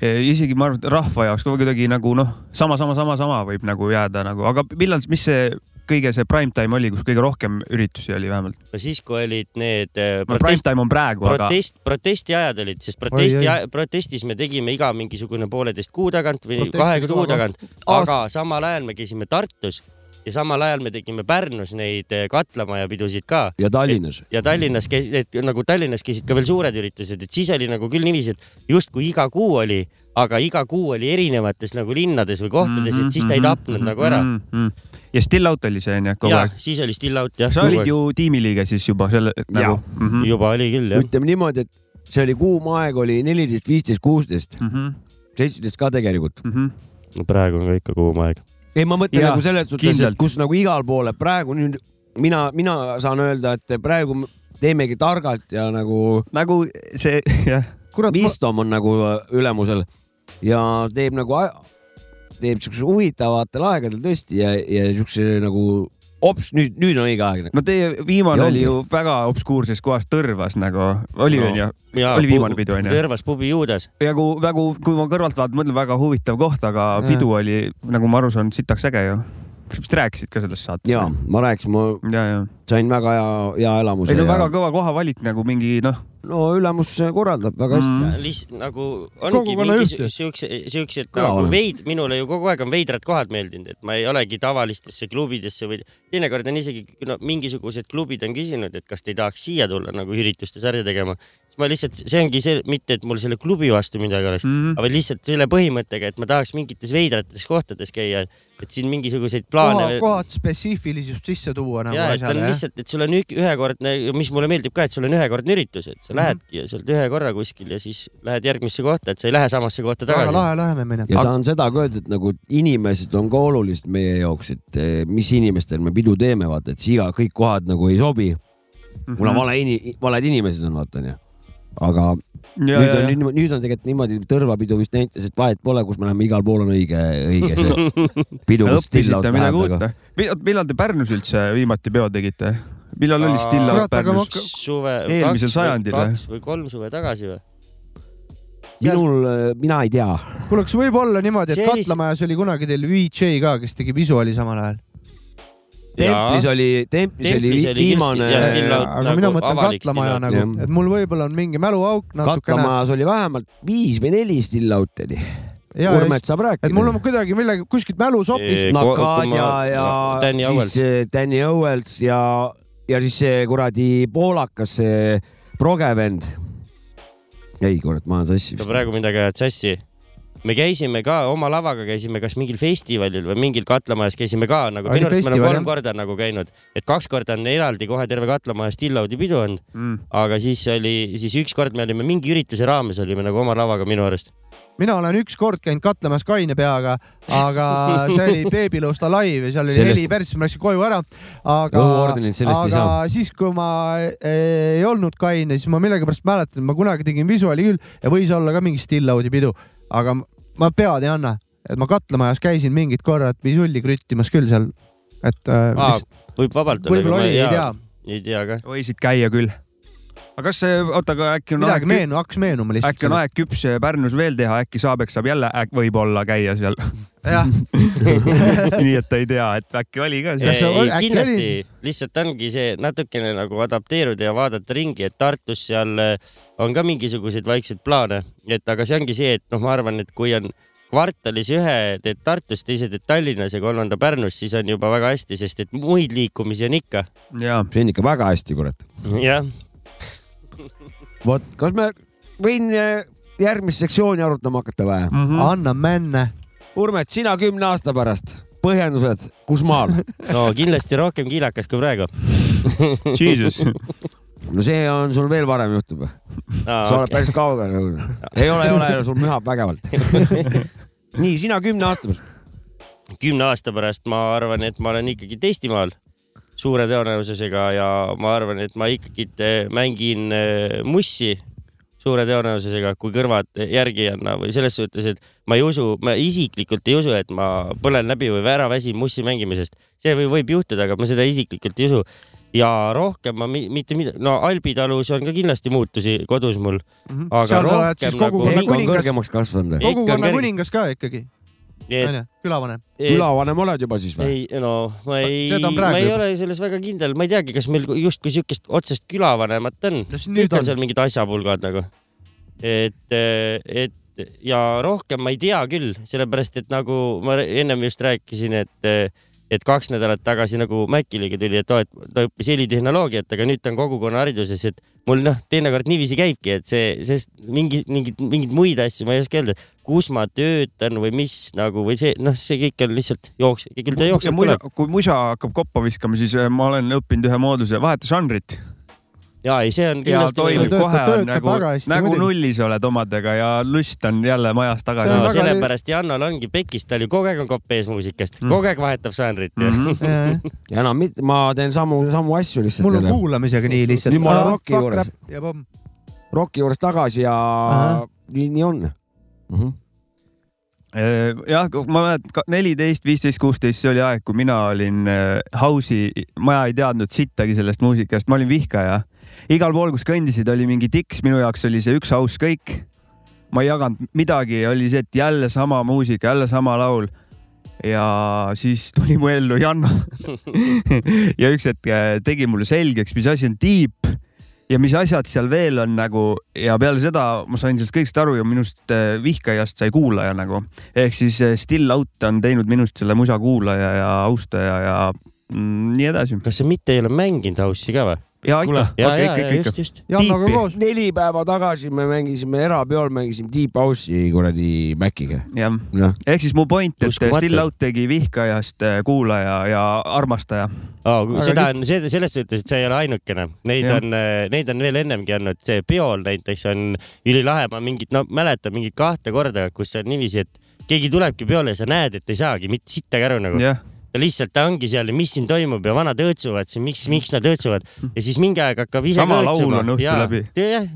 Speaker 3: E, isegi ma arvan , et rahva jaoks ka kuidagi nagu noh , sama , sama , sama , sama võib nagu jääda nagu , aga millal , mis see kõige see prime time oli , kus kõige rohkem üritusi oli vähemalt ?
Speaker 5: no siis , kui olid need eh,
Speaker 3: no prime time on praegu , aga
Speaker 5: protest , protestiajad olid , sest protesti
Speaker 2: Oi, ,
Speaker 5: protestis me tegime iga mingisugune pooleteist kuu tagant või
Speaker 2: Protesti
Speaker 5: kahe kuu
Speaker 2: iga
Speaker 5: tagant , aga samal ajal me käisime Tartus ja samal ajal me tegime Pärnus neid eh, katlamajapidusid ka
Speaker 4: ja Tallinnas .
Speaker 5: ja Tallinnas käis , et nagu Tallinnas käisid ka veel suured üritused , et siis oli nagu küll niiviisi , et justkui iga kuu oli , aga iga kuu oli erinevates nagu linnades või kohtades ,
Speaker 3: Mhm,
Speaker 5: et siis ta ei tapnud nagu ära .
Speaker 3: ära . Mm-hmm, ja Still Out oli see onju mhm, kogu
Speaker 5: ja
Speaker 3: aeg .
Speaker 5: siis oli Still Out jah .
Speaker 3: sa olid ju tiimiliige siis juba selle nagu .
Speaker 5: juba oli küll jah .
Speaker 4: ütleme niimoodi , et see oli kuum aeg oli neliteist , viisteist , kuusteist ,
Speaker 3: Mhm,
Speaker 4: seitseteist ka tegelikult .
Speaker 5: praegu on ka ikka kuum aeg .
Speaker 4: ei , ma mõtlen
Speaker 3: Jaa,
Speaker 4: nagu selles suhtes ,
Speaker 3: kindlalt.
Speaker 4: et kus nagu igal pool , et praegu nüüd mina , mina saan öelda , et praegu me teemegi targalt ja nagu
Speaker 3: nagu see jah ,
Speaker 2: kurat ,
Speaker 4: Vistom on nagu ülemusel ja teeb nagu , teeb siukse huvitavatel aegadel tõesti ja , ja siukse nagu hops , nüüd , nüüd on õige aeg .
Speaker 3: no teie viimane
Speaker 4: Ja
Speaker 3: oli
Speaker 4: ongi.
Speaker 3: ju väga obskuurses kohas Tõrvas nagu oli
Speaker 5: No.
Speaker 3: onju , oli viimane pidu onju .
Speaker 5: Tõrvas pubi juudes .
Speaker 3: ja kui , väga , kui ma kõrvalt vaatan , mõtlen väga huvitav koht , aga
Speaker 2: Jah.
Speaker 3: pidu oli , nagu ma aru saan , sitaks äge ju . sa vist rääkisid ka sellest saates ?
Speaker 4: ja ma rääkisin , ma
Speaker 3: ja , ja .
Speaker 4: sain väga hea , hea elamuse .
Speaker 3: ei no väga kõva koha valik nagu mingi noh ,
Speaker 4: no ülemus korraldab väga hästi
Speaker 3: Mm.
Speaker 4: mm. .
Speaker 5: Liis, nagu ongi
Speaker 2: Kogukonna
Speaker 5: mingi
Speaker 2: ühtsus.
Speaker 5: siukse , siuksed
Speaker 4: Kõlava.
Speaker 5: nagu veid , minule ju kogu aeg on veidrad kohad meeldinud , et ma ei olegi tavalistesse klubidesse või teinekord on isegi no, mingisugused klubid on küsinud , et kas te ei tahaks siia tulla nagu ürituste sarja tegema . siis ma lihtsalt , see ongi see , mitte et mul selle klubi vastu midagi oleks mm ,
Speaker 3: Mhm.
Speaker 5: -hmm. aga lihtsalt selle põhimõttega , et ma tahaks mingites veidrates kohtades käia , et siin mingisuguseid
Speaker 2: kohad ,
Speaker 5: plaane
Speaker 2: kohad spetsiifilisust sisse tuua nagu
Speaker 5: ja , et on
Speaker 2: asjale , jah .
Speaker 5: lihtsalt , et sul on ük- ühekordne , mis mulle meeldib ka , et sul on ühekordne üritus , et
Speaker 2: Mhm.
Speaker 5: sa lähedki ja sealt ühe korra kuskil ja siis lähed järgmisse kohta , et sa ei lähe samasse kohta
Speaker 2: väga
Speaker 5: tagasi .
Speaker 2: lahe lähenemine .
Speaker 4: ja saan seda ka öelda , et nagu inimesed on ka olulised meie jaoks , et eh, mis inimestel me pidu teeme , vaata , et siia kõik kohad nagu ei sobi mm .
Speaker 3: Mhm.
Speaker 4: kuna vale ini- , valed inimesed on , vaata onju . aga
Speaker 3: Mhm.
Speaker 4: ja, nüüd on , nüüd, nüüd on tegelikult niimoodi , Tõrvapidu vist näitas , et vahet pole , kus me läheme , igal pool on õige , õige see pidu , kus still-out
Speaker 3: õppisite midagi
Speaker 4: nagu läheb
Speaker 3: uut . eh? millal te Pärnus üldse viimati peo tegite ? millal oli still
Speaker 2: Kurat,
Speaker 3: out
Speaker 2: aga ma
Speaker 3: Pärnus ?
Speaker 2: hakka-
Speaker 5: suve .
Speaker 3: Eelmisel sajandil või?
Speaker 5: kaks või kolm suve tagasi või ?
Speaker 4: minul , mina ei tea .
Speaker 2: kuule , kas võib olla niimoodi , et
Speaker 5: See oli-
Speaker 2: Katlamajas oli kunagi teil VJ ka , kes tegi visuaali samal ajal ?
Speaker 4: templis oli , templis oli
Speaker 5: Templis
Speaker 4: vi-
Speaker 5: oli
Speaker 4: viimane
Speaker 5: Jaa, still out
Speaker 2: Äh, aga
Speaker 5: nagu
Speaker 2: mina mõtlen
Speaker 5: avalik
Speaker 2: Katlamaja
Speaker 5: still-out.
Speaker 2: nagu ,
Speaker 4: Jah.
Speaker 2: et mul võib-olla on mingi mäluauk natukene .
Speaker 4: katlamajas oli vähemalt viis või neli still-out'i oli . Urmet saab
Speaker 2: et mul
Speaker 4: rääkida
Speaker 2: on . kuidagi millegi , kuskilt mälus hoopis .
Speaker 5: Ei, kui- kui
Speaker 4: Nakadja
Speaker 5: ma-
Speaker 4: ja
Speaker 5: Danny Owens.
Speaker 4: siis eh, Danny Owens ja , ja siis see kuradi poolakas , see progevend . ei kurat , ma olen sassi
Speaker 5: sa
Speaker 4: vist .
Speaker 5: praegu midagi ajad sassi . me käisime ka oma lavaga , käisime kas mingil festivalil või mingil katlamajas käisime ka nagu ,
Speaker 2: Oli
Speaker 5: minu arust me oleme
Speaker 2: festival,
Speaker 5: kolm
Speaker 2: jah?
Speaker 5: korda nagu käinud , et kaks korda on eraldi kohe terve katlamaja Stillaudi pidu on ,
Speaker 3: Mm.
Speaker 5: aga siis oli , siis ükskord me olime mingi ürituse raames olime nagu oma lavaga minu arust .
Speaker 2: mina olen ükskord käinud Katlamäes kaine peaga , aga see oli Beebiluusta live ja seal oli
Speaker 4: Sellest-
Speaker 2: neli persse , ma läksin koju ära . aga
Speaker 4: Õhuordenit sellest ei
Speaker 2: aga
Speaker 4: saa.
Speaker 2: siis , kui ma e, ei olnud kaine , siis ma millegipärast mäletan , ma kunagi tegin visuaali küll ja võis olla ka mingi still-out'i pidu , aga ma pead ei anna , et ma Katlamajas käisin mingid korrad visulli krüttimas küll seal , et äh, vist-
Speaker 5: võib vabalt olla .
Speaker 2: võib-olla oli , ei tea ,.
Speaker 5: ei tea ka .
Speaker 3: võisid käia küll . aga kas see , oota , aga äkki on
Speaker 2: midagi
Speaker 3: aeg ,
Speaker 2: meenu , hakkas meenuma
Speaker 3: äkki on
Speaker 2: lihtsalt .
Speaker 3: aeg küps Pärnus veel teha , äkki Saabek saab jälle äk, võib-olla käia seal .
Speaker 2: jah ,
Speaker 3: nii et ta ei tea , et äkki oli ka
Speaker 2: Kas
Speaker 3: seal .
Speaker 5: ei
Speaker 2: see on- , äkki
Speaker 5: kindlasti
Speaker 2: oli- ,
Speaker 5: lihtsalt ongi see natukene nagu adapteeruda ja vaadata ringi , et Tartus seal äh, on ka mingisuguseid vaikseid plaane , et aga see ongi see , et noh , ma arvan , et kui on kvartalis ühe teed Tartus , teise teed Tallinnas ja kolmanda Pärnus , siis on juba väga hästi , sest et muid liikumisi on ikka .
Speaker 3: jaa ,
Speaker 4: see on ikka väga hästi , kurat .
Speaker 5: jah ,
Speaker 4: vot , kas me , võin eh, järgmist sektsiooni arutama hakata või ?
Speaker 3: Mhm.
Speaker 2: anna männe .
Speaker 4: Urmet , sina kümne aasta pärast , põhjendused , kus maal ?
Speaker 5: no kindlasti rohkem kiilakas kui praegu .
Speaker 3: jesus .
Speaker 4: no see on sul veel varem juhtub , sa oled päris kaugel . ei ole , ei ole , sul mühab vägevalt . nii , sina kümne aasta pärast .
Speaker 5: kümne aasta pärast ma arvan , et ma olen ikkagi Eestimaal suure tõenäosusega ja ma arvan , et ma ikkagi eh, mängin eh, mussi suure tõenäosusega , kui kõrvad järgi ei anna või selles suhtes , et ma ei usu , ma isiklikult ei usu , et ma põlen läbi või ära väsin mussi mängimisest . see või võib juhtuda , aga ma seda isiklikult ei usu . ja rohkem ma mi- mitte midagi , no Albitalus on ka kindlasti muutusi kodus mul .
Speaker 4: Mhm.
Speaker 5: Aga
Speaker 2: seal sa oled siis
Speaker 5: rohkem nagu-
Speaker 2: kogukonna
Speaker 4: Heiko on
Speaker 2: kuningas ,
Speaker 4: kõrgemaks kasvanud .
Speaker 5: Ikka on
Speaker 2: kogukonna
Speaker 5: kõrge-
Speaker 2: kuningas ka ikkagi ,
Speaker 5: et
Speaker 2: onju , külavanem .
Speaker 4: külavanem oled juba siis või ?
Speaker 5: ei no ma ei ,
Speaker 2: Seda on
Speaker 5: ma
Speaker 2: praegu
Speaker 5: ei
Speaker 2: juba.
Speaker 5: ole selles väga kindel , ma ei teagi , kas meil justkui siukest otsest külavanemat on .
Speaker 2: no siis
Speaker 5: kõik
Speaker 2: nüüd
Speaker 5: on
Speaker 2: on .
Speaker 5: seal mingid asjapulgad nagu . et , et ja rohkem ma ei tea küll , sellepärast et nagu ma ennem just rääkisin , et , et kaks nädalat tagasi nagu Mäkkiliga tuli , et oo , et ta õppis helitehnoloogiat , aga nüüd ta on kogukonnahariduses , et mul noh , teinekord niiviisi käibki , et see , sest mingi , mingid , mingeid muid asju ma ei oska öelda , kus ma töötan või mis nagu või see , noh , see kõik on lihtsalt jooks , küll ta
Speaker 3: ja
Speaker 5: jookseb
Speaker 3: muisa
Speaker 5: tuleb .,
Speaker 3: kui muisa hakkab koppa viskama , siis äh, ma olen õppinud ühe mooduse , vaheta žanrit
Speaker 5: ja ei , see on
Speaker 3: ja
Speaker 5: kindlasti
Speaker 3: toimib
Speaker 2: Töötab-
Speaker 3: kohe ,
Speaker 2: töötab
Speaker 3: nagu
Speaker 2: väga hästi, ,
Speaker 3: nagu
Speaker 2: muidugi.
Speaker 3: nullis oled omadega ja lust on jälle majas
Speaker 2: See on
Speaker 5: no
Speaker 3: tagasi .
Speaker 2: väga-
Speaker 5: sellepärast Jannol ongi pekis , tal ju kogu aeg on kopp ees muusikast , kogu aeg vahetab žanrit mm . -hmm.
Speaker 2: Mhm.
Speaker 4: ja enam mitte , ma teen samu , samu asju
Speaker 2: mul
Speaker 4: lihtsalt
Speaker 2: on . kuulamisega nii lihtsalt .
Speaker 4: Nüüd ma olen rocki juures. .
Speaker 2: ja pomm .
Speaker 4: Rocki juures tagasi ja
Speaker 2: Ahah. Mhm.
Speaker 4: nii , nii on mm . -hmm.
Speaker 3: Äh, jah , ma mäletan neliteist , viisteist , kuusteist , see oli aeg , kui mina olin äh, house'i , ma ei teadnud sittagi sellest muusikast , ma olin vihkaja . igal pool , kus kõndisid , oli mingi tiks , minu jaoks oli see üks house kõik . ma ei jaganud midagi , oli see , et jälle sama muusika , jälle sama laul . ja siis tuli mu ellu Janno . ja üks hetk äh, tegi mulle selgeks , mis asi on deep ja mis asjad seal veel on nagu ja peale seda ma sain sellest kõigest aru ja minust äh, vihkajast sai kuulaja nagu ehk siis äh, Still Out on teinud minust selle musa kuulaja ja austaja ja mm, nii edasi .
Speaker 5: kas sa mitte ei ole mänginud House'i ka või ?
Speaker 3: ja ikka ,
Speaker 5: ja ,
Speaker 3: ikka ,
Speaker 5: ja ,
Speaker 3: ikka ,
Speaker 5: ja
Speaker 3: ikka
Speaker 5: just ,. just .
Speaker 2: Jannoga
Speaker 3: Tiipi.
Speaker 2: koos .
Speaker 4: neli päeva tagasi me mängisime erapeol , mängisime Deep House'i kuradi Maciga .
Speaker 3: jah ,
Speaker 4: noh ,
Speaker 3: ehk siis mu point , et
Speaker 5: Uskumatu.
Speaker 3: Still Out tegi vihkajast äh, kuulaja ja armastaja .
Speaker 2: Aga
Speaker 5: seda on , see , selles suhtes , et see ei ole ainukene , neid
Speaker 3: Jah.
Speaker 5: ja. on , neid on veel ennemgi olnud , see peol näiteks on ülilahe , ma mingit , no mäletan mingit kahte korda , kus on niiviisi , et keegi tulebki peole ja sa näed , et ei saagi mitte sittagi aru nagu .
Speaker 3: jah ,
Speaker 5: ja lihtsalt ta ongi seal ja mis siin toimub ja vanad õõtsuvad siin , miks , miks nad õõtsuvad ja siis mingi aeg hakkab ise
Speaker 3: Sama laul on õhtu läbi.
Speaker 5: jah ,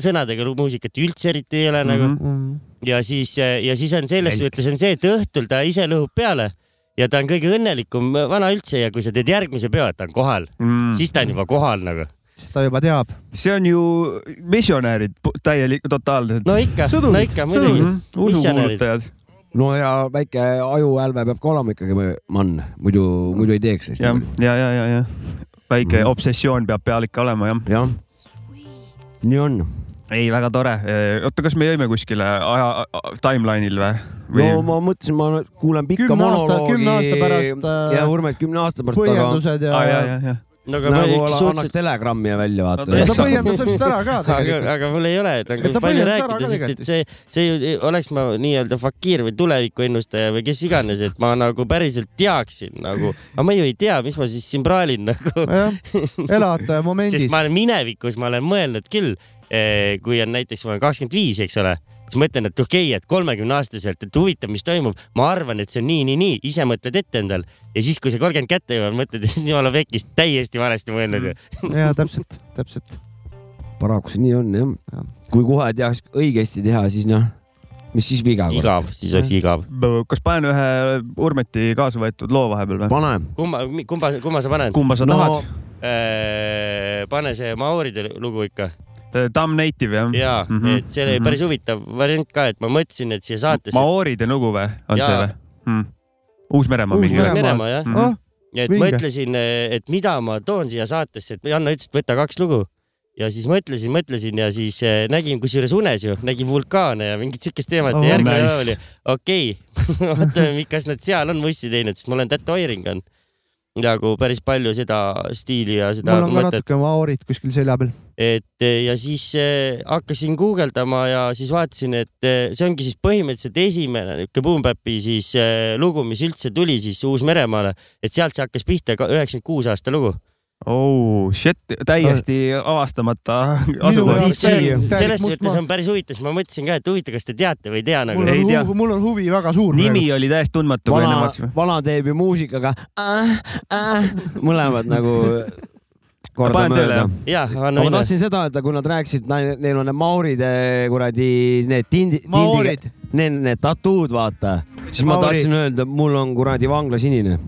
Speaker 5: sõnadega lu- muusikat üldse eriti ei ole mm -hmm.
Speaker 3: Mhm.
Speaker 5: nagu ja siis , ja siis on selles suhtes on see , et õhtul ta ise lõhub peale ja ta on kõige õnnelikum vana üldse ja kui sa teed järgmise peo , et ta on kohal
Speaker 3: Mhm.
Speaker 5: mm. , siis ta on juba kohal nagu .
Speaker 2: siis ta juba teab .
Speaker 3: see on ju missionärid pu- täielik , totaalselt . Mhm.
Speaker 5: no ikka ,
Speaker 2: Sõdurid,
Speaker 5: no ikka muidugi . missionärid ,
Speaker 3: usukuulutajad .
Speaker 4: no ja väike ajuhälve peab ka olema ikkagi mann , muidu , muidu ei teeks
Speaker 3: jah
Speaker 4: seda .,
Speaker 3: ja , ja , ja , ja väike
Speaker 5: Mhm.
Speaker 3: mm. obsessioon peab peal ikka olema jah .
Speaker 4: jah , nii on .
Speaker 3: ei , väga tore . oota , kas me jäime kuskile aja , timeline'il või, või...
Speaker 4: no ? ma mõtlesin , ma nüüd kuulen pikka
Speaker 2: Kümne aasta-
Speaker 4: monoloogi .
Speaker 2: kümne aasta pärast, äh,
Speaker 4: ja Urmet kümne aasta pärast , aga
Speaker 2: põhjendused ja
Speaker 3: ah, . ja , ja , ja .
Speaker 5: no aga ma
Speaker 4: nagu ala- annaks
Speaker 5: suhteliselt ,
Speaker 4: telegrammi välja
Speaker 2: ja
Speaker 3: No
Speaker 4: vaata
Speaker 2: ta . põhjendas vist ära ka
Speaker 5: aga ,
Speaker 2: tegelikult .
Speaker 5: aga mul ei ole
Speaker 2: ta
Speaker 5: nagu palju
Speaker 2: põhjendas ära
Speaker 5: rääkida
Speaker 2: ka ,
Speaker 5: sest
Speaker 2: tegelikult.
Speaker 5: et see , see ju oleks ma nii-öelda fakiir või tulevikuennustaja või kes iganes , et ma nagu päriselt teaksin nagu , aga ma ju ei tea , mis ma siis siin praalin nagu
Speaker 2: jah , elad äh, momendis
Speaker 5: sest . ma olen minevikus , ma olen mõelnud küll , kui on näiteks , ma olen kakskümmend viis , eks ole , siis mõtlen , et okei okay, , et kolmekümne aastaselt , et huvitav , mis toimub , ma arvan , et see on nii , nii , nii , ise mõtled ette endal ja siis , kui see kolmkümmend kätte jõuab , mõtled , et jumala pekkis , täiesti valesti mõelnud
Speaker 2: Mm.
Speaker 5: ju .
Speaker 2: ja täpselt , täpselt .
Speaker 4: paraku see nii on jah . kui kohe teaks õigesti teha , siis noh , mis siis viga .
Speaker 5: igav , siis oleks
Speaker 2: Mm.
Speaker 5: igav .
Speaker 3: kas panen ühe Urmeti kaasa võetud loo vahepeal või ?
Speaker 4: pane .
Speaker 5: kumma , kumba , kumma sa paned ?
Speaker 3: kumba sa
Speaker 4: No-
Speaker 3: no... tahad ?
Speaker 5: Äh, pane see Maoride lugu ikka
Speaker 3: Dumb Native jah ?
Speaker 5: ja mm ,
Speaker 2: Mhm.
Speaker 5: -hmm. et see oli päris huvitav variant ka , et ma mõtlesin , et siia saatesse .
Speaker 3: Maoride lugu või , on
Speaker 5: Jaa.
Speaker 3: see või mm. ? Uus-Meremaa mingi
Speaker 5: Uus-Meremaa.
Speaker 3: või ?
Speaker 5: Meremaa, jah.
Speaker 2: oh ,
Speaker 5: Ja et
Speaker 2: Vinge.
Speaker 5: mõtlesin , et mida ma toon siia saatesse , et Janno ütles , et võta kaks lugu ja siis mõtlesin , mõtlesin ja siis eh, nägin , kusjuures unes ju , nägin vulkaane ja mingit siukest teemat
Speaker 2: Oh,
Speaker 5: ja järgmine
Speaker 3: nice.
Speaker 5: päev oli okei okay. , vaatame , kas nad seal on vussi teinud , sest ma olen tätoeering on nagu päris palju seda stiili ja seda
Speaker 2: mul on ka
Speaker 5: mõtet ,
Speaker 2: natuke maoorid kuskil selja peal .
Speaker 5: et eh, ja siis eh, hakkasin guugeldama ja siis vaatasin , et eh, see ongi siis põhimõtteliselt esimene niuke Boom Bapi siis eh, lugu , mis üldse tuli siis Uus-Meremaale , et sealt see hakkas pihta , üheksakümmend kuus aasta lugu .
Speaker 3: oh shit , täiesti avastamata
Speaker 2: Minu
Speaker 3: asukoht
Speaker 2: jaoks-
Speaker 5: See
Speaker 2: Täielik-
Speaker 5: on-
Speaker 2: täielik
Speaker 5: selles
Speaker 2: must
Speaker 5: suhtes
Speaker 2: maa.
Speaker 5: on päris huvitav , sest ma mõtlesin ka , et huvitav , kas te teate või ei tea nagu
Speaker 2: mul .
Speaker 3: Ei tea.
Speaker 2: on huvi , mul on huvi väga suur .
Speaker 3: nimi oli täiesti tundmatu , kui enne
Speaker 4: vana
Speaker 3: vaatasime .,
Speaker 4: vana teeb ju muusikaga äh, äh, mõlemad nagu korda
Speaker 3: Panen tööle,
Speaker 4: mööda
Speaker 3: jah. .
Speaker 5: jah ,
Speaker 4: aga
Speaker 5: anna
Speaker 4: ma
Speaker 5: minna .
Speaker 4: tahtsin seda öelda , kui nad rääkisid , neil on need mauride kuradi need tindi ,
Speaker 2: Maoorid.
Speaker 4: tindiga , need , need tatuud , vaata . siis ma
Speaker 2: Maori.
Speaker 4: tahtsin öelda , mul on kuradi vangla sinine .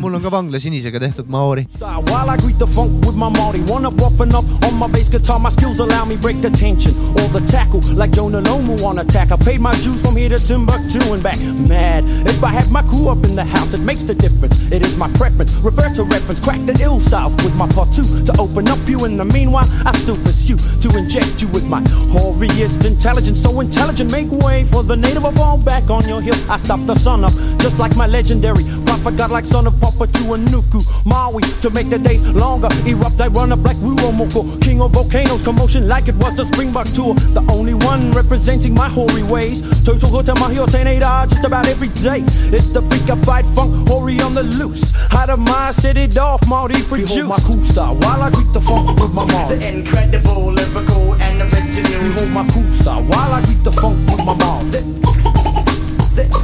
Speaker 2: mul on ka vangla sinisega tehtud maoori .
Speaker 7: side While I greet the funk with my Marty One up off and up on my bass guitar My skills allow me break the tension Or the tackle like Jonah Nomu on attack I paid my dues from here to Timbuktu and back Mad if I have my crew up in the house It makes the difference, it is my preference Revert to reference, crack the ill styles With my part two to open up you In the meanwhile, I still pursue To inject you with my hoariest intelligence So intelligent, make way for the native of all Back on your hill, I stop the sun up Just like my legendary prophet God like son of Papa to Anuku Maui to make the days longer. Erupt, I run up like Ruomoko, king of volcanoes, commotion like it was the Springbok tour. The only one representing my hoary ways. Total go to my heel, just about every day. It's the freak of fight funk, hoary on the loose. Out of my city, Dolph, Marty produce. Behold my cool star while I greet the funk with my mom.
Speaker 8: The incredible, lyrical, and original.
Speaker 7: Behold my cool star while I greet the funk with my mom.
Speaker 8: The,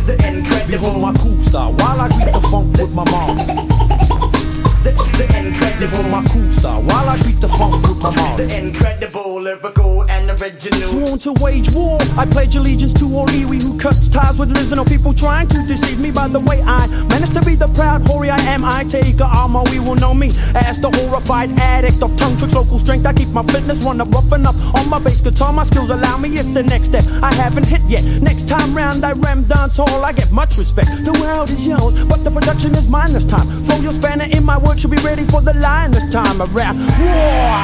Speaker 8: the incredible,
Speaker 7: Behold my cool star while I greet the funk with my mom.
Speaker 8: the, the incredible,
Speaker 7: Behold my cool star while I greet the funk with my mom.
Speaker 8: the incredible, lyrical, and original.
Speaker 7: Sworn to wage war. I pledge allegiance to Oliwi, who cuts ties with listeners or people trying to deceive me by the way I manage to be the proud hoary I am. I take a armor, we will know me as the horrified addict of tongue tricks, local strength. I keep my fitness one up, rough enough on my bass guitar. My skills allow me, it's the next step. I haven't hit yet. Next time round, I ram dance hall. I get much respect. The world is yours, but the production is mine this time. Throw your spanner in my work, you'll be ready for the line this time around. War!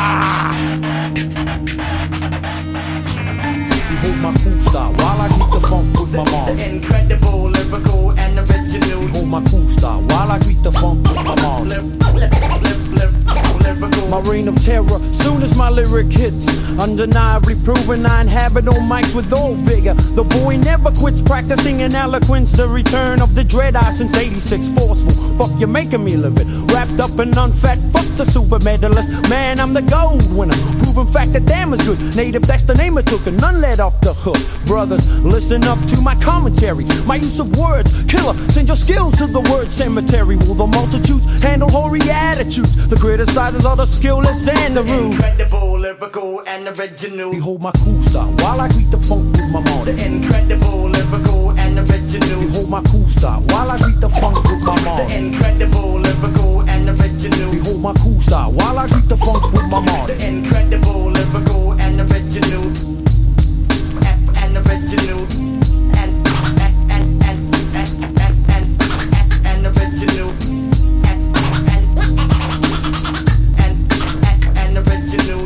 Speaker 7: Behold my cool star while I greet the funk with my mom.
Speaker 8: The incredible, lyrical, and original.
Speaker 7: Behold my cool star while I greet the funk with my mom.
Speaker 8: Lyrical, lyrical,
Speaker 7: My reign of terror, soon as my lyric hits, Undeniably proven, I inhabit on mics with all vigor. The boy never quits practicing in eloquence. The return of the dread eye since 86. Forceful, fuck, you're making me live it. Wrapped up in unfat, fuck the super medalist. Man, I'm the gold winner. Proven fact that damn is good. Native, that's the name it took, and none let off the hook. Brothers, listen up to my commentary. My use of words, killer, send your skills to the word cemetery. Will the multitudes handle hoary attitudes? The criticizers are the skillless and the rude.
Speaker 8: Incredible, lyrical, and original.
Speaker 7: Behold my cool style while I greet the funk with my
Speaker 8: The
Speaker 7: mom.
Speaker 8: incredible, lyrical, and original.
Speaker 7: Behold my cool style while I greet the funk with my
Speaker 8: The
Speaker 7: mom.
Speaker 8: incredible, lyrical, and original.
Speaker 7: Behold my cool style while I greet the funk with my mom.
Speaker 8: The incredible, lyrical, and original. And- And original. And and and and and and and and- and original. And and and and and original.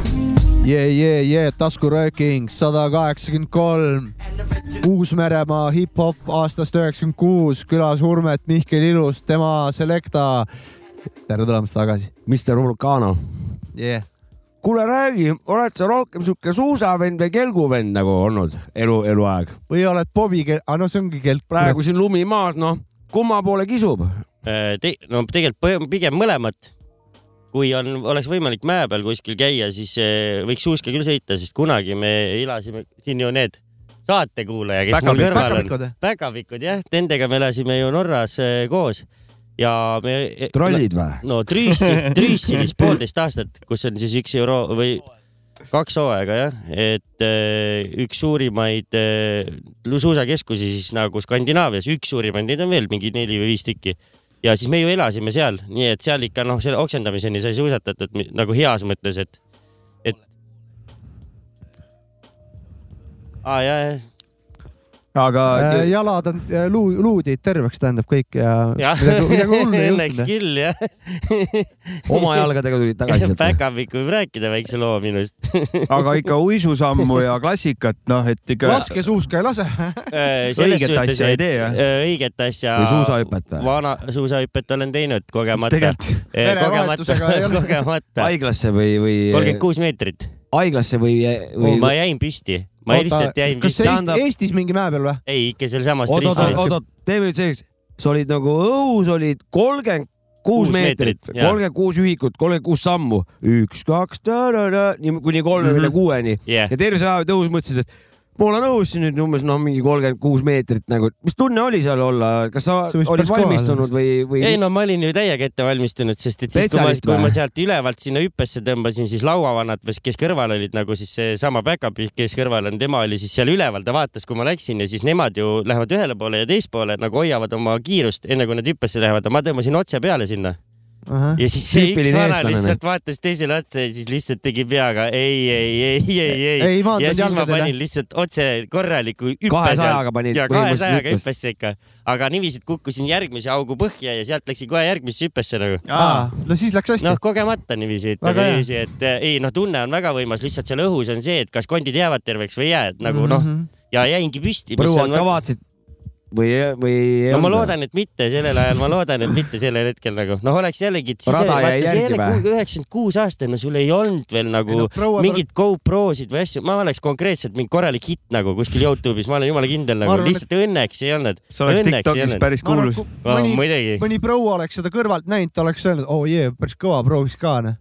Speaker 2: jee , jee , jee , taskurööking sada kaheksakümmend kolm ,
Speaker 8: And original.
Speaker 2: Uus-Meremaa hip-hop aastast üheksakümmend kuus , külas Urmet Mihkel Ilus , tema Selecta . tere tulemast tagasi
Speaker 4: Mr Vulcano .
Speaker 2: yeah. .
Speaker 4: kuule , räägi , oled sa rohkem sihuke suusavend või kelguvend nagu olnud elu , eluaeg ?
Speaker 2: või oled Bobi kell- , aa no see ongi kelt
Speaker 4: praegu . siin lumi maas , noh , kumma poole kisub ?
Speaker 5: Eh, Te- , no tegelikult põ- pigem mõlemat . kui on , oleks võimalik mäe peal kuskil käia , siis eh, võiks suuska küll sõita , sest kunagi me elasime , siin ju need saatekuulaja , kes mul
Speaker 2: päkapikud ,
Speaker 5: kõrval on ,
Speaker 2: päkapikud või ?
Speaker 5: päkapikud jah , nendega me elasime ju Norras eh, koos ja me .
Speaker 4: trollid või ?
Speaker 5: no Trüüsi , Trüüsilis poolteist aastat , kus on siis üks euro või kaks hooaega jah , et eh, üks suurimaid eh, suusakeskusi siis nagu Skandinaavias , üks suurimaid , neid on veel mingi neli või viis tükki . ja siis me ju elasime seal , nii et seal ikka noh , selle oksendamiseni sai suusatatud mi- nagu heas mõttes , et , et . aa ja , ja ,
Speaker 3: aga
Speaker 2: Äh, jalad on , luu , luud jäid terveks , tähendab kõik ja,
Speaker 5: ja
Speaker 2: midagi , midagi hullu ei
Speaker 5: õnneks
Speaker 2: juhtunud .
Speaker 5: küll jah .
Speaker 4: oma jalgadega tulid tagasi sealt .
Speaker 5: päkapikk võib rääkida väikse loo minust .
Speaker 3: aga ikka uisusammu ja klassikat , noh , et ikka .
Speaker 2: laskesuuska ei lase .
Speaker 5: Äh, selles
Speaker 3: Õiget
Speaker 5: suhtes,
Speaker 3: asja ei
Speaker 5: et,
Speaker 3: tee, jah?
Speaker 5: äh, õiget asja .
Speaker 4: Või suusahüpet või?
Speaker 5: vana suusahüpet olen teinud kogemata .
Speaker 3: tegelikult
Speaker 5: kogemata
Speaker 2: Verevahetusega ei , ole.
Speaker 5: kogemata .
Speaker 4: haiglasse või , või ?
Speaker 5: kolmkümmend kuus meetrit .
Speaker 4: haiglasse või , või ?
Speaker 5: ma jäin püsti , ma lihtsalt jäin
Speaker 2: kas
Speaker 5: püsti
Speaker 2: see .
Speaker 4: Tähendab-
Speaker 2: Eest, Eestis mingi mäe peal või ?
Speaker 5: ei , ikka sealsamas
Speaker 4: oot , oot , oot ,
Speaker 5: trissis .
Speaker 4: oot , teeme nüüd selgeks . sa olid nagu õhus , olid kolmkümmend kuus
Speaker 5: Kuus
Speaker 4: meetrit
Speaker 5: meetrit, , jaa.
Speaker 4: kolmkümmend kuus ühikut , kolmkümmend kuus sammu , üks , kaks , nii kuni kolmekümne
Speaker 5: Mhm.
Speaker 4: kuueni
Speaker 5: jah ,
Speaker 4: ja terve see aeg õhus mõtlesid , et ma olen õhus siin nüüd umbes noh , mingi kolmkümmend kuus meetrit nagu , mis tunne oli seal olla , kas sa
Speaker 2: See võis
Speaker 4: olid
Speaker 2: päris kõva
Speaker 4: valmistunud või , või
Speaker 5: ei ? no ma olin ju täiega ettevalmistunud , sest et siis kui ma ,
Speaker 4: Spetsialist
Speaker 5: kui ma
Speaker 4: või?
Speaker 5: sealt ülevalt sinna hüppesse tõmbasin , siis lauavannad , kes kõrval olid nagu siis seesama back-up , kes kõrval on , tema oli siis seal üleval , ta vaatas , kui ma läksin ja siis nemad ju lähevad ühele poole ja teispoole nagu hoiavad oma kiirust , enne kui nad hüppesse lähevad , aga ma tõmbasin otse peale sinna ja siis see üks
Speaker 4: Tüüpiline
Speaker 5: vana
Speaker 4: eestlane, noh.
Speaker 5: lihtsalt vaatas teisele otsa ja siis lihtsalt tegi peaga ei , ei , ei , ei , ei .
Speaker 2: ei
Speaker 5: ja
Speaker 2: maandunud
Speaker 5: siis ma
Speaker 2: jalgadele
Speaker 5: panin . lihtsalt otse korraliku hüppe
Speaker 4: kahesajaga panid
Speaker 5: ja kahesajaga
Speaker 4: põhimõtteliselt
Speaker 5: hüppesse ikka , aga niiviisi , et kukkusin järgmise augu põhja ja sealt läksin kohe järgmisse hüppesse nagu .
Speaker 2: aa , no siis läks hästi
Speaker 5: noh ,. kogemata
Speaker 2: Väga
Speaker 5: niiviisi , ütleme
Speaker 2: hea.
Speaker 5: niiviisi , et äh, ei noh , tunne on väga võimas , lihtsalt seal õhus on see , et kas kondid jäävad terveks või ei jää , et
Speaker 2: Mhm.
Speaker 5: nagu noh , ja jäingi püsti .
Speaker 4: põruad ka vaatasid või , või ?
Speaker 5: no ma . loodan , et mitte sellel ajal , ma loodan , et mitte sellel hetkel nagu noh , oleks jällegi , et siis
Speaker 4: Rada jäi järgi või?
Speaker 5: üheksakümmend kuus aastane , sul ei olnud veel nagu
Speaker 2: Ei no proua-
Speaker 5: mingit GoProsid või asju , ma oleks konkreetselt mingi korralik hitt nagu kuskil Youtube'is , ma olen jumala kindel
Speaker 2: Ma
Speaker 5: nagu ,
Speaker 2: arvan, et-
Speaker 5: lihtsalt õnneks ei olnud .
Speaker 3: sa oleks
Speaker 5: õnneks ei
Speaker 3: Tiktokis
Speaker 5: olnud .
Speaker 3: päris kuulus .
Speaker 5: Mõni... muidugi ,
Speaker 2: mõni proua oleks seda kõrvalt näinud , ta oleks öelnud , oo oh, jee , päris kõva proovis ka noh ,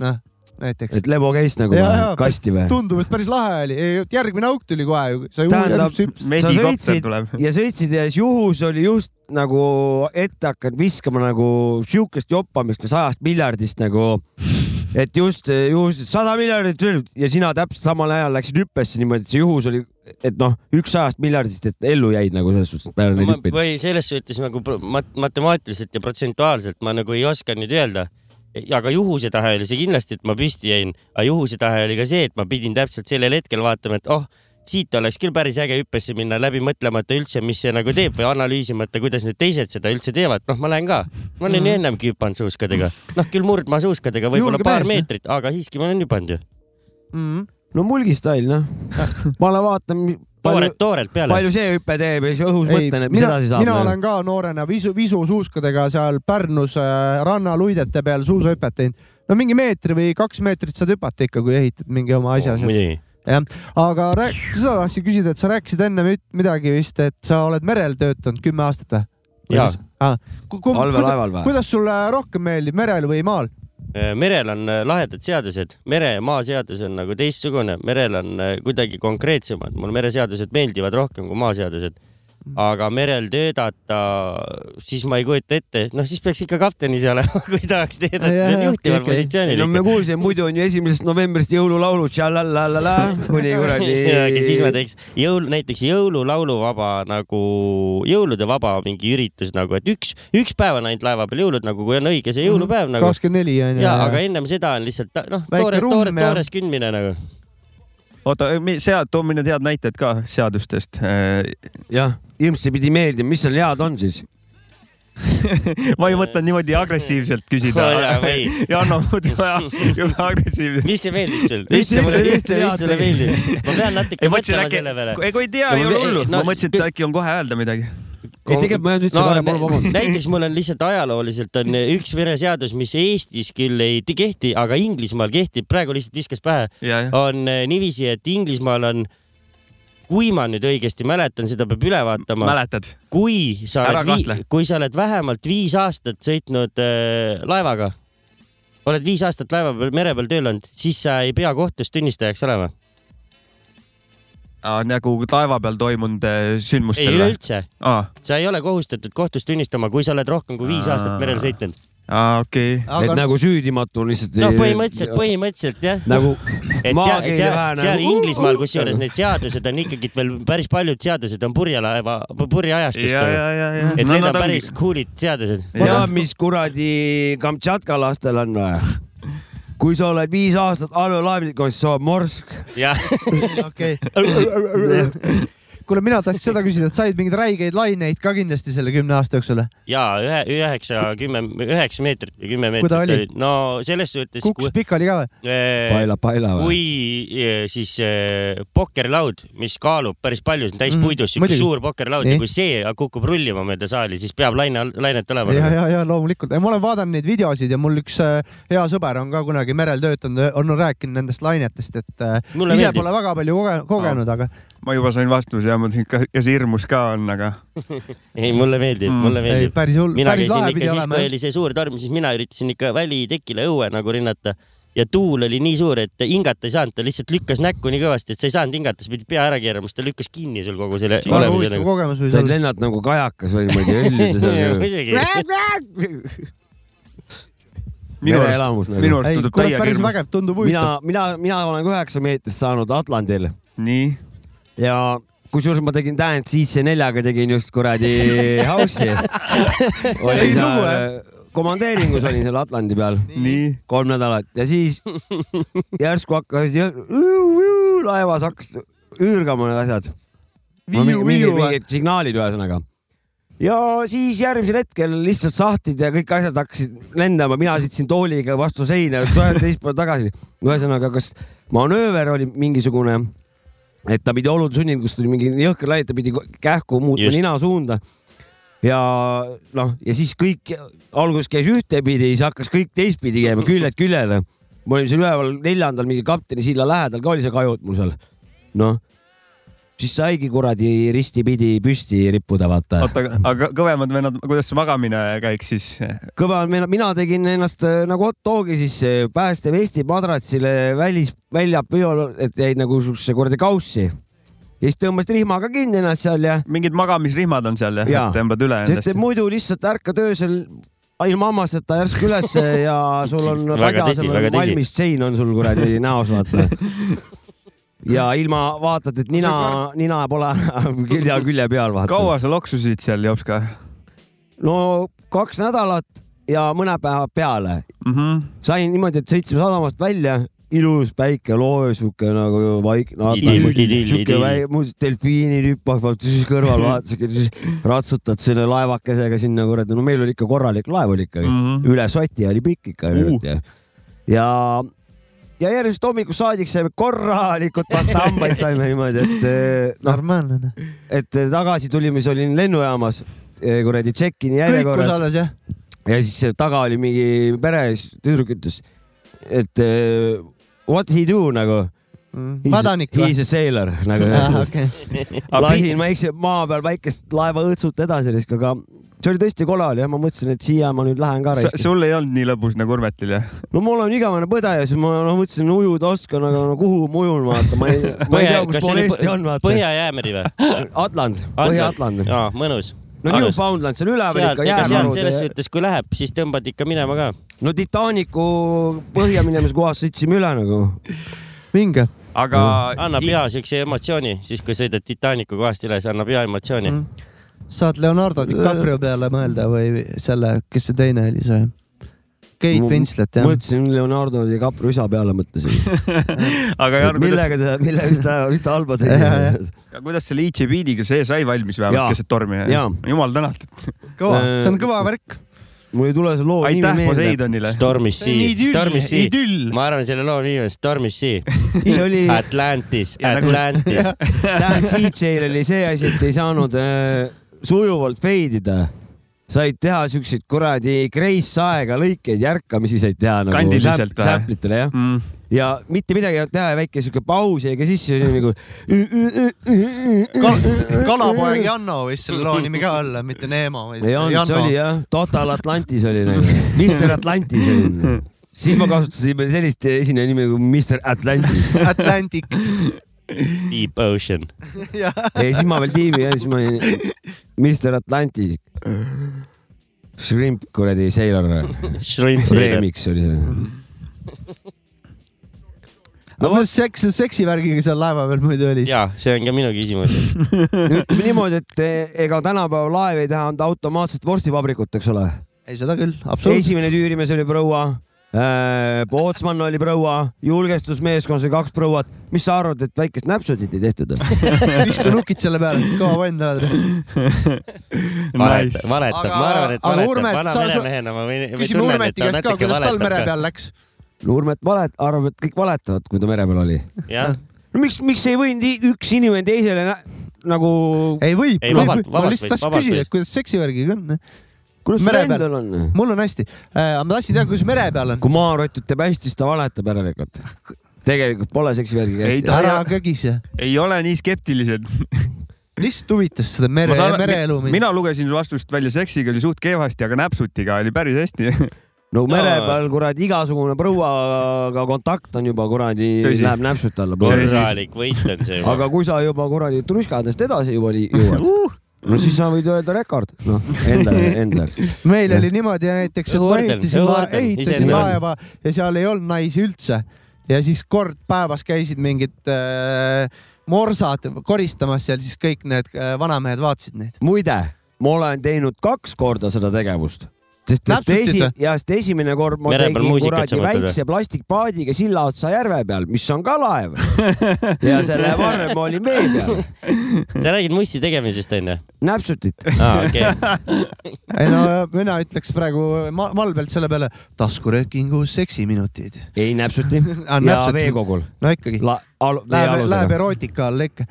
Speaker 2: noh näiteks .
Speaker 4: et Levo käis nagu
Speaker 2: Jaa,
Speaker 4: või?
Speaker 2: jaa.
Speaker 4: kasti või ?
Speaker 2: tundub , et päris lahe oli , järgmine auk tuli kohe ju , sai
Speaker 4: Tähendab-
Speaker 2: uus
Speaker 4: sa
Speaker 3: medikopter
Speaker 4: sõitsid
Speaker 3: tuleb .
Speaker 4: ja sõitsid ja siis juhus oli just nagu ette hakanud viskama nagu siukest joppamist või sajast miljardist nagu , et just eh, juhus et sada miljardit ja sina täpselt samal ajal läksid hüppesse niimoodi , et see juhus oli , et noh , üks sajast miljardist , et ellu jäid nagu selles suhtes , et peale neid hüppeid .
Speaker 5: või selles suhtes nagu pro- mat- matemaatiliselt ja protsentuaalselt ma nagu ei oska nüüd öelda . aga juhuse tahe oli see kindlasti , et ma püsti jäin , aga juhuse tahe oli ka see , et ma pidin täpselt sellel hetkel vaatama , et oh , siit oleks küll päris äge hüppesse minna läbi mõtlemata üldse , mis see nagu teeb või analüüsimata , kuidas need teised seda üldse teevad , noh , ma lähen ka . ma olen ju ennemgi hüpanud suuskadega , noh küll murdmaa suuskadega , võib-olla
Speaker 2: Mhm. Julge
Speaker 5: paar
Speaker 2: mees, noh.
Speaker 5: meetrit , aga siiski ma olen hüpanud ju .
Speaker 2: Mhm.
Speaker 4: no mulgi stail noh , ma lähen vaatan , palju
Speaker 5: toorelt ,, toorelt peale .
Speaker 4: palju see hüpe teeb ja siis õhus mõtlen , et mis
Speaker 2: mina,
Speaker 4: edasi
Speaker 2: mina
Speaker 4: saab . nagu- noh.
Speaker 2: olen ka noorena visu , visusuuskadega seal Pärnus äh, rannaluidete peal suusahüpet teinud . no mingi meetri või kaks meetrit saad hüpata ikka , kui ehitad mingi oma
Speaker 4: Oh,
Speaker 2: asja .
Speaker 5: muidugi .
Speaker 2: jah , aga rääk- , seda tahtsin küsida , et sa rääkisid enne mi- midagi vist , et sa oled merel töötanud kümme aastat või ?
Speaker 5: Jaa. .
Speaker 4: allveelaeval või ?
Speaker 2: kuidas sulle rohkem meeldib , merel või maal ?
Speaker 5: merel on äh, lahedad seadused , mere ja maa seadus on nagu teistsugune , merel on äh, kuidagi konkreetsemad , mulle mereseadused meeldivad rohkem kui maaseadused . aga merel töötada , siis ma ei kujuta ette , noh siis peaks ikka kapteni seal olema , kui tahaks teedata ,
Speaker 2: Jaa,
Speaker 5: see on
Speaker 2: jaa,
Speaker 5: juhtival
Speaker 2: okei, okei.
Speaker 5: positsioonil
Speaker 4: no me
Speaker 5: ikka .
Speaker 4: kuulsime , muidu on ju esimesest novembrist jõululaulud , tšalalala , kuni kuradi .
Speaker 5: siis ma teeks jõul , näiteks jõululauluvaba nagu jõulude vaba mingi üritus nagu , et üks , üks päev on ainult laeva peal jõulud nagu , kui on õige see jõulupäev nagu .
Speaker 2: kakskümmend neli on ju .
Speaker 5: ja aga ennem seda on lihtsalt ta- noh ,
Speaker 2: Mhm. Väike rumm
Speaker 5: toores , toores ,
Speaker 2: ja-
Speaker 5: toores kündmine nagu .
Speaker 3: oota , sead , toome need head näited ka seadustest . Äh,
Speaker 4: jah , ilmselt pidi meeldima , mis seal head on siis ?
Speaker 3: ma ei mõtle niimoodi agressiivselt küsida
Speaker 5: Oh, jaa, või. .
Speaker 3: Janno muidu ajab jube agressiivselt .
Speaker 5: mis see meeldib sulle ?
Speaker 4: Mis see meeldib?
Speaker 5: mis sulle meeldib ? ma pean natuke
Speaker 3: ei , ma mõtlesin
Speaker 5: mõtlema
Speaker 3: äkki
Speaker 5: selle , peale .
Speaker 3: ei kui ei tea ,
Speaker 5: No
Speaker 3: ei
Speaker 5: ma
Speaker 3: ole
Speaker 5: ei-
Speaker 3: hullu .
Speaker 5: no
Speaker 3: ma mõtlesin , et
Speaker 5: kõ-
Speaker 3: äkki on kohe öelda midagi .
Speaker 4: ei tegelikult ma ei öelnud üldse varem , palun vabandust .
Speaker 5: näiteks mul on lihtsalt ajalooliselt on üks vereseadus , mis Eestis küll ei ti- kehti , aga Inglismaal kehtib , praegu lihtsalt viskas pähe ,
Speaker 3: ja , ja .
Speaker 5: on eh, niiviisi , et Inglismaal on , kui ma nüüd õigesti mäletan , seda peab üle vaatama ,
Speaker 3: mäletad ?
Speaker 5: kui sa
Speaker 3: Ära
Speaker 5: oled
Speaker 3: kahtle. ,
Speaker 5: kui sa oled vähemalt viis aastat sõitnud äh, laevaga , oled viis aastat laeva peal , mere peal tööl olnud , siis sa ei pea kohtus tunnistajaks olema .
Speaker 3: nagu laeva peal toimunud eh,
Speaker 5: ei ,
Speaker 3: sündmustel või ?
Speaker 5: üleüldse ,
Speaker 3: aa ,
Speaker 5: sa ei ole kohustatud kohtus tunnistama , kui sa oled rohkem kui viis
Speaker 3: Aa.
Speaker 5: aastat merel sõitnud .
Speaker 3: aa , okei .
Speaker 4: et nagu süüdimatu on lihtsalt .
Speaker 5: no põhimõtteliselt ,. põhimõtteliselt jah .
Speaker 3: Noh,
Speaker 4: nagu
Speaker 5: et seal ,
Speaker 4: maakeeli
Speaker 5: seal ,
Speaker 4: vähe
Speaker 5: seal
Speaker 4: nagu .
Speaker 5: Inglismaal , kusjuures need seadused on ikkagi veel päris paljud seadused on purjelaeva , purjeajastust .
Speaker 3: ja , ja
Speaker 5: et ,
Speaker 3: ja , ja .
Speaker 5: need on päris . cool'id seadused .
Speaker 4: tead , mis kuradi Kamtšatka lastel on või ? kui sa oled viis aastat allveelaevnikus , sa oled morsk .
Speaker 5: jah ,
Speaker 2: okei . kuule , mina tahtsin seda küsida , et said mingeid räigeid laineid ka kindlasti selle kümne aasta jooksul ?
Speaker 5: ja ühe , üheksa , kümme , üheksa meetrit või kümme
Speaker 2: Kui ta oli?
Speaker 5: meetrit . no selles suhtes ,
Speaker 2: kukkus pikali ka või ?
Speaker 5: kui , eh,
Speaker 4: paela , paela või ?
Speaker 5: kui siis eh, pokkerlaud , mis kaalub päris palju , see on täis
Speaker 2: Mhm,
Speaker 5: puidust , siuke
Speaker 2: muidugi.
Speaker 5: suur pokkerlaud ja
Speaker 2: Nii.
Speaker 5: kui see kukub rullima mööda saali , siis peab laine , lainet
Speaker 2: ja ,
Speaker 5: olema .
Speaker 2: ja , ja loomulikult , ma olen vaadanud neid videosid ja mul üks äh, hea sõber on ka kunagi merel töötanud , on rääkinud nendest lainetest , et äh,
Speaker 5: Mulle
Speaker 2: ise
Speaker 5: meeldib.
Speaker 2: pole väga palju koge- kogenud , aga
Speaker 3: ma juba sain vastuse ja ma mõtlesin , et kas- kas hirmus ka on , aga
Speaker 5: ei , mulle meeldib ,
Speaker 3: Mm,
Speaker 5: mulle
Speaker 2: ei,
Speaker 5: meeldib .
Speaker 2: päris hull ,
Speaker 5: mina
Speaker 2: päris
Speaker 5: käisin
Speaker 2: lahe
Speaker 5: ikka
Speaker 2: pidi
Speaker 5: siis ,
Speaker 2: olema
Speaker 5: kui . oli see suur torm , siis mina üritasin ikka välitekile õue nagu rinnata ja tuul oli nii suur , et hingata ei saanud , ta lihtsalt lükkas näkku nii kõvasti , et sa ei saanud hingata , sa pidid pea ära keerama , sest ta lükkas kinni sul kogu selle
Speaker 2: väga
Speaker 5: olemise
Speaker 2: huvitav
Speaker 5: nagu .
Speaker 2: kogemus võis
Speaker 4: said
Speaker 2: olla .
Speaker 4: lennata nagu kajakas või niimoodi õllides on ju .
Speaker 5: muidugi ,
Speaker 3: minu arust ,
Speaker 4: mereelamus
Speaker 3: minu
Speaker 4: nagu .
Speaker 3: arust
Speaker 2: ei ,
Speaker 3: tundub
Speaker 2: kurat ,
Speaker 3: täiega
Speaker 2: päris
Speaker 3: hirmus .
Speaker 2: vägev , tundub
Speaker 4: mina
Speaker 2: huvitav .,
Speaker 4: mina , mina olen ka üheksa meetrist saanud Atlandil
Speaker 3: nii ,
Speaker 4: ja kusjuures ma tegin Dance IC neljaga tegin just kuradi house'i .
Speaker 2: Tegid lugu, jah?
Speaker 4: komandeeringus olin seal Atlandi peal
Speaker 3: nii .
Speaker 4: kolm nädalat ja siis järsku hakkas jõ- laevas hakkas üürgama need asjad .
Speaker 2: viiu , viiu või ?
Speaker 4: mingid signaalid ühesõnaga . ja siis järgmisel hetkel lihtsalt sahtlid ja kõik asjad hakkasid lendama , mina sõitsin tooliga vastu seina , teist päeva tagasi . ühesõnaga , kas manööver oli mingisugune , et ta pidi olude sunnil , kus tuli mingi jõhker laine , ta pidi kähku muutma
Speaker 5: Just.
Speaker 4: nina suunda ja noh , ja siis kõik alguses käis ühtepidi , siis hakkas kõik teistpidi käima , küljed küljele . me olime seal üleval neljandal mingi kapteni silla lähedal ka oli see kajut mul seal . noh , siis saigi kuradi ristipidi püsti rippuda , vaata .
Speaker 3: oota , aga kõvemad vennad , kuidas see magamine käiks siis ?
Speaker 4: kõva , mina tegin ennast äh, nagu hot dogi siis päästevesti madratsile välis , välja , et jäid nagu siukse kuradi kaussi . ja siis tõmbasid rihmaga kinni ennast seal ja ,
Speaker 3: mingid magamisrihmad on seal jah ja.
Speaker 4: Jaa. ,
Speaker 3: tõmbad üle
Speaker 4: sest
Speaker 3: ennast
Speaker 4: et ? muidu lihtsalt ärkad öösel ilma hammasteta järsku ülesse ja sul on
Speaker 5: Väga
Speaker 4: padja
Speaker 5: tõsi,
Speaker 4: asemel
Speaker 5: väga
Speaker 4: on
Speaker 5: tõsi.
Speaker 4: valmis sein on sul kuradi näos , vaata . ja ilma vaatad , et nina , nina pole külje , külje peal , vaata .
Speaker 3: kaua sa loksusid seal , Jopska mm ?
Speaker 4: no kaks nädalat ja mõne päeva peale
Speaker 3: -hmm.
Speaker 4: sain niimoodi , et sõitsime sadamast välja , ilus päike loojus , siuke nagu vaikne .
Speaker 5: Idüll, idüll,
Speaker 4: siuke
Speaker 5: idüll.
Speaker 4: väike , muuseas delfiinid hüppavad , siis kõrval vaatasid , siis ratsutad selle laevakesega sinna kuradi , no meil oli ikka korralik laev oli ikkagi mm ,
Speaker 3: Mhm.
Speaker 4: -hmm. üle soti oli pikk ikka uh. . ja , ja järgmisest hommikust saadik saime korralikult vastu hambaid saime niimoodi , et eh, noh ,
Speaker 2: normaalne noh .
Speaker 4: et tagasi tulime , siis olin lennujaamas eh, kuradi check-in'i
Speaker 2: kõikus
Speaker 4: järjekorras
Speaker 2: alles jah .
Speaker 4: ja siis seal taga oli mingi pere , siis tüdruk ütles , et eh, what he do nagu .
Speaker 2: Mm. mädanik
Speaker 4: He
Speaker 2: või Ah,
Speaker 4: is ? a sailor nagu .
Speaker 2: okei ,
Speaker 4: lasin väikse maa peal väikest laeva õõtsut edasi risk , aga see oli tõesti kole oli jah , ma mõtlesin , et siia ma nüüd lähen ka raisk .
Speaker 3: sul ei olnud nii lõbus nagu Urmetil jah ?
Speaker 4: no mul on igavene põde ja siis ma noh , mõtlesin ujuda oskan , aga nagu, no kuhu ma ujun vaata , ma ei , ma ei tea , kus pool Eesti on vaata .
Speaker 5: Põhja-Jäämeri või ?
Speaker 4: Atland , Põhja-Atland .
Speaker 5: jaa , mõnus .
Speaker 4: no Newfoundland , see on üleval
Speaker 5: seal ,
Speaker 4: ikka
Speaker 5: ega seal selles
Speaker 4: jäämäe .
Speaker 5: suhtes , kui läheb , siis tõmbad ikka minema ka .
Speaker 4: no Titanicu põhja minemise kohast sõitsime üle nagu .
Speaker 2: minge .
Speaker 3: aga
Speaker 5: annab hea siukse emotsiooni , siis kui sõidad Titanicu kohast üle , see annab hea emotsiooni
Speaker 2: Mm. . saad Leonardo
Speaker 5: Äh,
Speaker 2: DiCaprio peale mõelda või selle , kes see teine oli , see Kate Winslet jah ?
Speaker 4: mõtlesin Leonardo DiCaprio isa peale mõtlesin .
Speaker 3: aga Jaan , kuidas ,
Speaker 4: millega ta , mille , mis ta , mis ta halba
Speaker 2: Jaa, jaa.
Speaker 4: tegi .
Speaker 3: kuidas selle Ichi Beat'iga see sai valmis
Speaker 4: Jaa.
Speaker 3: vähemalt keset tormi
Speaker 4: Jaa. ?
Speaker 3: jumal tänatud .
Speaker 2: kõva ,
Speaker 5: äh,
Speaker 2: see on kõva värk .
Speaker 4: mul ei tule see loo nimi
Speaker 3: aitäh
Speaker 4: meelde .
Speaker 3: Poseidonile .
Speaker 5: Stormy Sea , Stormy Sea .
Speaker 3: idüll .
Speaker 5: ma arvan , selle loo nimi on Stormy Sea .
Speaker 4: see oli ,
Speaker 5: Atlantis ,
Speaker 3: Ja nagu-
Speaker 5: Atlantis .
Speaker 4: tähendab DJ-l oli see asi , et ei saanud äh, sujuvalt fade ida . said teha siukseid kuradi kreisse aega lõikeid , järkamisi said teha nagu
Speaker 3: Kandiliselt
Speaker 4: säp-
Speaker 3: või?
Speaker 4: säplitele jah .
Speaker 3: Mm.
Speaker 4: ja mitte midagi ei olnud teha ja väike siuke paus jäi ka sisse , see oli nagu .
Speaker 2: kalapoeg Janno võis selle loo nimi ka olla , mitte Neemo , vaid
Speaker 4: ei olnud , see
Speaker 2: Janno .
Speaker 4: oli jah , Total Atlantis oli nagu , Mr Atlantis oli . siis ma kasutasin sellist esineja nime nagu Mr Atlantis .
Speaker 2: Atlantic
Speaker 5: Deep Ocean .
Speaker 2: ja
Speaker 4: ei , siis ma veel tiimi ja siis ma olin Mr Atlantis . Shrimp kuradi Sailor
Speaker 5: Shrimp Sailor .
Speaker 4: remix oli see .
Speaker 2: no vot , seks , seksivärgiga seal laeva peal muidu oli .
Speaker 5: jaa , see on ka minu küsimus .
Speaker 4: ütleme niimoodi , et eh, ega tänapäeva laev ei taha anda automaatselt vorstivabrikut , eks ole .
Speaker 2: ei , seda küll , absoluutselt .
Speaker 4: esimene tüürimees oli proua , Pootsman oli proua , julgestusmeeskonnas oli kaks prouat . mis sa arvad , et väikest näpsudit ei tehtud ?
Speaker 2: viska nukid selle peale , kõva vend oled .
Speaker 5: valetab , valetab ,
Speaker 2: Aga-
Speaker 5: ma arvan , et
Speaker 2: aga
Speaker 5: valetab .
Speaker 2: Urmet,
Speaker 5: vana
Speaker 2: sa- sa-
Speaker 5: meremehena ma võin , või
Speaker 2: küsime
Speaker 5: tunnen , et
Speaker 2: Urmeti
Speaker 5: ta
Speaker 2: käest ka ,
Speaker 5: natuke
Speaker 2: kuidas tal mere
Speaker 5: valetab ka .
Speaker 2: peal läks .
Speaker 4: Nurmet valet- , arvab , et kõik valetavad , kui ta mere peal oli .
Speaker 5: jah ,
Speaker 4: no miks , miks ei võinud i- üks inimene teisele nä- nagu ,
Speaker 2: ei võib ,
Speaker 5: Ei,
Speaker 2: võib
Speaker 5: vabalt- ,
Speaker 2: ma
Speaker 5: vabalt
Speaker 2: lihtsalt
Speaker 5: võid,
Speaker 2: tahtsin
Speaker 5: vabalt
Speaker 2: küsida
Speaker 5: võid. ,
Speaker 2: kuidas seksivärgiga on .
Speaker 4: kuidas sul
Speaker 2: Mere peal.
Speaker 4: endal on ?
Speaker 2: mul on hästi , aga ma tahtsin teada , kuidas mere peal on .
Speaker 4: kui maarotid teeb hästi , siis ta valetab järelikult . tegelikult pole seksivärgiga
Speaker 3: Ei
Speaker 4: hästi
Speaker 3: ta- .
Speaker 2: ära kögise ,
Speaker 3: ei ole nii skeptilised .
Speaker 2: lihtsalt huvitas seda mere , mereelu mind .
Speaker 3: mina lugesin su vastust välja , seksiga oli suht kehvasti , aga näpsutiga oli päris hästi .
Speaker 4: no mere
Speaker 5: Jaa.
Speaker 4: peal kuradi igasugune prouaga kontakt on juba kuradi ,
Speaker 3: Tõsi.
Speaker 4: läheb näpsute alla .
Speaker 5: korralik võit on see .
Speaker 4: aga kui sa juba kuradi truskadest edasi juba li- jõuad uh. , no siis sa võid öelda rekord , noh enda , enda jaoks .
Speaker 2: meil oli niimoodi ja näiteks , et ma
Speaker 5: Õhuorden,
Speaker 2: ehitasin laeva ,
Speaker 5: õhuorden,
Speaker 2: ehitasin
Speaker 5: iseendale.
Speaker 2: laeva ja seal ei olnud naisi üldse . ja siis kord päevas käisid mingid äh, morsad koristamas seal , siis kõik need äh, vanamehed vaatasid neid .
Speaker 4: muide , ma olen teinud kaks korda seda tegevust , sest et
Speaker 2: Näpsutit
Speaker 4: esi-
Speaker 2: või? ,
Speaker 4: jah , sest esimene kord ma
Speaker 5: Mere peal
Speaker 4: tegin
Speaker 5: muusikat
Speaker 4: kuradi
Speaker 5: sa mõtled või?
Speaker 4: väikse plastikpaadiga Sillaotsa järve peal , mis on ka laev ja selle varem ma olin vee peal ,
Speaker 5: sa räägid mussi tegemisest onju ?
Speaker 4: näpsutit .
Speaker 5: aa , okei .
Speaker 2: ei no mina ütleks praegu ma Malbelt selle peale taskuröökingu seksiminutid .
Speaker 4: ei näpsuti
Speaker 2: Ah,
Speaker 4: ja
Speaker 2: näpsuti.
Speaker 4: veekogul .
Speaker 2: no ikkagi ,
Speaker 4: La- , al- , vee
Speaker 2: läheb , läheb
Speaker 4: alusega .
Speaker 2: erootika alla ikka .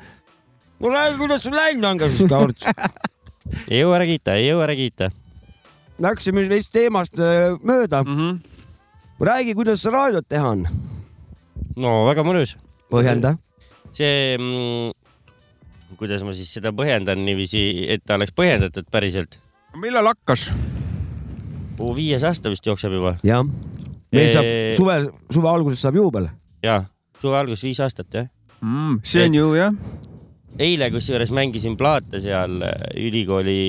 Speaker 4: no räägi , kuidas sul läinud on , kas siis kord
Speaker 5: ei jõua ära kiita , ei jõua ära kiita .
Speaker 4: läksime veits teemast äh, mööda .
Speaker 5: Mhm.
Speaker 4: räägi , kuidas raadiot teha on .
Speaker 5: no väga mõnus .
Speaker 4: põhjenda .
Speaker 5: see mm, , kuidas ma siis seda põhjendan niiviisi , et ta oleks põhjendatud päriselt .
Speaker 3: millal hakkas ?
Speaker 5: viies aasta vist jookseb juba
Speaker 4: jah . meil saab
Speaker 5: Eee.
Speaker 4: suve , suve alguses saab juubel .
Speaker 5: ja suve alguses viis aastat jah .
Speaker 3: see on ju jah .
Speaker 5: eile kusjuures mängisin plaate seal äh, ülikooli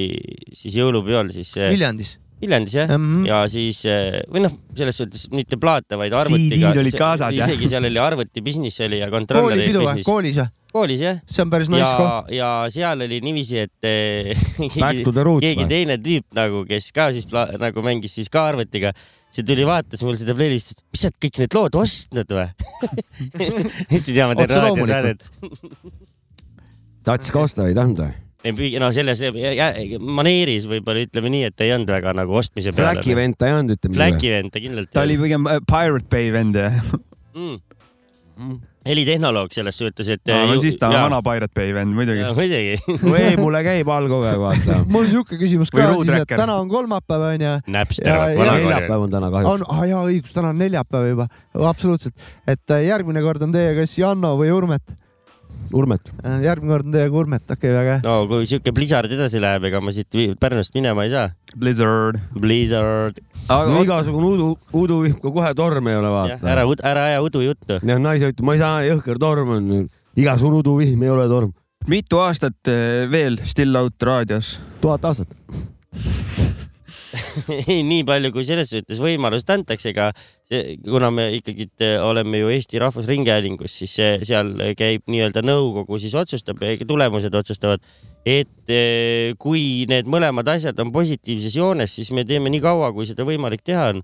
Speaker 5: siis jõulupeol siis äh,
Speaker 2: Viljandis .
Speaker 5: Viljandis jah
Speaker 2: Mhm.
Speaker 5: ja siis äh, või noh , selles suhtes mitte plaate , vaid arvutiga .
Speaker 3: CD-d olid kaasas, jah.
Speaker 5: isegi seal oli arvuti business oli ja kontrolleri
Speaker 2: koolipidu või ?
Speaker 5: business .
Speaker 2: koolis või ?
Speaker 5: koolis jah .
Speaker 2: see on päris nice koht .
Speaker 5: ja , ja seal oli niiviisi , et eh,
Speaker 4: Back
Speaker 5: keegi,
Speaker 4: to the roots
Speaker 5: keegi
Speaker 4: või ?
Speaker 5: teine tüüp nagu , kes ka siis pla- nagu mängis siis ka arvutiga , see tuli vaatas mul seda playlist'i , et mis sa oled kõik need lood ostnud või ? hästi teame , teen
Speaker 2: Otse
Speaker 5: raadiosaadet .
Speaker 4: tahtis ka osta või ei tahtnud või ?
Speaker 5: no selles jä- jä- maneeris võib-olla ütleme nii , et ei olnud väga nagu ostmise
Speaker 4: Flacki
Speaker 5: peale .
Speaker 4: vend ta ei olnud , ütleme .
Speaker 5: Flacki vend ta kindlalt .
Speaker 3: ta oli pigem äh, Pirate Bay vend jah .
Speaker 5: mm. . helitehnoloog selles suhtes , et . äh,
Speaker 3: no siis ta on vana Pirate Bay vend muidugi .
Speaker 5: muidugi ,
Speaker 4: või mulle käib all kogu aeg , vaata .
Speaker 2: mul siuke küsimus
Speaker 3: Või
Speaker 2: ka
Speaker 3: Ruud
Speaker 2: siis , et
Speaker 3: Rekker.
Speaker 2: täna on kolmapäev onju .
Speaker 5: näpster
Speaker 2: Ja- . ja-
Speaker 4: neljapäev on täna kahjuks .
Speaker 2: on , ah jaa õigus , täna on neljapäev juba , absoluutselt , et äh, järgmine kord on teie kas Janno või Urmet .
Speaker 4: Urmet .
Speaker 2: järgmine kord on teiega Urmet , okei okay, , väga hea .
Speaker 5: no kui siuke Blizzard edasi läheb , ega ma siit vi- Pärnust minema ei saa .
Speaker 3: Blizzard .
Speaker 5: Blizzard ,
Speaker 4: no igasugune udu , uduvihm , kui kohe torm ei ole ,
Speaker 5: ära
Speaker 4: vaata .,
Speaker 5: ära aja udujuttu .
Speaker 4: ja naise ütleb , ma ei saa , jõhker torm on . igasugune uduvihm ei ole torm .
Speaker 3: mitu aastat eh, veel Still Out raadios ?
Speaker 4: tuhat aastat .
Speaker 5: ei , nii palju , kui selles suhtes võimalust antakse , ega see- kuna me ikkagi eh, oleme ju Eesti Rahvusringhäälingus , siis see, seal käib nii-öelda nõukogu , siis otsustab , tulemused otsustavad , et eh, kui need mõlemad asjad on positiivses joones , siis me teeme nii kaua , kui seda võimalik teha on .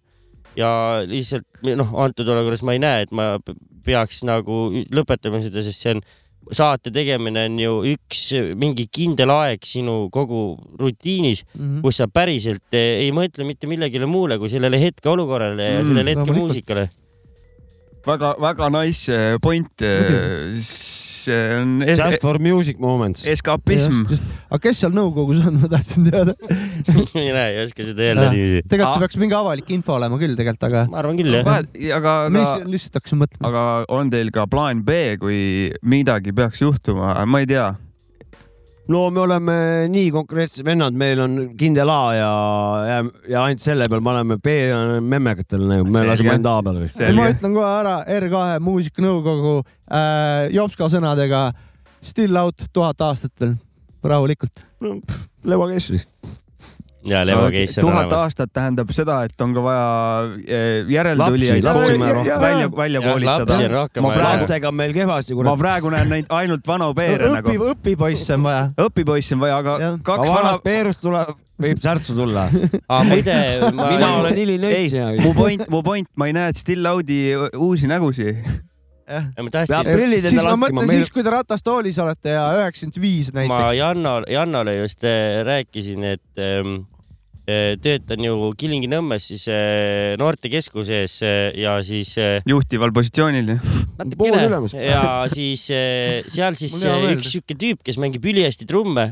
Speaker 5: ja lihtsalt noh , antud olukorras ma ei näe , et ma p- peaks nagu ü- lõpetama seda , sest see on saate tegemine on ju üks mingi kindel aeg sinu kogu rutiinis , kus sa päriselt eh, ei mõtle mitte millegile muule kui sellele hetkeolukorrale ja
Speaker 3: Mm,
Speaker 5: sellele hetke
Speaker 2: loomulikult.
Speaker 5: muusikale .
Speaker 3: väga-väga nice eh, point .
Speaker 2: Muidugi.
Speaker 3: see on es-
Speaker 4: Just for music moments .
Speaker 3: eskapism .
Speaker 2: aga kes seal nõukogus on , ma tahtsin teada .
Speaker 5: mina ei oska seda öelda
Speaker 2: Jah.
Speaker 5: niiviisi .
Speaker 2: tegelikult see
Speaker 3: Ah.
Speaker 2: peaks mingi avalik info olema küll tegelikult , aga
Speaker 5: ma arvan küll jah .
Speaker 3: aga ,
Speaker 2: ma
Speaker 3: aga
Speaker 2: lihtsalt- lihtsalt hakkasin mõtlema .
Speaker 3: aga on teil ka plaan B , kui midagi peaks juhtuma , ma ei tea .
Speaker 4: no me oleme nii konkreetsed vennad , meil on kindel A ja , ja , ja ainult selle peal me oleme B memmekatel nagu , me
Speaker 3: Selge.
Speaker 4: laseme ainult A peale .
Speaker 2: ma
Speaker 3: selge ,
Speaker 2: ütlen kohe ära R2 muusikanõukogu äh, Jopska sõnadega Still out tuhat aastat veel , rahulikult .
Speaker 4: Leva Kesslis .
Speaker 5: ja Leo Keiss on
Speaker 3: tuhat
Speaker 5: olemas .
Speaker 3: aastat tähendab seda , et on ka vaja eh, järeltulijaid
Speaker 4: Lapsi, lapsi on vaja rohkem.
Speaker 3: välja , välja
Speaker 5: Jah, lapsi on
Speaker 3: koolitada .
Speaker 5: rohkem
Speaker 3: ma
Speaker 5: vaja.
Speaker 3: praegu ,
Speaker 4: lastega on meil kehvasti ,
Speaker 3: ma
Speaker 4: kurat .
Speaker 3: praegu näen neid ainult vanu peere
Speaker 2: õpi
Speaker 3: nagu ,,
Speaker 2: õpipoisse on vaja .
Speaker 3: õpipoissi on vaja , aga
Speaker 2: Jah.
Speaker 4: ka
Speaker 3: kaks vana
Speaker 4: vanast , Peerust tuleb , võib särtsu tulla .
Speaker 5: aga muide ,
Speaker 4: mina olen
Speaker 5: ma ,
Speaker 3: ei
Speaker 4: hilinõitsija ,
Speaker 3: mu point , mu point , ma ei näe Still Audi uusi nägusid .
Speaker 5: ma tahtsin ,
Speaker 4: prillid
Speaker 2: siis
Speaker 4: endale
Speaker 2: ma
Speaker 4: hankima,
Speaker 2: mõtlen
Speaker 4: meil-
Speaker 2: siis , kui te ratastoolis olete ja üheksakümmend viis
Speaker 5: ma
Speaker 2: näiteks .
Speaker 5: Janno , Jannole just eh, rääkisin , et ehm, eh, töötan ju Kilingi-Nõmmes siis eh, noortekeskuses eh, ja siis eh,
Speaker 3: juhtival positsioonil .
Speaker 4: pool
Speaker 5: natukene
Speaker 4: ülemus .
Speaker 5: ja siis eh, seal siis
Speaker 2: Mul on hea
Speaker 5: eh,
Speaker 2: meelde.
Speaker 5: üks sihuke tüüp , kes mängib ülihästi trumme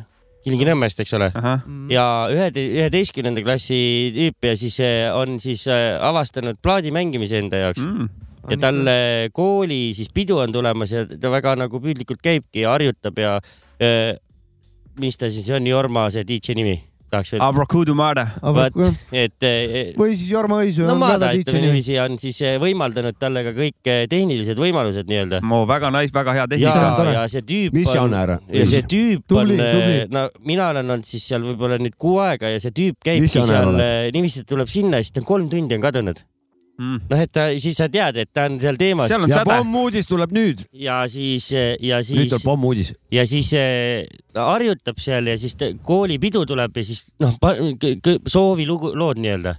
Speaker 5: Kilingi-Nõmmest , eks ole .
Speaker 3: ahah ,
Speaker 2: Mhm.
Speaker 5: ja ühe , üheteistkümnenda klassi tüüp ja siis eh, on siis eh, avastanud plaadi mängimise enda jaoks
Speaker 3: Mhm.
Speaker 5: mm. ja tal eh, kooli siis pidu on tulemas ja ta väga nagu püüdlikult käibki ja harjutab ja eh, mis ta siis on , Jorma see DJ nimi , tahaks veel .
Speaker 3: Abrakudu Mada .
Speaker 5: vot , et eh,
Speaker 2: või siis Jorma Õismäe
Speaker 5: no
Speaker 2: on ka
Speaker 5: Maada
Speaker 2: ta
Speaker 5: ütleme
Speaker 2: DJ-nimi .
Speaker 5: niiviisi on siis eh, võimaldanud talle ka kõik eh, tehnilised võimalused nii-öelda .
Speaker 3: oo , väga nice , väga hea
Speaker 5: ja
Speaker 3: tehnika .,
Speaker 5: ja see tüüp
Speaker 4: mis
Speaker 5: on
Speaker 4: žanr ?
Speaker 5: ja see tüüp
Speaker 2: Tubli,
Speaker 5: on äh,
Speaker 2: tubli. ,
Speaker 5: no mina olen olnud siis seal võib-olla nüüd kuu aega ja see tüüp käibki
Speaker 4: Mis sa
Speaker 5: seal
Speaker 4: näed,
Speaker 5: äh, niiviisi , et tuleb sinna ja siis ta on kolm tundi on kadunud . noh , et ta , siis sa tead , et ta on seal teemas
Speaker 3: Mm. seal on
Speaker 4: ja
Speaker 3: säde .
Speaker 4: pommuudis tuleb nüüd .
Speaker 5: ja siis , ja
Speaker 4: nüüd
Speaker 5: siis
Speaker 4: tuleb , pommuudis .
Speaker 5: ja siis äh, harjutab seal ja siis ta- koolipidu tuleb ja siis noh , soovi lugu , lood nii-öelda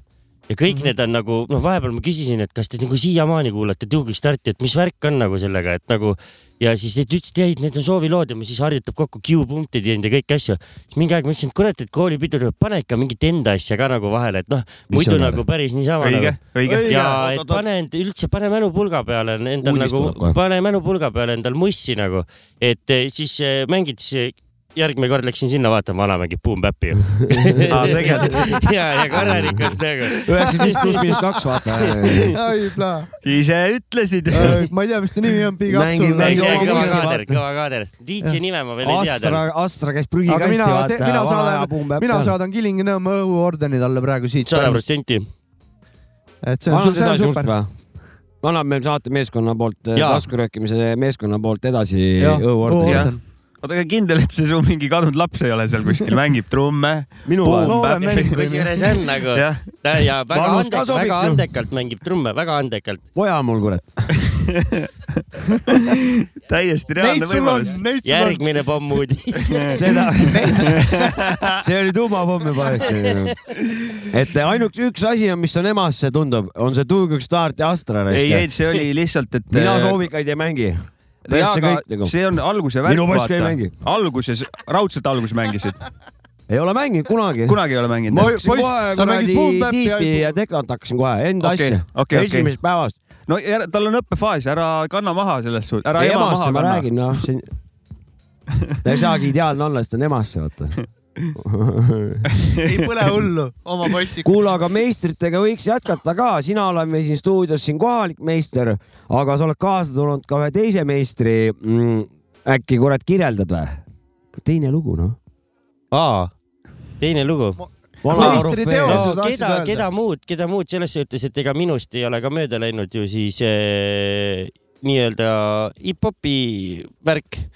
Speaker 5: ja kõik
Speaker 4: Mhm.
Speaker 5: mm -hmm. need on nagu , noh , vahepeal ma küsisin , et kas te nagu siiamaani kuulate Tuugi starti , et mis värk on nagu sellega , et nagu ja siis ta ütles , et ei , need on soovilood ja ma siis harjutab kokku Q-punktid ja neid ja kõiki asju . siis mingi aeg ma ütlesin , et kurat , et koolipidu tuleb , pane ikka mingit enda asja ka nagu vahele , et noh ,
Speaker 4: Mis
Speaker 5: muidu
Speaker 4: on
Speaker 5: nagu päris niisama .
Speaker 3: õige , õige .
Speaker 5: ja
Speaker 4: Õige.
Speaker 5: et
Speaker 4: Oot-oot-oot.
Speaker 5: pane end üldse , pane mälupulga peale endal
Speaker 4: Uudis
Speaker 5: nagu
Speaker 4: tuleb kohe. ,
Speaker 5: pane mälupulga peale endal mussi nagu , et eh, siis eh, mängid siis järgmine kord läksin sinna vaatama , vana mängib Boom Bap'i ju . Ah,
Speaker 3: aa , tegelikult ,
Speaker 5: ja , ja korralikult nagu .
Speaker 4: üheksakümmend viis pluss miinus kaks , vaata .
Speaker 2: oi , plaa .
Speaker 3: ise ütlesid .
Speaker 4: Äh.
Speaker 2: Äh, ma ei tea , mis ta nimi on , Big Äh,
Speaker 4: Mängib-
Speaker 2: Apsul .
Speaker 4: mängib- oma
Speaker 5: kõva
Speaker 4: mussi
Speaker 5: kaader ,
Speaker 4: vaata.
Speaker 5: kõva kaader . DJ nime ma veel ei tea
Speaker 4: Astra
Speaker 5: tal .,
Speaker 4: Astra käis
Speaker 2: aga
Speaker 4: prügikasti ,
Speaker 2: mina ,
Speaker 4: vaata .
Speaker 2: mina saadan , mina . saadan Kilingi-Nõmme õhuordeni talle praegu siit .
Speaker 5: sada protsenti .
Speaker 2: et see on ,
Speaker 4: annad
Speaker 2: see on
Speaker 4: edasi just
Speaker 2: super .
Speaker 4: või ? annab meil saatemeeskonna poolt ,
Speaker 3: Jaa.
Speaker 4: taskuröökimise meeskonna poolt edasi õhuordeni .
Speaker 3: Jah. oota , aga kindel , et see su mingi kadunud laps ei ole seal kuskil , mängib trumme .
Speaker 4: minu
Speaker 3: Boom.
Speaker 2: noorem mees või ?
Speaker 5: kusjuures on nagu ,
Speaker 3: jah ,
Speaker 5: ja väga
Speaker 4: Vanus ka
Speaker 5: andekalt ,
Speaker 4: sobiks
Speaker 5: väga
Speaker 4: ju.
Speaker 5: andekalt mängib trumme , väga andekalt .
Speaker 4: poja mul , kurat .
Speaker 3: täiesti
Speaker 2: Neid sul
Speaker 3: reaalne
Speaker 2: on
Speaker 3: võimalus .,
Speaker 2: neid sul on .
Speaker 5: järgmine pommuudis .
Speaker 4: seda , see oli tuumapomm juba . et eh, ainult üks asi on , mis on emasse tundub , on see Tuug üks Start ja Astra
Speaker 3: ei , ei ,
Speaker 4: raisk .
Speaker 3: see oli lihtsalt , et .
Speaker 4: mina . soovikaid ei mängi . täitsa kõik nagu .
Speaker 3: see on alguse värk ,
Speaker 4: Minu poiss ka ei mängi.
Speaker 3: alguses , raudselt alguses mängisid ,
Speaker 4: ei ole mänginud kunagi .
Speaker 3: kunagi ei ole mänginud
Speaker 4: ma
Speaker 3: jah?
Speaker 4: hakkasin
Speaker 2: poiss,
Speaker 4: kohe
Speaker 2: sa mängid
Speaker 4: kuradi
Speaker 2: Boom Bap'i ja-
Speaker 4: tiipi ja tekat hakkasin kohe , enda
Speaker 3: Okei,
Speaker 4: asja
Speaker 3: okei, okei.
Speaker 4: esimesest päevast .
Speaker 3: no ära- tal on õppefaas , ära kanna maha selles suhtes , ära
Speaker 4: ei
Speaker 3: ema maha
Speaker 4: emasse ma
Speaker 3: kanna .
Speaker 4: räägin , noh , see on , ta ei saagi ideaalne olla , sest ta on emasse , vaata .
Speaker 2: ei põle hullu , oma poissi .
Speaker 4: kuule , aga meistritega võiks jätkata ka , sina oled meil siin stuudios siin kohalik meister , aga sa oled kaasa tulnud ka ühe teise meistri mm, . äkki kurat kirjeldad või ? teine lugu noh .
Speaker 5: aa , teine lugu .
Speaker 2: meistriteos
Speaker 5: no keda , keda muud , keda muud selles suhtes , et ega minust ei ole ka mööda läinud ju siis eh, nii-öelda hip-hopi värk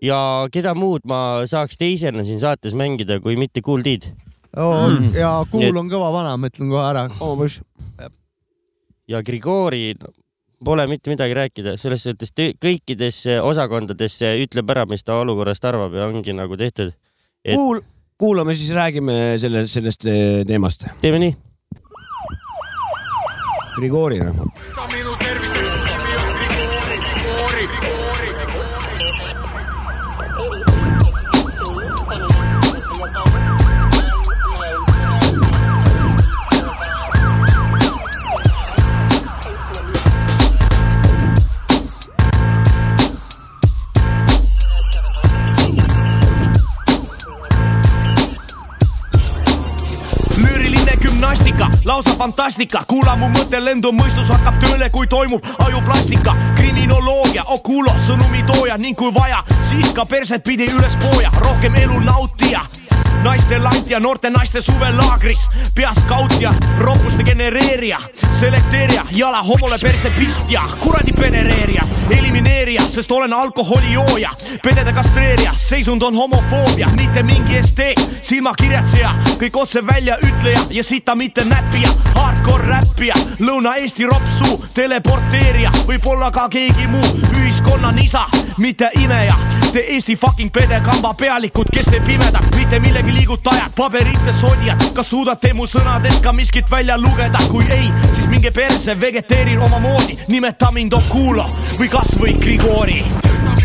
Speaker 5: ja keda muud ma saaks teisena siin saates mängida , kui mitte Kool Did . Mm.
Speaker 2: on ja kuul on kõva vana , ma ütlen kohe ära .
Speaker 5: ja Grigori no, pole mitte midagi rääkida , selles suhtes töö- kõikidesse osakondadesse ütleb ära , mis ta olukorrast arvab ja ongi nagu tehtud . Et-
Speaker 4: kuul- , kuulame siis räägime selle , sellest eh, teemast .
Speaker 5: teeme nii .
Speaker 4: Grigori noh .
Speaker 9: müüriline gümnastika , lausa fantastika , kuula mu mõttelendu , mõistus hakkab tööle , kui toimub ajuplastika , kriminoloogia , okulo , sõnumitooja ning kui vaja , siis ka perset pidi ülespooja , rohkem elu nautija naiste lantja , noorte naiste suvelaagris , peast kautja , roppuste genereerija , selekteerija , jala homole perse pistja , kuradi penereerija , elimineerija , sest olen alkoholijooja , pedede kastreerija , seisund on homofoobia , mitte mingi esteet , silmakirjatseja , kõik otse välja ütleja ja sita mitte näppija , hardcore räppija , Lõuna-Eesti ropsuu , teleporteerija , võib-olla ka keegi muu , ühiskonna nisa , mitte imeja , te Eesti fucking pedekamba pealikud , kes ei pimeda , mitte millegi liigutajad , paberite sodjad , kas suudate mu sõnadest ka miskit välja lugeda , kui ei , siis minge perse , vegeteerin omamoodi , nimeta mind Okulo või kasvõi Grigori
Speaker 7: um um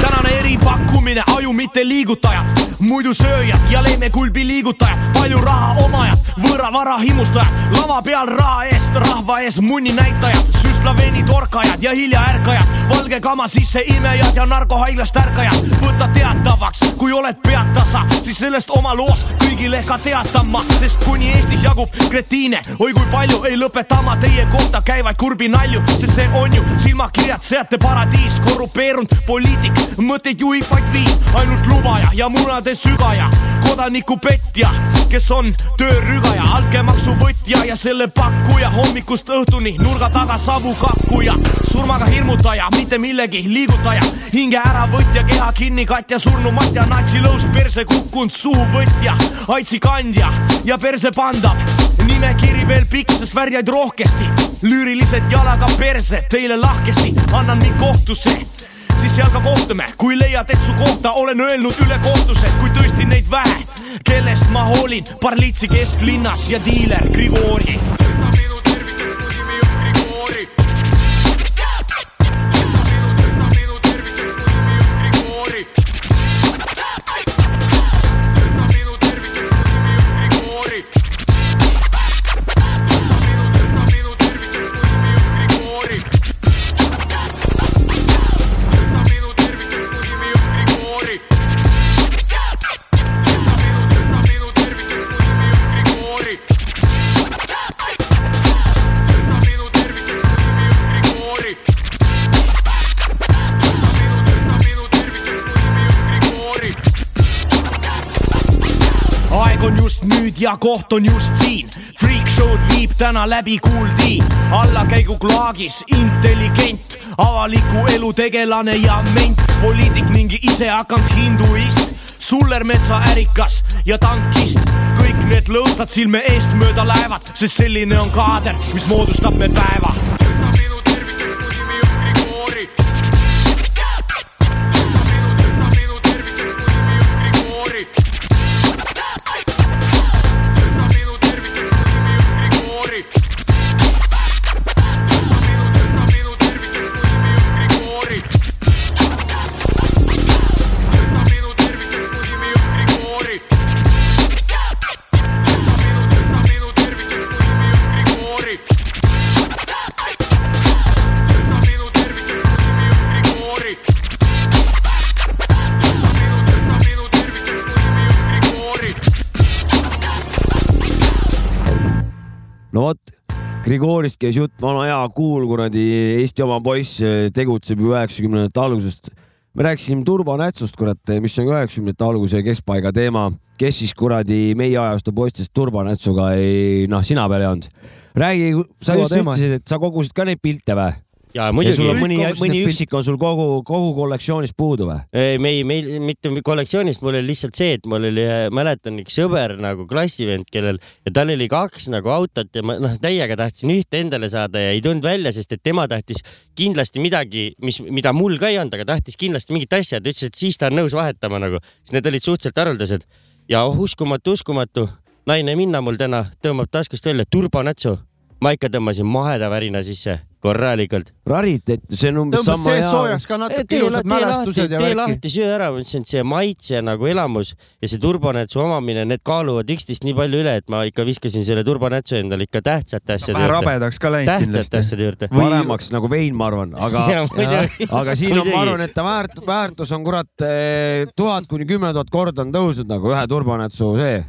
Speaker 9: tänane eripakkumine , aju mitte liigutajad , muidu sööjad ja leemekulbi liigutajad , palju raha omajad , võõra vara himustajad , lava peal raha eest , rahva ees munni näitajad , süstlaveini torkajad ja hilja ärkajad , valge kama sisse imejad ja narkohaiglast ärkajad , võta teatavaks , kui oled pead tasa , siis sellest oma loos kõigile ka teatama , sest kuni Eestis jagub kretiine , oi kui palju ei lõpeta ma teie kohta käivaid kurbi nalju , sest see on ju silmakirjad , seate paradiis , korrupeerunud poliitik , mõtteid juhib vaid viin , ainult lubaja ja munade sügaja , kodaniku petja , kes on töörügaja , altkäemaksuvõtja ja selle pakkuja hommikust õhtuni nurga taga savukakkuja , surmaga hirmutaja , mitte millegi liigutaja , hinge äravõtja , keha kinni katja , surnu matja , natsilõust perse kukkunud suuvõtja , aitsi kandja ja perse pandav nimekiri veel pikk , sest värjaid rohkesti , lüürilised jalaga perse teile lahkesti , annan mind kohtusse siis seal ka kohtume , kui leiad , et su kohta olen öelnud ülekohtused , kui tõesti neid vähe , kellest ma hoolin , Barlitsi kesklinnas ja diiler Grigori . aeg on just nüüd ja koht on just siin . Freak Show'd viib täna läbi kuuldi allakäiguklaagis intelligent , avaliku elu tegelane ja ment , poliitik ning ongi ise hakanud hinduist , Sullermetsa ärikas ja tankist . kõik need lõõtsad silme eest mööda lähevad , sest selline on kaader , mis moodustab meil päeva .
Speaker 4: no vot , Grigorist käis jutt , vana hea kuul , kuradi Eesti oma poiss eh, tegutseb ju üheksakümnendate algusest . me rääkisime turbanätsust , kurat , mis on ka üheksakümnendate alguse ja keskpaiga teema . kes siis kuradi meie ajastu poistest turbanätsuga ei , noh , sina peal ei olnud . räägi , sa
Speaker 2: Kõva
Speaker 4: just
Speaker 2: teema.
Speaker 4: ütlesid , et sa kogusid ka neid pilte või ?
Speaker 5: ja
Speaker 4: ja sul on mõni
Speaker 5: muidugi ,
Speaker 2: Kõik , kogusid
Speaker 4: mõni
Speaker 2: neid
Speaker 4: üksik on sul kogu , kogu kollektsioonist puudu või ?
Speaker 5: me ei , meil mitte kollektsioonist , mul oli lihtsalt see , et mul oli , mäletan üks sõber nagu klassivend , kellel ja tal oli kaks nagu autot ja ma noh , täiega tahtsin ühte endale saada ja ei tulnud välja , sest et tema tahtis kindlasti midagi , mis , mida mul ka ei olnud , aga tahtis kindlasti mingit asja , ta ütles , et siis ta on nõus vahetama nagu , sest need olid suhteliselt haruldased ja oh uskumatu , uskumatu , naine minna mul täna tõmbab taskust välja turbanätsu , ma ikka tõmbasin maheda värina sisse korralikult .
Speaker 4: rariteet , see on umbes
Speaker 2: tõmbas
Speaker 4: sama
Speaker 2: sees
Speaker 4: hea
Speaker 2: soojaks ka natuke
Speaker 5: tee
Speaker 2: ilusad
Speaker 5: lahti , tee
Speaker 2: mälestused ja
Speaker 5: lahti ,
Speaker 2: värki .
Speaker 5: lahti , söö ära , ma ütlesin , et see maitse nagu elamus ja see turbanätsu omamine , need kaaluvad üksteist nii palju üle , et ma ikka viskasin selle turbanätsu endale ikka tähtsate asjade
Speaker 3: vähe
Speaker 5: juurde .
Speaker 3: rabedaks ka läinud
Speaker 5: tähtsate asjade juurde .
Speaker 3: Või-
Speaker 4: paremaks nagu vein , ma arvan , aga
Speaker 5: Ja muidugi.
Speaker 4: aga siin on ,
Speaker 5: Muidugi.
Speaker 4: ma arvan , et ta väärt , väärtus on kurat eh, tuhat kuni kümme tuhat korda on tõusnud nagu ühe turbanätsu see .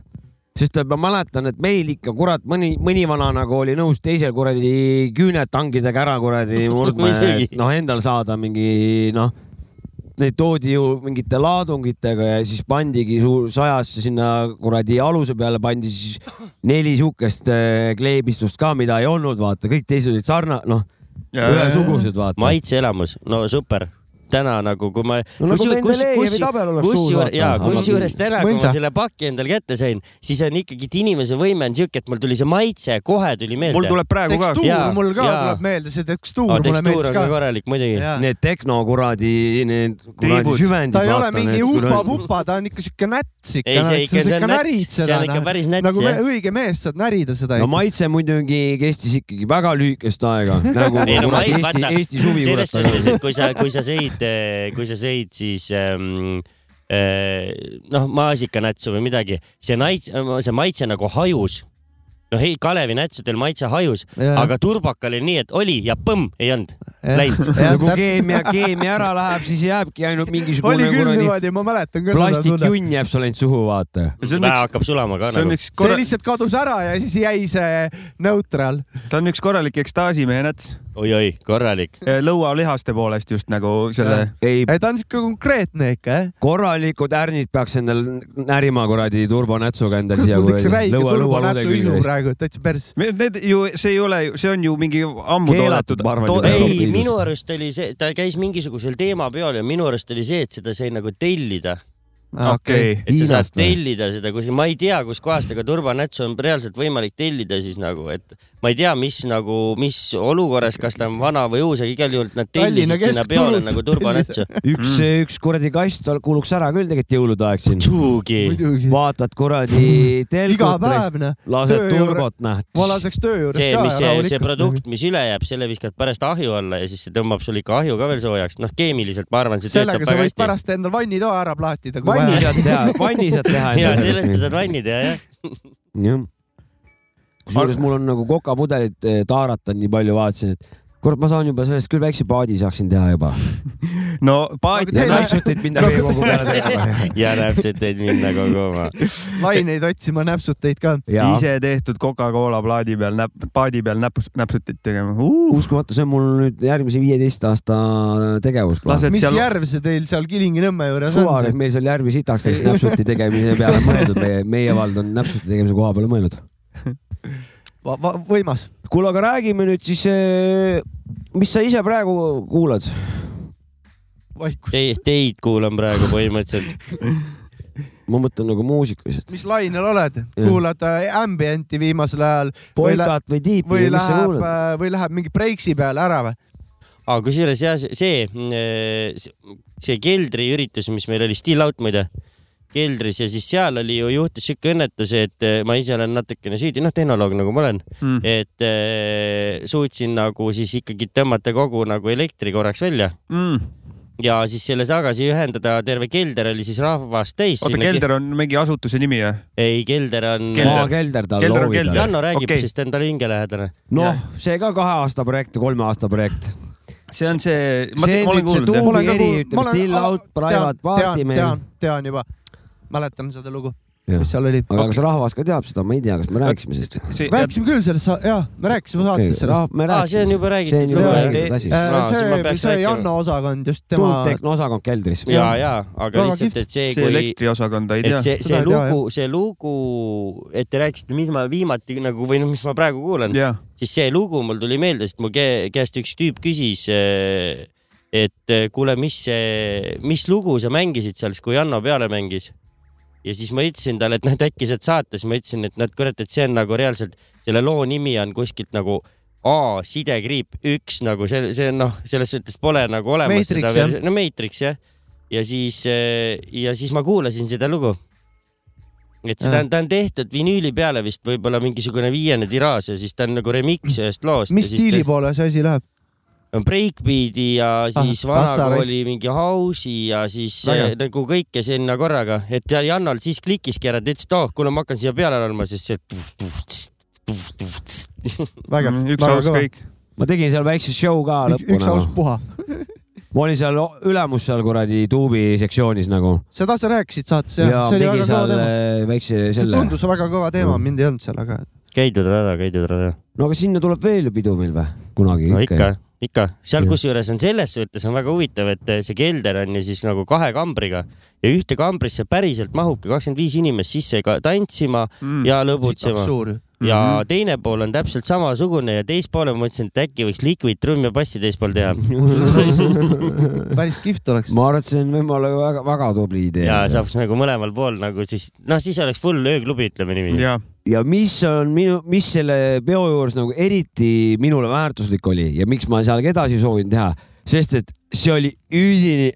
Speaker 4: sest et ma mäletan , et meil ikka kurat mõni , mõni vana nagu oli nõus teise kuradi küüned tangidega ära kuradi murdma ,
Speaker 5: Muidugi.
Speaker 4: et noh , endal saada mingi noh , neid toodi ju mingite laadungitega ja siis pandigi suur sajasse sinna kuradi aluse peale pandi siis neli siukest eh, kleebistust ka , mida ei olnud , vaata kõik teised olid sarna- , noh , ühesugused , vaata .
Speaker 5: maitseelamus , no super . täna nagu , kui ma .
Speaker 4: No nagu Mendelejevi tabel oleks suus vaata.
Speaker 5: jaa ,
Speaker 4: Aga-
Speaker 5: kusjuures täna , kui ma
Speaker 2: Mõnsa.
Speaker 5: selle paki endale kätte sain , siis on ikkagi , et inimese võime on siuke , et mul tuli see maitse kohe tuli
Speaker 3: mul
Speaker 5: meelde .
Speaker 3: tuleb praegu ka .
Speaker 2: tekstuur
Speaker 5: Jaa,
Speaker 2: mul ka
Speaker 5: jaa.
Speaker 2: tuleb meelde , see tekstuur
Speaker 5: aga
Speaker 2: mulle
Speaker 5: tekstuur
Speaker 2: meeldis
Speaker 5: on
Speaker 2: ka
Speaker 5: ka . korralik muidugi .
Speaker 4: Need tehnokuradi , need kuradi
Speaker 3: Triibud.
Speaker 4: süvendid .
Speaker 2: ta ei ole mingi upa-pupa , ta on ikka siuke näts ikka .
Speaker 5: Ei, see ikka- see on näts. See on ikka päris näts,
Speaker 2: nagu
Speaker 5: jah.
Speaker 2: me- õige mees saad närida seda
Speaker 4: no
Speaker 2: ikka .
Speaker 4: maitse muidugi kestis ikkagi väga lühikest aega , nagu
Speaker 5: ei no ma
Speaker 4: kuradi
Speaker 5: ei
Speaker 4: Eesti
Speaker 5: vaata ,,
Speaker 4: Eesti suvi
Speaker 5: selles suhtes ,
Speaker 4: kurat .
Speaker 5: et kui sa , kui sa sõid , kui sa sõid , siis ähm, äh, noh , maasikanätsu või midagi , see naits- , see maitse nagu hajus . noh , ei Kalevi nätsudel maitse hajus , aga turbakal oli nii , et oli ja põmm ei olnud läinud . Nagu
Speaker 4: no kui keemia , keemia ära läheb , siis jääbki ainult
Speaker 2: oli
Speaker 4: mingisugune
Speaker 2: küll
Speaker 4: kuradi
Speaker 2: niimoodi , ma mäletan küll seda tunnet .
Speaker 4: plastikjunn jääb sulle ainult suhu , vaata .
Speaker 3: see on
Speaker 5: väe
Speaker 3: üks ,
Speaker 5: hakkab sulama ka
Speaker 3: see on
Speaker 5: nagu .
Speaker 3: üks
Speaker 2: see
Speaker 3: korra- ,
Speaker 2: lihtsalt kadus ära ja siis jäi see neutral .
Speaker 3: ta on üks korralik ekstaasimehe näts ,
Speaker 5: oi-oi , korralik .
Speaker 3: lõualihaste poolest just nagu selle .
Speaker 4: ei ,
Speaker 2: ei , ta on siuke konkreetne ikka , jah .
Speaker 4: korralikud ärnid peaks endal närima kuradi turbonätsuga endal siia
Speaker 2: üks
Speaker 4: kuradi
Speaker 2: räige
Speaker 4: lõua , lõua
Speaker 2: turbanätsu ilu
Speaker 4: luude
Speaker 2: praegu , täitsa pers .
Speaker 3: Need ju , see ei ole , see on ju mingi ammu
Speaker 4: Keelatud, ma arvan,
Speaker 3: toodetud-
Speaker 4: juba.
Speaker 3: ei,
Speaker 5: ei ,
Speaker 4: Liidus.
Speaker 5: minu arust oli see , ta käis mingisugusel teemapeol ja minu arust oli see , et seda sai nagu tellida .
Speaker 3: okei .
Speaker 5: et sa saad
Speaker 4: Hiinast või?
Speaker 5: tellida seda kuskil , ma ei tea , kuskohast , aga turbanätsu on reaalselt võimalik tellida siis nagu , et ma ei tea , mis nagu , mis olukorras , kas ta on vana või uus , aga igal juhul nad
Speaker 2: Tallinna
Speaker 5: tellisid sinna peale
Speaker 2: keskturult
Speaker 5: nagu turbanätsu .
Speaker 4: üks , üks kuradi kast kuluks ära küll tegelikult jõulude aeg siin .
Speaker 5: muidugi .
Speaker 2: muidugi .
Speaker 4: vaatad kuradi
Speaker 2: iga
Speaker 4: telkutris ,
Speaker 2: päev , noh . Töö
Speaker 4: lased
Speaker 2: juures-
Speaker 4: turbot , näed .
Speaker 2: ma laseks töö juures
Speaker 5: see ,
Speaker 2: ka
Speaker 5: mis see , see . produkt , mis üle jääb , selle viskad pärast ahju alla ja siis see tõmbab sul ikka ahju ka veel soojaks , noh , keemiliselt ma arvan , see
Speaker 2: sellega
Speaker 5: töötab
Speaker 2: sa
Speaker 5: väga
Speaker 2: võid
Speaker 5: hästi .
Speaker 2: pärast endal vannitoa ära plaatida , kui
Speaker 4: vanni
Speaker 2: vaja .
Speaker 4: saad teha , vanni saad teha .
Speaker 5: ja sellest sa saad vanni teha , jah .
Speaker 4: jah . kusjuures mul on nagu kokapudelit eh, taarata nii palju , vaatasin , et kurat , ma saan juba sellest küll väikse paadi saaksin teha juba .
Speaker 3: no paat
Speaker 2: Aga
Speaker 4: ja
Speaker 2: Teil-
Speaker 4: napsutid minna veekogu peale tegema .
Speaker 5: ja näpselt teed minna kogu oma .
Speaker 2: laineid otsima , näpsuteid ka .
Speaker 4: jaa ,
Speaker 3: ise tehtud Coca-Cola plaadi peal näp- , paadi peal näpus , näpsutit tegema uh, .
Speaker 4: uskumatu , see on mul nüüd järgmise viieteist aasta tegevus .
Speaker 3: lased
Speaker 2: mis
Speaker 3: seal ,
Speaker 2: järv see teil seal Kilingi-Nõmme juures on
Speaker 4: Suvares ? meil seal järvi sitaks läks näpsuti tegemise peale mõeldud , meie , meie vald on näpsuti tegemise koha peale mõelnud .
Speaker 2: võimas .
Speaker 4: kuule , eh, aga räägime nüüd siis , mis sa ise praegu kuulad ?
Speaker 2: vaikus .
Speaker 5: Teid , teid kuulan praegu põhimõtteliselt .
Speaker 4: ma mõtlen nagu muusikaliselt .
Speaker 2: mis lainel oled ,
Speaker 4: Jah.
Speaker 2: kuulad äh, ambienti viimasel ajal või, lä
Speaker 4: polkat või tiipi
Speaker 2: või
Speaker 4: või mis sa
Speaker 2: läheb äh,
Speaker 4: kuulad ?,
Speaker 2: või läheb mingi breiksi peale ära või ?
Speaker 5: aga kusjuures jah , see , see keldriüritus , mis meil oli , Still Out muide , keldris ja siis seal oli ju , juhtus siuke õnnetus , et eh, ma ise olen natukene süüdi , noh , tehnoloog nagu ma olen
Speaker 3: Mm.
Speaker 5: et eh, suutsin nagu siis ikkagi tõmmata kogu nagu elektri korraks välja
Speaker 3: mm. .
Speaker 5: ja siis selle tagasi ühendada , terve kelder oli siis rahvast täis .
Speaker 3: oota , kelder on mingi asutuse nimi või ?
Speaker 5: ei , kelder on .
Speaker 3: Kelder.
Speaker 4: maakelder tal
Speaker 3: Kelder on
Speaker 4: loovida
Speaker 3: kelder. .
Speaker 5: Janno räägib
Speaker 3: Okei.
Speaker 5: okay. , sest ta on talle hingelähedane .
Speaker 4: noh , see ka kahe aasta projekt ja kolme aasta projekt .
Speaker 3: see on see , ma
Speaker 4: See
Speaker 3: te- ma
Speaker 4: nüüd
Speaker 3: olen
Speaker 4: see
Speaker 3: kuulnud
Speaker 4: tuum-
Speaker 3: jah .
Speaker 4: Kuulge
Speaker 2: nagu-
Speaker 4: eri, ütleme, Still Out, Private Party meil.
Speaker 2: tean , tean juba , mäletan seda lugu , mis
Speaker 4: aga
Speaker 2: seal oli .
Speaker 4: kas rahvas ka teab seda , ma ei tea , kas me rääkisime sellest ?
Speaker 3: see ,
Speaker 2: rääkisime küll sellest , jaa , me rääkisime saates sellest .
Speaker 4: me
Speaker 5: aa , see
Speaker 4: rääkisime .
Speaker 5: on
Speaker 4: see
Speaker 5: juba
Speaker 4: on
Speaker 5: räägitud
Speaker 4: juba
Speaker 2: Jaa, äh,
Speaker 5: lugu .
Speaker 4: räägitud asi .
Speaker 5: Aa, siis ma
Speaker 2: see ,
Speaker 5: peaks
Speaker 2: see
Speaker 5: rääkima.
Speaker 2: Janno osakond just tema ,
Speaker 4: tuultehno osakond keldris .
Speaker 5: ja , ja , aga
Speaker 2: Väga
Speaker 5: lihtsalt ,
Speaker 2: kihvt.
Speaker 5: et see ,
Speaker 3: see
Speaker 5: kui ,
Speaker 3: elektriosakonda ei
Speaker 5: et
Speaker 3: tea .
Speaker 5: see , see
Speaker 2: ei tea,
Speaker 5: lugu , see lugu , et te rääkisite , mis ma viimati nagu või noh , mis ma praegu kuulan ,
Speaker 3: jah ,
Speaker 5: siis see lugu mul tuli meelde , sest mu ke- käest üks tüüp küsis , et eh, kuule , mis see , mis lugu sa mängisid seal , siis kui Janno peale mängis . ja siis ma ütlesin talle , et noh , et äkki saad saata , siis ma ütlesin , et noh , et kurat , et see on nagu reaalselt , selle loo nimi on kuskilt nagu A sidekriip üks nagu see , see on noh , selles suhtes pole nagu olemas
Speaker 2: Matrix,
Speaker 5: seda
Speaker 2: jah.
Speaker 5: versiooni , no Matrix jah . ja siis , ja siis ma kuulasin seda lugu . et seda on , ta on tehtud vinüüli peale vist võib-olla mingisugune viiene tiraaž ja siis ta on nagu remix ühest loost .
Speaker 2: mis stiili poole see asi läheb ?
Speaker 5: on breakbeat'i ja siis ah,
Speaker 2: Ah, vassaraisk.
Speaker 5: vanakooli mingi house'i ja siis
Speaker 2: Väga.
Speaker 5: äh, nagu kõike sinna korraga , et ja Jannol siis klikkiski ära , ta ütles , et oh , kuule , ma hakkan siia peale andma , siis see puff, puff, tss, puff, puff, tss.
Speaker 2: vägev ,
Speaker 5: Mm,
Speaker 3: Mm, üks
Speaker 2: väga
Speaker 3: aus
Speaker 2: kõva .
Speaker 3: kõik .
Speaker 4: ma tegin seal väikse show ka
Speaker 2: üks
Speaker 4: lõpuna noh.
Speaker 2: aus . puha .
Speaker 4: ma olin seal o- ülemus seal kuradi tuubi sektsioonis nagu
Speaker 2: seda sa rääkisid saates jah
Speaker 4: ja ,
Speaker 2: see oli
Speaker 4: tegin
Speaker 2: väga kõva
Speaker 4: seal
Speaker 2: teema .
Speaker 4: äh, väikse
Speaker 2: see
Speaker 4: selle . Mm.
Speaker 2: tundus väga kõva teema , mind ei olnud seal , aga
Speaker 5: käidud rada , käidud rada .
Speaker 4: no aga sinna tuleb veel ju pidu meil või ? kunagi
Speaker 5: no ikka , ikka , seal
Speaker 4: Jah.
Speaker 5: kusjuures on selles suhtes on väga huvitav , et eh, see kelder on ju siis nagu kahe kambriga ja ühte kambrisse päriselt mahubki kakskümmend viis inimest sisse ka tantsima
Speaker 3: Mm.
Speaker 5: ja lõbutsema .
Speaker 2: suur .
Speaker 5: ja
Speaker 3: Mhm.
Speaker 5: teine pool on täpselt samasugune ja teist poole ma mõtlesin , et äkki võiks liquid trumm ja bassi teist pool teha .
Speaker 2: päris kihvt oleks .
Speaker 4: ma arvan , et see on võib-olla väga-väga tubli idee .
Speaker 5: ja saaks nagu mõlemal pool nagu siis , noh , siis oleks full ööklubi , ütleme niimoodi .
Speaker 3: ja ,
Speaker 4: ja mis on minu , mis selle peo juures nagu eriti minule väärtuslik oli ja miks ma seal ka edasi soovin teha , sest et see oli üdini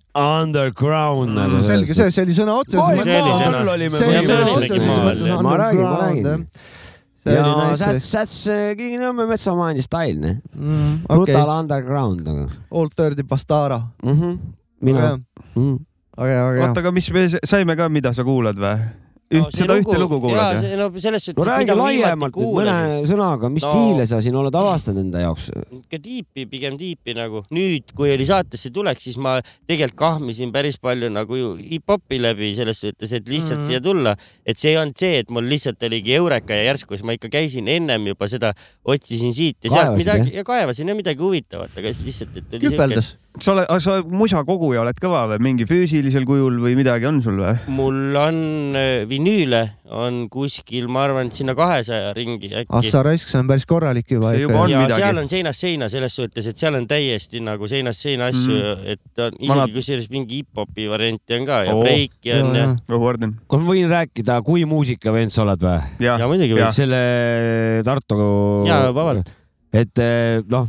Speaker 4: underground nagu .
Speaker 2: Mm, selge see , see oli sõna
Speaker 4: Oi,
Speaker 2: otseses
Speaker 5: see oli sõna.
Speaker 4: olime
Speaker 2: see
Speaker 5: Ja
Speaker 2: oli
Speaker 5: me
Speaker 2: sõna
Speaker 5: olimegi
Speaker 2: otseses
Speaker 5: maal.
Speaker 2: mõttes
Speaker 4: Ma räägin, ma
Speaker 2: underground,
Speaker 4: räägin.
Speaker 2: jah. see
Speaker 4: ja
Speaker 2: oli nice
Speaker 4: that's , that's äh, Nõmme metsamajandi stail , noh .
Speaker 2: mm, . okei
Speaker 4: brutal , underground nagu
Speaker 2: Old Dirty Bastara .
Speaker 4: mm . -hmm. mina
Speaker 2: Mhm. väga ,
Speaker 4: mm. .
Speaker 2: hea , väga
Speaker 3: oota ,
Speaker 2: hea .
Speaker 3: aga mis me saime ka , mida sa kuulad või ? üht , seda ühte lugu kuulad või ?
Speaker 5: jah ? no selles suhtes
Speaker 4: no , räägi laiemalt nüüd mõne
Speaker 5: kuulasin ,
Speaker 4: sõnaga , mis
Speaker 5: No.
Speaker 4: stiile sa siin oled avastanud enda jaoks ?
Speaker 5: ikka tiipi , pigem tiipi nagu . nüüd , kui oli saatesse tulek , siis ma tegelikult kahmisin päris palju nagu ju hip-hopi läbi selles suhtes , et lihtsalt
Speaker 2: Mhm.
Speaker 5: mm -hmm. siia tulla . et see ei olnud see , et mul lihtsalt oligi Eureka ja järsku , siis ma ikka käisin ennem juba seda , otsisin siit ja sealt
Speaker 4: Kaevasid,
Speaker 5: midagi ja kaevasin ja midagi huvitavat , aga siis lihtsalt , et oli siuke ,
Speaker 2: kühveldas .
Speaker 3: sa oled , sa musakoguja oled kõva või mingi füüsilisel kujul või midagi on sul või ?
Speaker 5: mul on äh, vinüüle on kuskil , ma arvan , et sinna kahesaja ringi äkki .
Speaker 2: Assa raisk , see on päris korralik juba .
Speaker 3: See juba on.
Speaker 5: ja
Speaker 3: midagi.
Speaker 5: seal on seinast seina selles suhtes , et seal on täiesti nagu seinast seina asju mm. , et on isegi
Speaker 3: Vanad-
Speaker 5: Vanad... kusjuures mingi hip-hopi varianti on ka ja
Speaker 3: Oo.
Speaker 5: oh. breiki on ja,
Speaker 3: Õhu Arden .
Speaker 4: kas ma võin rääkida , kui muusikavend sa oled või ?
Speaker 5: ja,
Speaker 3: jah
Speaker 5: ja , muidugi
Speaker 3: Jah.
Speaker 5: võiks .
Speaker 4: selle Tartu .
Speaker 5: ja vabalt .
Speaker 4: et eh, noh ,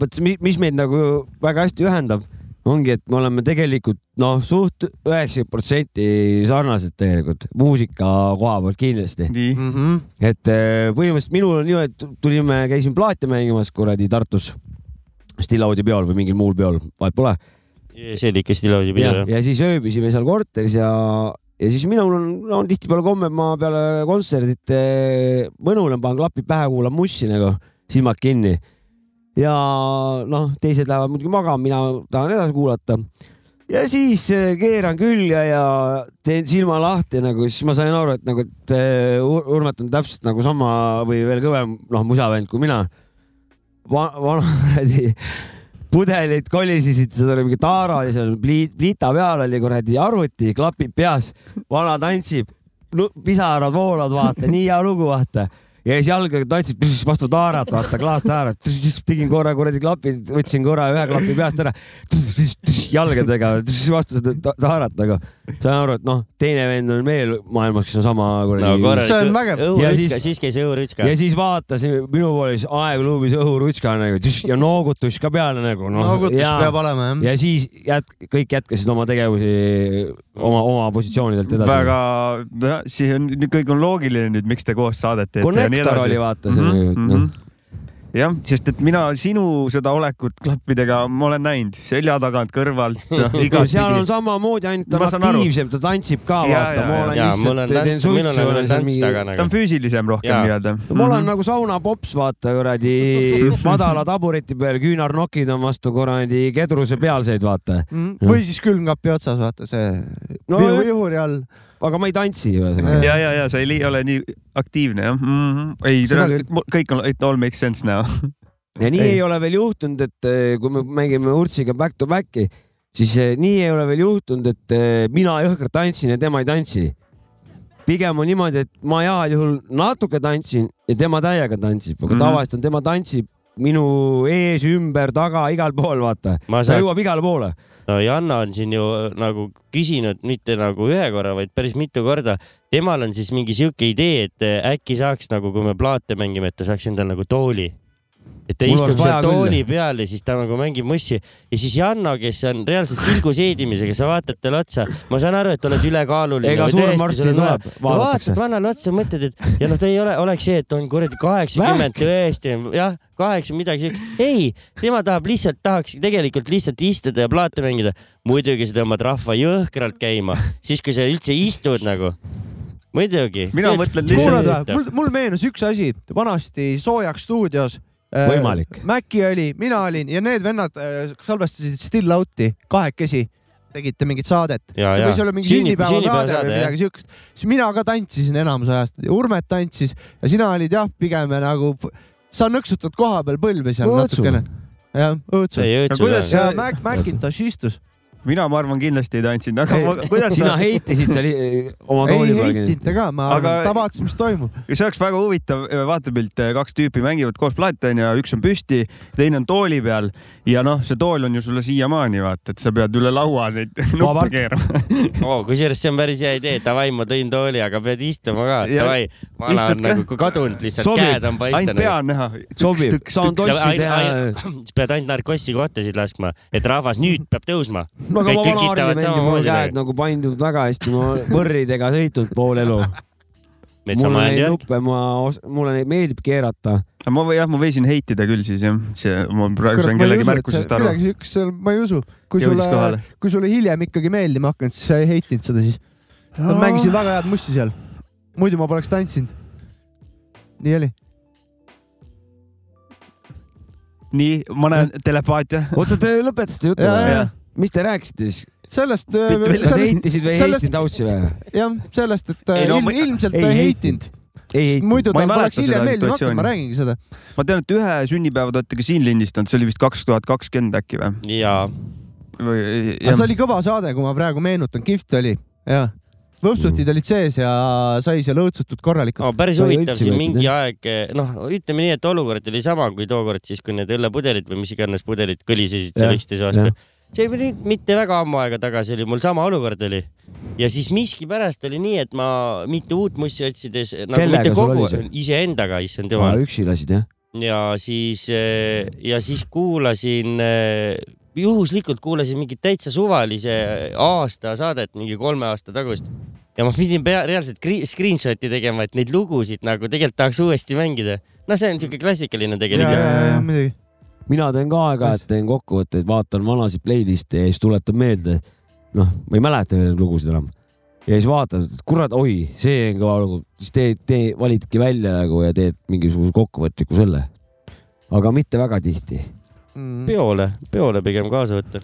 Speaker 4: vot see, mi- mis meid nagu väga hästi ühendab , ongi , et me oleme tegelikult noh , suht üheksakümmend protsenti sarnased tegelikult muusika koha pealt kindlasti .
Speaker 3: nii .
Speaker 4: et eh, põhimõtteliselt minul on nii , et tulime , käisin plaate mängimas kuradi Tartus . Still Audi peol või mingil muul peol , vahet pole .
Speaker 5: see oli ikka stiloosi pidu
Speaker 4: ja,
Speaker 5: jah .
Speaker 4: ja siis ööbisime seal korteris ja , ja siis minul on , on tihtipeale komme , et ma peale kontserdit eh, mõnulen , panen klapid pähe , kuulan mussi nagu , silmad kinni . ja noh , teised lähevad muidugi magama , mina tahan edasi kuulata . ja siis eh, keeran külje ja teen silma lahti nagu , siis ma sain aru , et nagu , et eh, Ur- Urmet on täpselt nagu sama või veel kõvem , noh , musavend kui mina Va . vana kuradi pudelid kolisesid , seal oli mingi taara oli seal pli- pliita peal oli kuradi arvuti , klapid peas , vana tantsib , pisarad voolavad , vaata , nii hea lugu , vaata . ja siis jalga tantsid püsis vastu taarat , vaata klaastaarat , tegin korra kuradi klapi , võtsin korra ühe klapi peast ära , jalgadega tss, vastu seda ta- taarat , aga saan aru , et noh , teine vend on veel maailmas , kes on sama
Speaker 5: no
Speaker 4: kuradi .
Speaker 5: korralik
Speaker 2: See on vägev.
Speaker 5: õhurutska ,
Speaker 4: Ja siis-
Speaker 5: siis käis õhurutska
Speaker 4: ja . siis vaatasin minu poole , siis aegluubis õhurutska nagu tss, ja noogutus ka peale nagu noh .
Speaker 2: noogutus peab olema jah .
Speaker 4: ja siis jät- , kõik jätkasid oma tegevusi oma , oma positsioonidelt edasi .
Speaker 3: väga , siis on , kõik on loogiline nüüd , miks te koos saadet teete .
Speaker 4: Connector oli vaata see mm -hmm. noh .
Speaker 3: Mhm, jah , sest et mina sinu seda olekut klappidega ma olen näinud selja tagant , kõrvalt , noh,
Speaker 4: no seal on
Speaker 3: igatpidi .
Speaker 4: samamoodi , ainult ta
Speaker 3: Ma
Speaker 4: on
Speaker 3: saan aru.
Speaker 4: aktiivsem , ta tantsib ka ,
Speaker 3: Jaa,
Speaker 4: vaata , ma
Speaker 3: jaa,
Speaker 4: olen
Speaker 5: jaa, mul on
Speaker 4: lihtsalt ,
Speaker 5: tants-
Speaker 4: teen suitsu .
Speaker 5: minul on veel tants taga nagu.
Speaker 3: ta on füüsilisem rohkem
Speaker 5: Jaa.
Speaker 3: nii-öelda . Mhm.
Speaker 4: ma olen nagu saunapops , vaata kuradi madala tabureti peal , küünarnokid on vastu kuradi kedruse pealseid , vaata .
Speaker 2: Mm. või siis külmkapi otsas , vaata see
Speaker 4: No
Speaker 2: no,
Speaker 4: jõ-
Speaker 2: vihuri all .
Speaker 4: aga ma ei tantsi ühesõnaga .
Speaker 3: ja , ja , ja sa ei li- ole nii aktiivne jah mm . -hmm. ei
Speaker 2: Seda küll. ,
Speaker 3: kõik on , it all makes sense now .
Speaker 4: ja nii ei. ei ole veel juhtunud , et eh, kui me mängime Urtsiga back to back'i , siis eh, nii ei ole veel juhtunud , et eh, mina jõhkralt tantsin ja tema ei tantsi . pigem on niimoodi , et ma heal juhul natuke tantsin ja tema täiega tantsib , aga
Speaker 3: Mhm.
Speaker 4: mm. tavaliselt on tema tantsib minu ees , ümber , taga , igal pool , vaata .
Speaker 5: ma
Speaker 4: ta
Speaker 5: saan ,
Speaker 4: jõuab igale poole .
Speaker 5: no Janna on siin ju äh, nagu küsinud mitte nagu ühe korra , vaid päris mitu korda . temal on siis mingi sihuke idee , et äh, äkki saaks nagu , kui me plaate mängime , et ta saaks endale nagu tooli . et ta
Speaker 4: Mul
Speaker 5: istub
Speaker 4: oleks vaja
Speaker 5: seal
Speaker 4: küll.
Speaker 5: tooli peal ja siis ta nagu mängib mõssi ja siis Janno , kes on reaalselt silgu seedimisega , sa vaatad talle otsa , ma saan aru , et oled ülekaaluline .
Speaker 4: ega surmaarsti tuleb , vaadatakse
Speaker 5: vaatad . vannale otsa , mõtled , et ja noh , ta ei ole , oleks see , et on kuradi kaheksakümmend tõesti , jah , kaheksa midagi siukest . ei , tema tahab lihtsalt , tahaks tegelikult lihtsalt istuda ja plaate mängida . muidugi sa tõmbad rahva jõhkralt käima , siis kui sa üldse istud nagu . muidugi .
Speaker 3: Mina mõtlen
Speaker 2: kuulad
Speaker 3: lihtsalt-
Speaker 2: või ? mul , mul meenus üks asi , vanasti soojaks stuudios .
Speaker 4: Võimalik.
Speaker 2: Mäkki oli , mina olin ja need vennad äh, salvestasid Still Out'i kahekesi , tegite mingit saadet .
Speaker 5: ja ,
Speaker 2: see
Speaker 5: ja
Speaker 2: võis olla mingi sünnipäevasaade või midagi siukest , siis mina ka tantsisin enamus ajast , Urmet tantsis ja sina olid jah , pigem nagu , sa nõksutad koha peal põlve seal
Speaker 4: Õõtsu.
Speaker 2: natukene . jah , õõtsu .
Speaker 5: see
Speaker 3: No kuidas
Speaker 5: jõudis .
Speaker 2: ja Mac , Macintosh istus .
Speaker 3: mina , ma arvan , kindlasti ei tantsinud , aga
Speaker 2: Ei.
Speaker 3: ma, kuidas
Speaker 4: sina
Speaker 3: sa ,
Speaker 4: heitisid seal eh, oma
Speaker 2: ei
Speaker 4: tooli peal
Speaker 2: heitnud
Speaker 4: kindlasti .
Speaker 2: ta ka , ma
Speaker 3: Aga-
Speaker 2: arvan , ta vaatas , mis toimub .
Speaker 3: see oleks väga huvitav eh, vaatepilt , kaks tüüpi mängivad koos plaati onju , üks on püsti , teine on tooli peal ja noh , see tool on ju sulle siiamaani vaata , et sa pead üle laua neid nuppe
Speaker 4: Vabalt.
Speaker 3: keerama .
Speaker 5: oo , kusjuures see on päris hea idee , davai , ma tõin tooli , aga pead istuma ka ,
Speaker 3: Ja-
Speaker 5: davai . vana
Speaker 3: istud
Speaker 5: on
Speaker 3: ka.
Speaker 5: nagu kadunud lihtsalt ,
Speaker 4: Sobib.
Speaker 5: käed on
Speaker 3: ainult
Speaker 5: paistanud
Speaker 3: pea . on näha .
Speaker 4: sobib , saan tossi
Speaker 5: Sa
Speaker 4: teha .
Speaker 5: ain- ain- sa pead ainult narkossi kohtasid laskma , et rahvas nüüd peab tõusma .
Speaker 4: no aga
Speaker 5: Kõik
Speaker 4: ma vana arvi
Speaker 5: tekitavad
Speaker 4: mängin , mul on
Speaker 5: samamoodi
Speaker 4: käed
Speaker 5: nagu.
Speaker 4: nagu pandunud väga hästi , ma olen võrridega sõitnud pool elu . mulle
Speaker 5: metsamajand
Speaker 4: neid
Speaker 5: jah .
Speaker 4: nuppe , ma , mulle neid meeldib keerata .
Speaker 3: ma või jah , ma võisin heitida küll siis jah , see ma praegu sain kellegi märkusest aru .
Speaker 2: midagi siukest seal , ma ei usu . kui
Speaker 3: Jõudis
Speaker 2: sulle
Speaker 3: kohale. ,
Speaker 2: kui sulle hiljem ikkagi meeldima hakanud , siis sa ei heitnud seda siis . Nad mängisid väga head musti seal . muidu ma poleks tantsinud . nii oli .
Speaker 3: nii , ma näen telepaatia .
Speaker 4: oota , te lõpetasite jutu
Speaker 2: Jaa,
Speaker 4: või
Speaker 2: jaa. ?
Speaker 4: mis te rääkisite siis ?
Speaker 2: sellest ,
Speaker 4: kas
Speaker 2: sellest ,
Speaker 4: heitisid või ei
Speaker 2: sellest-
Speaker 4: heitinud Hautsi või ?
Speaker 2: jah , sellest , et
Speaker 3: Ei,
Speaker 2: ei,
Speaker 3: no
Speaker 2: ilm,
Speaker 3: ma-
Speaker 2: ilmselt
Speaker 4: ei
Speaker 2: ta ei
Speaker 4: heitnud.
Speaker 2: heitnud .
Speaker 4: ei heitinud .
Speaker 2: muidu
Speaker 3: Ma ei
Speaker 2: tal poleks
Speaker 3: mäleta
Speaker 2: hiljem
Speaker 3: seda
Speaker 2: meeldima hakanud ,
Speaker 3: situatsiooni.
Speaker 2: ma räägingi seda .
Speaker 3: ma tean , et ühe sünnipäeva te olete ka siin lindistanud , see oli vist kaks tuhat kakskümmend äkki või ?
Speaker 5: jaa ,
Speaker 3: või
Speaker 2: aga see oli kõva saade , kui ma praegu meenutan , kihvt oli , jah . võpsutid olid sees ja sai seal õõtsutud korralikult .
Speaker 5: no, päris
Speaker 4: Sai
Speaker 5: huvitav ,
Speaker 4: õitsi
Speaker 5: siin
Speaker 4: võetud,
Speaker 5: mingi aeg , noh , ütleme nii , et olukord oli sama kui tookord siis , kui need õllepudelid või mis iganes pudelid kõlisesid seal
Speaker 4: Jah,
Speaker 5: üksteise vastu . see oli nüüd mitte väga ammu aega tagasi oli , mul sama olukord oli . ja siis miskipärast oli nii , et ma mitte uut mussi otsides nagu
Speaker 4: Kellega
Speaker 5: mitte
Speaker 4: sul
Speaker 5: kogu
Speaker 4: oli see? ,
Speaker 5: iseendaga , issand
Speaker 4: aa
Speaker 5: jumal ,
Speaker 4: üksi lasid jah ?
Speaker 5: ja siis , ja siis kuulasin , juhuslikult kuulasin mingit täitsa suvalise aasta saadet mingi kolme aasta tagust ja ma pidin pea reaalselt kri- screenshot'i tegema , et neid lugusid nagu tegelikult tahaks uuesti mängida . no see on siuke klassikaline
Speaker 2: ja ,
Speaker 5: tegelikult .
Speaker 2: ja , ja muidugi .
Speaker 4: mina teen ka aeg-ajalt teen kokkuvõtteid , vaatan vanasid playlist'e ja siis tuletan meelde , noh , ma ei mäleta neid lugusid enam . ja siis vaatad , et kurat , oi , see on kõva lugu , siis teed , tee , validki välja nagu ja teed mingisuguse kokkuvõtliku selle . aga mitte väga tihti .
Speaker 5: peole , peole pigem kaasa võtta .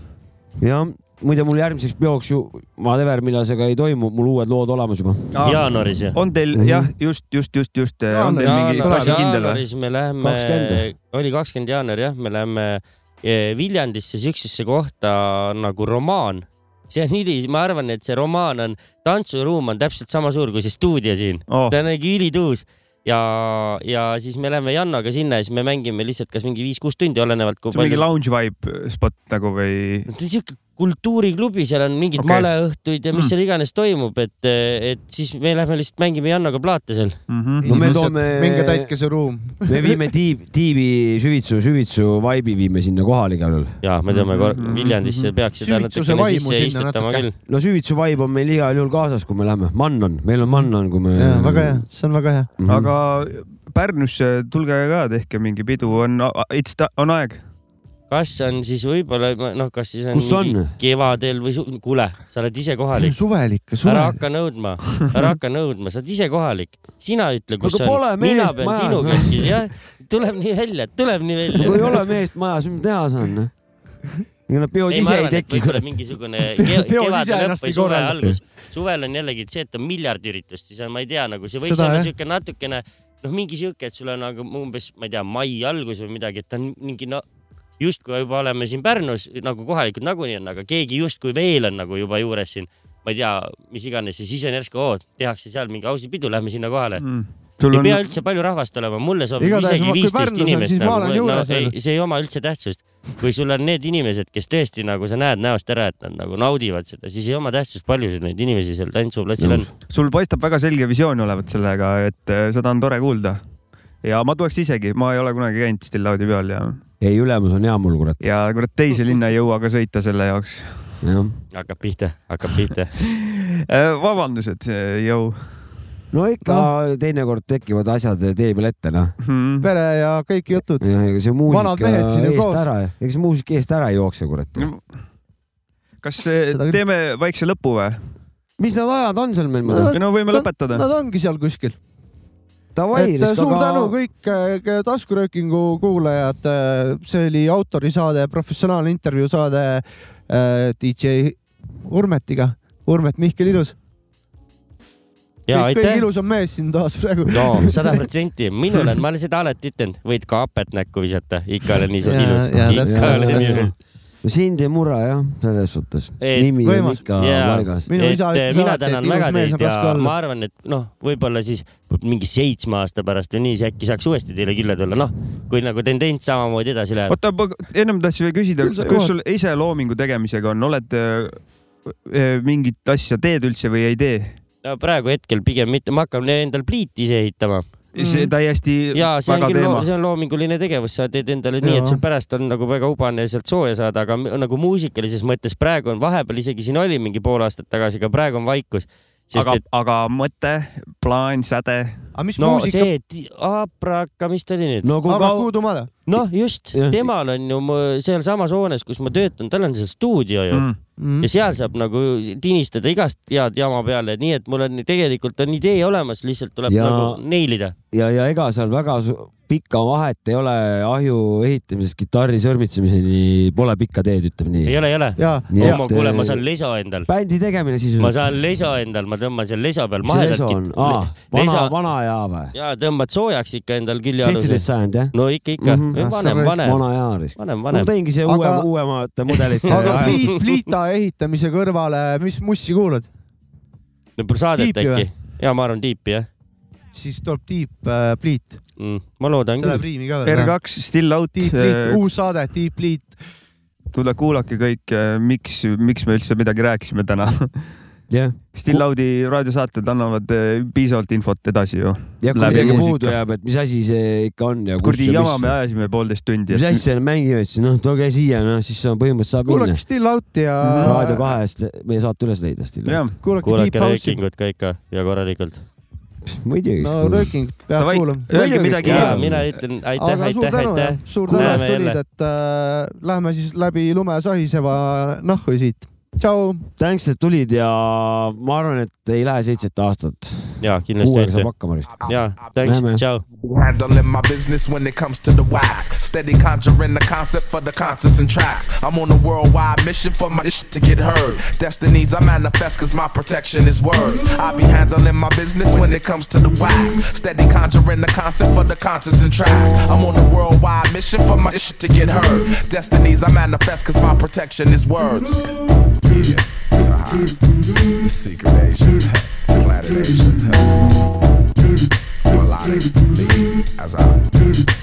Speaker 4: jah , muide mul järgmiseks peoks ju , whatever , millal see ka ei toimu , mul uued lood olemas juba .
Speaker 3: jah .
Speaker 5: jaanuaris jah ?
Speaker 3: on teil
Speaker 4: Mhm.
Speaker 3: jah , just , just , just , just , on teil mingi
Speaker 2: Jaanuaris.
Speaker 3: asi kindel või ?
Speaker 5: jaanuaris me läheme
Speaker 4: 20 ,
Speaker 5: oli kakskümmend jaanuar jah , me läheme eh, Viljandisse siuksesse kohta nagu romaan . see on üli , ma arvan , et see romaan on , tantsuruum on täpselt sama suur kui see stuudio siin .
Speaker 3: Oh,
Speaker 5: ta on ikka ülituus ja , ja siis me läheme Jannaga sinna ja siis me mängime lihtsalt kas mingi viis-kuus tundi , olenevalt kui
Speaker 3: see on mingi
Speaker 5: palju .
Speaker 3: lounge vibe spot nagu või ?
Speaker 5: see on siuke kultuuriklubi , seal on mingid
Speaker 3: Okei.
Speaker 5: okay. maleõhtuid ja mis
Speaker 3: Mm.
Speaker 5: mm. seal iganes toimub , et , et siis me lähme lihtsalt mängime Jannaga plaate seal .
Speaker 3: mhmh ,
Speaker 4: No me
Speaker 2: Inimesed,
Speaker 4: toome-
Speaker 2: minge täitke see ruum .
Speaker 4: me viime tiib , tiibi süvitsu , süvitsu vibe'i viime sinna kohale igal juhul .
Speaker 5: ja me teame
Speaker 2: Mhm,
Speaker 5: kor- Viljandisse peaks seda
Speaker 2: Süütuse
Speaker 5: natukene
Speaker 2: vaimu
Speaker 5: sisse
Speaker 2: sinna
Speaker 5: istutama
Speaker 2: natuke.
Speaker 5: küll .
Speaker 4: no süvitsu vibe on meil igal juhul kaasas , kui me läheme , Mannon , meil on Mannon , kui me . Mhm.
Speaker 2: väga hea , see on väga hea .
Speaker 3: aga Pärnusse tulge ka , tehke mingi pidu , on , on aeg .
Speaker 5: kas on siis võib-olla , noh , kas siis on,
Speaker 4: Kus on?
Speaker 5: mingi kevadel või su- kuule , sa oled ise kohalik ,
Speaker 2: suvel ikka ,
Speaker 5: ära
Speaker 2: suvel .
Speaker 5: hakka nõudma , ära hakka nõudma , sa oled ise kohalik , sina ütle , kus
Speaker 4: Aga
Speaker 5: see
Speaker 4: pole
Speaker 5: on , mina
Speaker 4: meest
Speaker 5: pean
Speaker 4: majas,
Speaker 5: sinu
Speaker 4: noh.
Speaker 5: käest küsima , jah , tuleb nii välja , tuleb nii
Speaker 4: no kui ei
Speaker 5: välja .
Speaker 4: ole meest majas , mis ma teha saan ? ega nad peod ise ei teki , kurat .
Speaker 5: mingisugune ke-
Speaker 2: Peol ise
Speaker 5: kevade lõpp
Speaker 2: ennast ei
Speaker 5: või suve
Speaker 2: korralda.
Speaker 5: algus , suvel on jällegi see , et on miljard üritust , siis on , ma ei tea , nagu see võiks
Speaker 2: Seda,
Speaker 5: olla
Speaker 2: jah.
Speaker 5: siuke natukene noh , mingi siuke , et sul on nagu umbes , ma ei tea , mai algus või midagi , et ta on mingi no justkui juba oleme siin Pärnus nagu kohalikud nagunii on , aga keegi justkui veel on nagu juba juures siin , ma ei tea , mis iganes ja siis on järsku , oo , tehakse seal mingi ausipidu , lähme sinna kohale .
Speaker 2: Mhm.
Speaker 3: sul
Speaker 5: ei
Speaker 3: on
Speaker 5: pea , üldse palju rahvast olema , mulle sobib
Speaker 2: Igatahes ma-
Speaker 5: isegi
Speaker 2: kui
Speaker 5: viisteist
Speaker 2: Pärnus on,
Speaker 5: inimest nagu
Speaker 2: siis ma olen
Speaker 5: no,
Speaker 2: juures
Speaker 5: ei,
Speaker 2: veel.
Speaker 5: see ei oma üldse tähtsust . kui sul on need inimesed , kes tõesti nagu sa näed näost ära , et nad nagu naudivad seda , siis ei oma tähtsust , palju sul neid inimesi seal tantsuplatsil on .
Speaker 3: sul paistab väga selge visioon olevat sellega , et eh, seda on tore kuulda . ja ma tuleks isegi , ma ei ole kunagi käinud Stillaudi peal ja ,
Speaker 4: ei , ülemus on hea mul , kurat .
Speaker 3: ja kurat teise linna ei jõua ka sõita selle jaoks .
Speaker 4: jah .
Speaker 5: hakkab pihta , hakkab pihta .
Speaker 3: Äh, vabandused , jõu .
Speaker 4: no ikka no. teinekord tekivad asjad tee peal ette , noh .
Speaker 2: pere ja kõik jutud .
Speaker 4: ja ega see
Speaker 2: Vanad
Speaker 4: muusika
Speaker 2: mehed siin ju koos.
Speaker 4: eest ära , ega see muusika eest ära ei jookse , kurat .
Speaker 3: kas eh,
Speaker 2: Seda küll.
Speaker 3: teeme väikse lõpu või ?
Speaker 4: mis need ajad on seal meil
Speaker 2: No,
Speaker 4: muidu ?
Speaker 3: no võime
Speaker 2: ta-
Speaker 3: lõpetada .
Speaker 2: Nad ongi seal kuskil .
Speaker 4: Davai ,
Speaker 2: et äh, suur tänu kõik äh, k- taskuröökingu kuulajad , see oli autorisaade , professionaalne intervjuu saade äh, DJ Urmetiga , Urmet Mihkel Ilus .
Speaker 5: ja
Speaker 2: kõige
Speaker 5: aitäh .
Speaker 2: ilusam mees siin toas praegu .
Speaker 5: no sada protsenti , minul on , ma olen seda alati ütelnud , võid ka hapet näkku visata , ikka olen ise
Speaker 2: Ja-
Speaker 5: ilus ,
Speaker 2: ja
Speaker 5: ikka
Speaker 2: täpselt.
Speaker 5: olen ilus .
Speaker 4: no sind ei murra jah , selles suhtes .
Speaker 5: Et-
Speaker 4: nimi on
Speaker 2: võimas.
Speaker 4: ikka
Speaker 5: Jaa.
Speaker 4: paigas .
Speaker 2: minu isa
Speaker 5: et eh,
Speaker 2: ütles
Speaker 5: mina
Speaker 2: alati ,
Speaker 5: tänan
Speaker 2: et ilus
Speaker 5: väga
Speaker 2: mees
Speaker 5: teid
Speaker 2: on raske
Speaker 5: ja ma
Speaker 2: olla .
Speaker 5: arvan , et noh , võib-olla siis mingi seitsme aasta pärast või nii , siis äkki saaks uuesti teile külla tulla , noh , kui nagu tendents samamoodi edasi läheb .
Speaker 3: oota , ennem tahtsin veel küsida ,
Speaker 2: Küll sa
Speaker 3: kuidas
Speaker 2: jõuad.
Speaker 3: sul ise loomingu tegemisega on , oled eh, eh, mingit asja teed üldse või ei tee ?
Speaker 5: praegu hetkel pigem mitte , ma hakkan endal pliiti ise ehitama
Speaker 2: Mm-hmm.
Speaker 3: see täiesti
Speaker 5: ja see on
Speaker 3: väga
Speaker 5: küll ,
Speaker 3: teema .
Speaker 5: see on loominguline tegevus , sa teed endale nii ,
Speaker 2: Jaa.
Speaker 5: et sul pärast on nagu väga hubane sealt sooja saada , aga m- nagu muusikalises mõttes praegu on vahepeal isegi siin oli mingi pool aastat tagasi , aga praegu on vaikus , sest
Speaker 3: aga
Speaker 5: et ,
Speaker 3: aga mõte , plaan , säde
Speaker 2: aga mis
Speaker 5: no
Speaker 2: muusika ,
Speaker 5: see , et Abraka , mis ta oli nüüd ?
Speaker 4: no kui
Speaker 2: aga
Speaker 4: kaua ,
Speaker 2: kuhu tumada ?
Speaker 5: noh , just
Speaker 4: Jah. ,
Speaker 5: temal on ju mu- sealsamas hoones , kus ma töötan , tal on seal stuudio ju mm.
Speaker 3: mm. .
Speaker 5: ja seal saab nagu tinistada igast head jama peale , nii et mul on tegelikult on idee olemas , lihtsalt tuleb
Speaker 4: Ja-
Speaker 5: ja... nagu neilida .
Speaker 4: ja , ja ega seal väga su- pikka vahet ei ole ahju ehitamisest kitarri sõrmitsemiseni , pole pikka teed , ütleme
Speaker 5: ei
Speaker 4: nii .
Speaker 5: ole , ei ole .
Speaker 2: ja ,
Speaker 4: Nii
Speaker 5: oma ,
Speaker 4: et,
Speaker 5: kuule , ma
Speaker 4: eh,
Speaker 5: saan lesa endal ,
Speaker 4: bändi tegemine siis .
Speaker 5: ma saan lesa endal , ma tõmban seal lesa peal
Speaker 4: mis see leso on ? aa , vana
Speaker 5: lesa ,,
Speaker 4: vana aja või ?
Speaker 5: ja tõmbad soojaks ikka endal külje
Speaker 4: seitseteist
Speaker 5: alusel .
Speaker 4: sajand jah ?
Speaker 5: no ikka , ikka
Speaker 4: Mhm.
Speaker 5: mm , -hmm. vanem , vanem ,
Speaker 4: vana aja risk .
Speaker 5: vanem ,
Speaker 4: ma
Speaker 5: vanem .
Speaker 4: tõingi see
Speaker 2: Aga-
Speaker 4: uuem , uuemate mudelite .
Speaker 2: aga pliit , pliita ehitamise kõrvale , mis mussi kuulad ?
Speaker 5: võib-olla saadet
Speaker 2: tiipi või?
Speaker 5: äkki . ja ma arvan tiipi jah
Speaker 2: siis tuleb Deep äh, Bleed ,
Speaker 5: mm. . ma loodan
Speaker 2: see läheb
Speaker 5: küll .
Speaker 2: riimi ka veel .
Speaker 3: R2 Still Out Äh,
Speaker 2: Deep , Bleed ,
Speaker 3: eh,
Speaker 2: uus saade Deep Bleed .
Speaker 3: kuule , kuulake kõik , miks , miks me üldse midagi rääkisime täna .
Speaker 4: jah ,
Speaker 3: Still Out'i raadiosaated annavad eh, piisavalt infot edasi ju .
Speaker 4: ja kui
Speaker 3: Läbi
Speaker 4: midagi
Speaker 3: muusika.
Speaker 4: puudu jääb , et mis asi see ikka on ja kus
Speaker 3: kuradi
Speaker 4: ja
Speaker 3: jama me
Speaker 4: mis ,
Speaker 3: ajasime poolteist tundi .
Speaker 4: mis asja nad mängivad siis , noh , tooge siia , noh , siis on põhimõtteliselt saab minna
Speaker 2: kuulake . Still Out'i ja
Speaker 4: Mm. Raadio kahest meie saate üles leida stiili .
Speaker 3: jah ,
Speaker 2: kuulake Deep
Speaker 5: kuulake
Speaker 2: House'i .
Speaker 5: röökingut ka ikka ja korralikult .
Speaker 4: muidugi .
Speaker 2: no rööking peab
Speaker 3: Davai.
Speaker 2: kuulama .
Speaker 3: öelge
Speaker 4: Muidugi.
Speaker 3: midagi
Speaker 5: ja
Speaker 4: Jaa,
Speaker 3: hea .
Speaker 5: mina ütlen aitäh ,
Speaker 2: aga suur
Speaker 5: aitäh ,
Speaker 2: tänu
Speaker 5: aitäh .,
Speaker 2: suur tänu ,
Speaker 5: Kuuleme
Speaker 2: et tulid ,
Speaker 5: jälle.
Speaker 2: et äh, lähme siis läbi lume sahiseva nahku siit . tšau .
Speaker 4: tänks , et tulid ja ma arvan , et ei lähe seitset aastat .
Speaker 5: ja kindlasti
Speaker 4: kuuega
Speaker 5: aitäh
Speaker 4: saab . hakkama .
Speaker 5: ja , thanks
Speaker 4: Näeme. ,
Speaker 5: tšau .
Speaker 6: handling my business when it comes to the wax. Steady conjuring the concept for the concerts and tracks. I'm on a worldwide mission for my shit to get heard. Destinies I manifest cause my protection is words. I be handling my business when it comes to the wax. Steady conjuring the concept for the concerts and tracks. I'm on a worldwide mission for my shit to get heard. Destinies I manifest cause my protection is words. Uh-huh. Media. Secret Asian. Planet Asian. Well, I life as I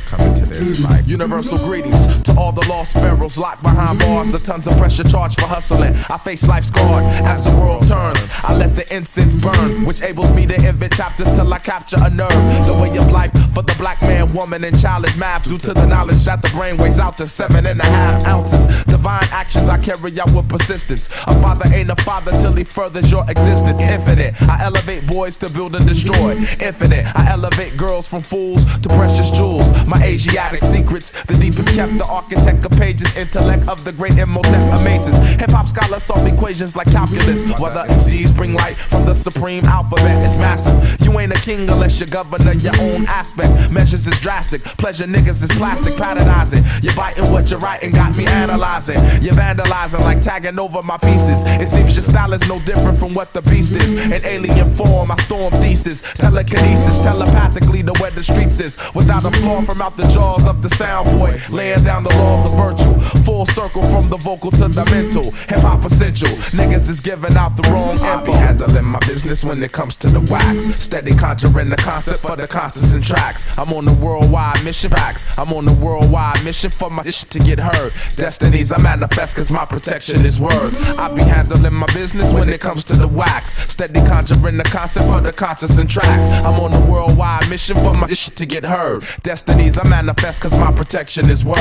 Speaker 6: come into this life. Universal greetings to all the lost pharaohs locked behind bars. The tons of pressure charged for hustling. I face life scarred as the world turns. I let the incense burn, which ables me to invent chapters till I capture a nerve. The way of life for the black man, woman, and child is mapped due to the knowledge that the brain weighs out to seven and a half ounces. Divine actions I carry out with persistence. A father ain't a father till he furthers your existence. Infinite, I elevate boys to build and destroy. Infinite, I elevate girls from fools to precious jewels. My Asiatic secrets, the deepest kept. The architect of pages, intellect of the great Imhotep amazes. Hip hop scholars solve equations like calculus. While the MCs bring light from the supreme alphabet, it's massive. You ain't a king unless you governor your own aspect. Measures is drastic, pleasure niggas is plastic, patternizing. You're biting what you're writing, got me analyzing. You're vandalizing like tagging over my pieces. It seems your style is no different from what the beast is. In alien form, I storm thesis, telekinesis, telepathically to where the streets is. Without a flaw from out the jaws of the sound boy, laying down the laws of virtue. Full circle from the vocal to the mental. Hip hop essential, niggas is giving out the wrong info. I be handling my business when it comes to the wax. Steady conjuring the concept for the concerts and tracks. I'm on the worldwide mission facts. I'm on the worldwide mission for my shit to get heard. Destinies I manifest cause my protection is words. I be handling my business when it comes to the wax. Steady conjuring the concept for the concerts and tracks. I'm on the worldwide mission for my shit to get heard. Destinies I manifest cause my protection is words.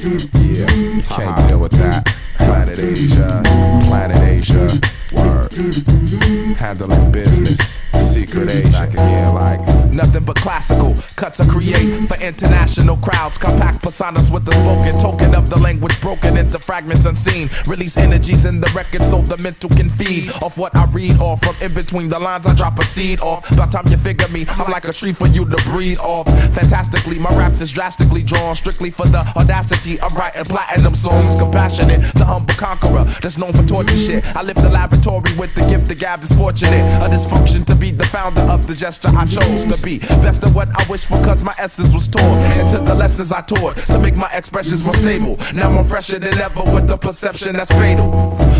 Speaker 6: Yeah, can't deal with that. Planet Asia, Planet Asia, word. Handling business, secret Asia. Back again, like nothing but classical cuts I create for international crowds. Compact personas with the spoken token of the language broken into fragments unseen. Release energies in the record so the mental can feed off what I read off. From in between the lines, I drop a seed off. By the time you figure me, I'm like a tree for you to breathe off. Fantastically, my raps is drastically drawn strictly for the audacity of writing platinum songs. Compassionate, the humble conqueror that's known for torture shit. I live the laboratory with the gift the gab is fortunate. A dysfunction to be the founder of the gesture I chose to be. Best of what I wish for, cause my essence was torn. Into the lessons I taught to make my expressions more stable. Now I'm fresher than ever with the perception that's fatal.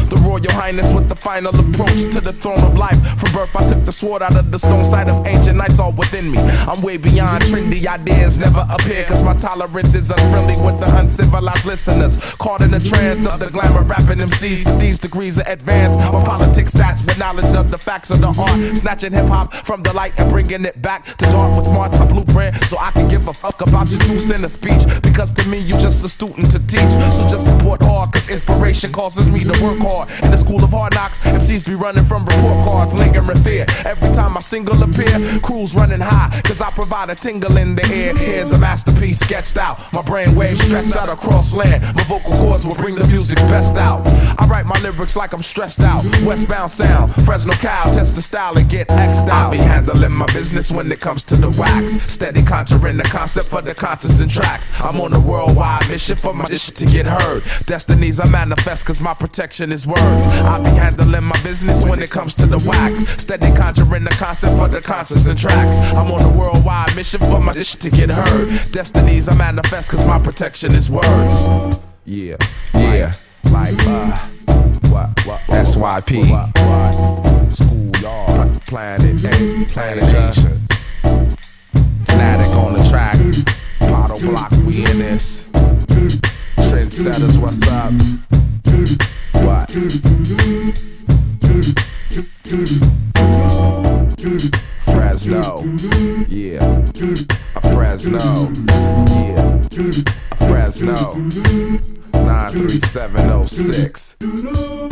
Speaker 6: The Royal Highness with the final approach to the throne of life. From birth, I took the sword out of the stone side of ancient knights all within me. I'm way beyond trendy ideas, never appear, cause my tolerance is unfriendly with the uncivilized listeners. Caught in the trance of the glamour rapping MCs to these degrees of advance. My politics stats, but knowledge of the facts of the art. Snatching hip hop from the light and bringing it back to dark with smarts, a blueprint. So I can give a fuck about your two cent of speech. Because to me, you just a student to teach. So just support hard, cause inspiration causes me to work hard. In the school of hard knocks, MCs be running from report cards, lingering fear. Every time I single appear, crews running high, cause I provide a tingle in the air. Here's a masterpiece sketched out. My brain waves stretched out across land. My vocal cords will bring the music's best out. I write my lyrics like I'm stressed out. Westbound sound, Fresno cow, test the style and get X'd out. I be handling my business when it comes to the wax. Steady conjuring the concept for the concerts and tracks. I'm on a worldwide mission for my shit to get heard. Destinies I manifest cause my protection is words. I be handling my business when it comes to the wax. Steady conjuring the concept for the concerts and tracks. I'm on a worldwide mission for my shit to get heard. Destinies I manifest cause my protection is words. Yeah, yeah. Like, uh, what, what, SYP. Schoolyard. Planet A. Planet Asia. Fanatic on the track. Bottle block, we in this. Trendsetters, what's up? What? Fresno, yeah. A Fresno, yeah. oh A Fresno. 93706.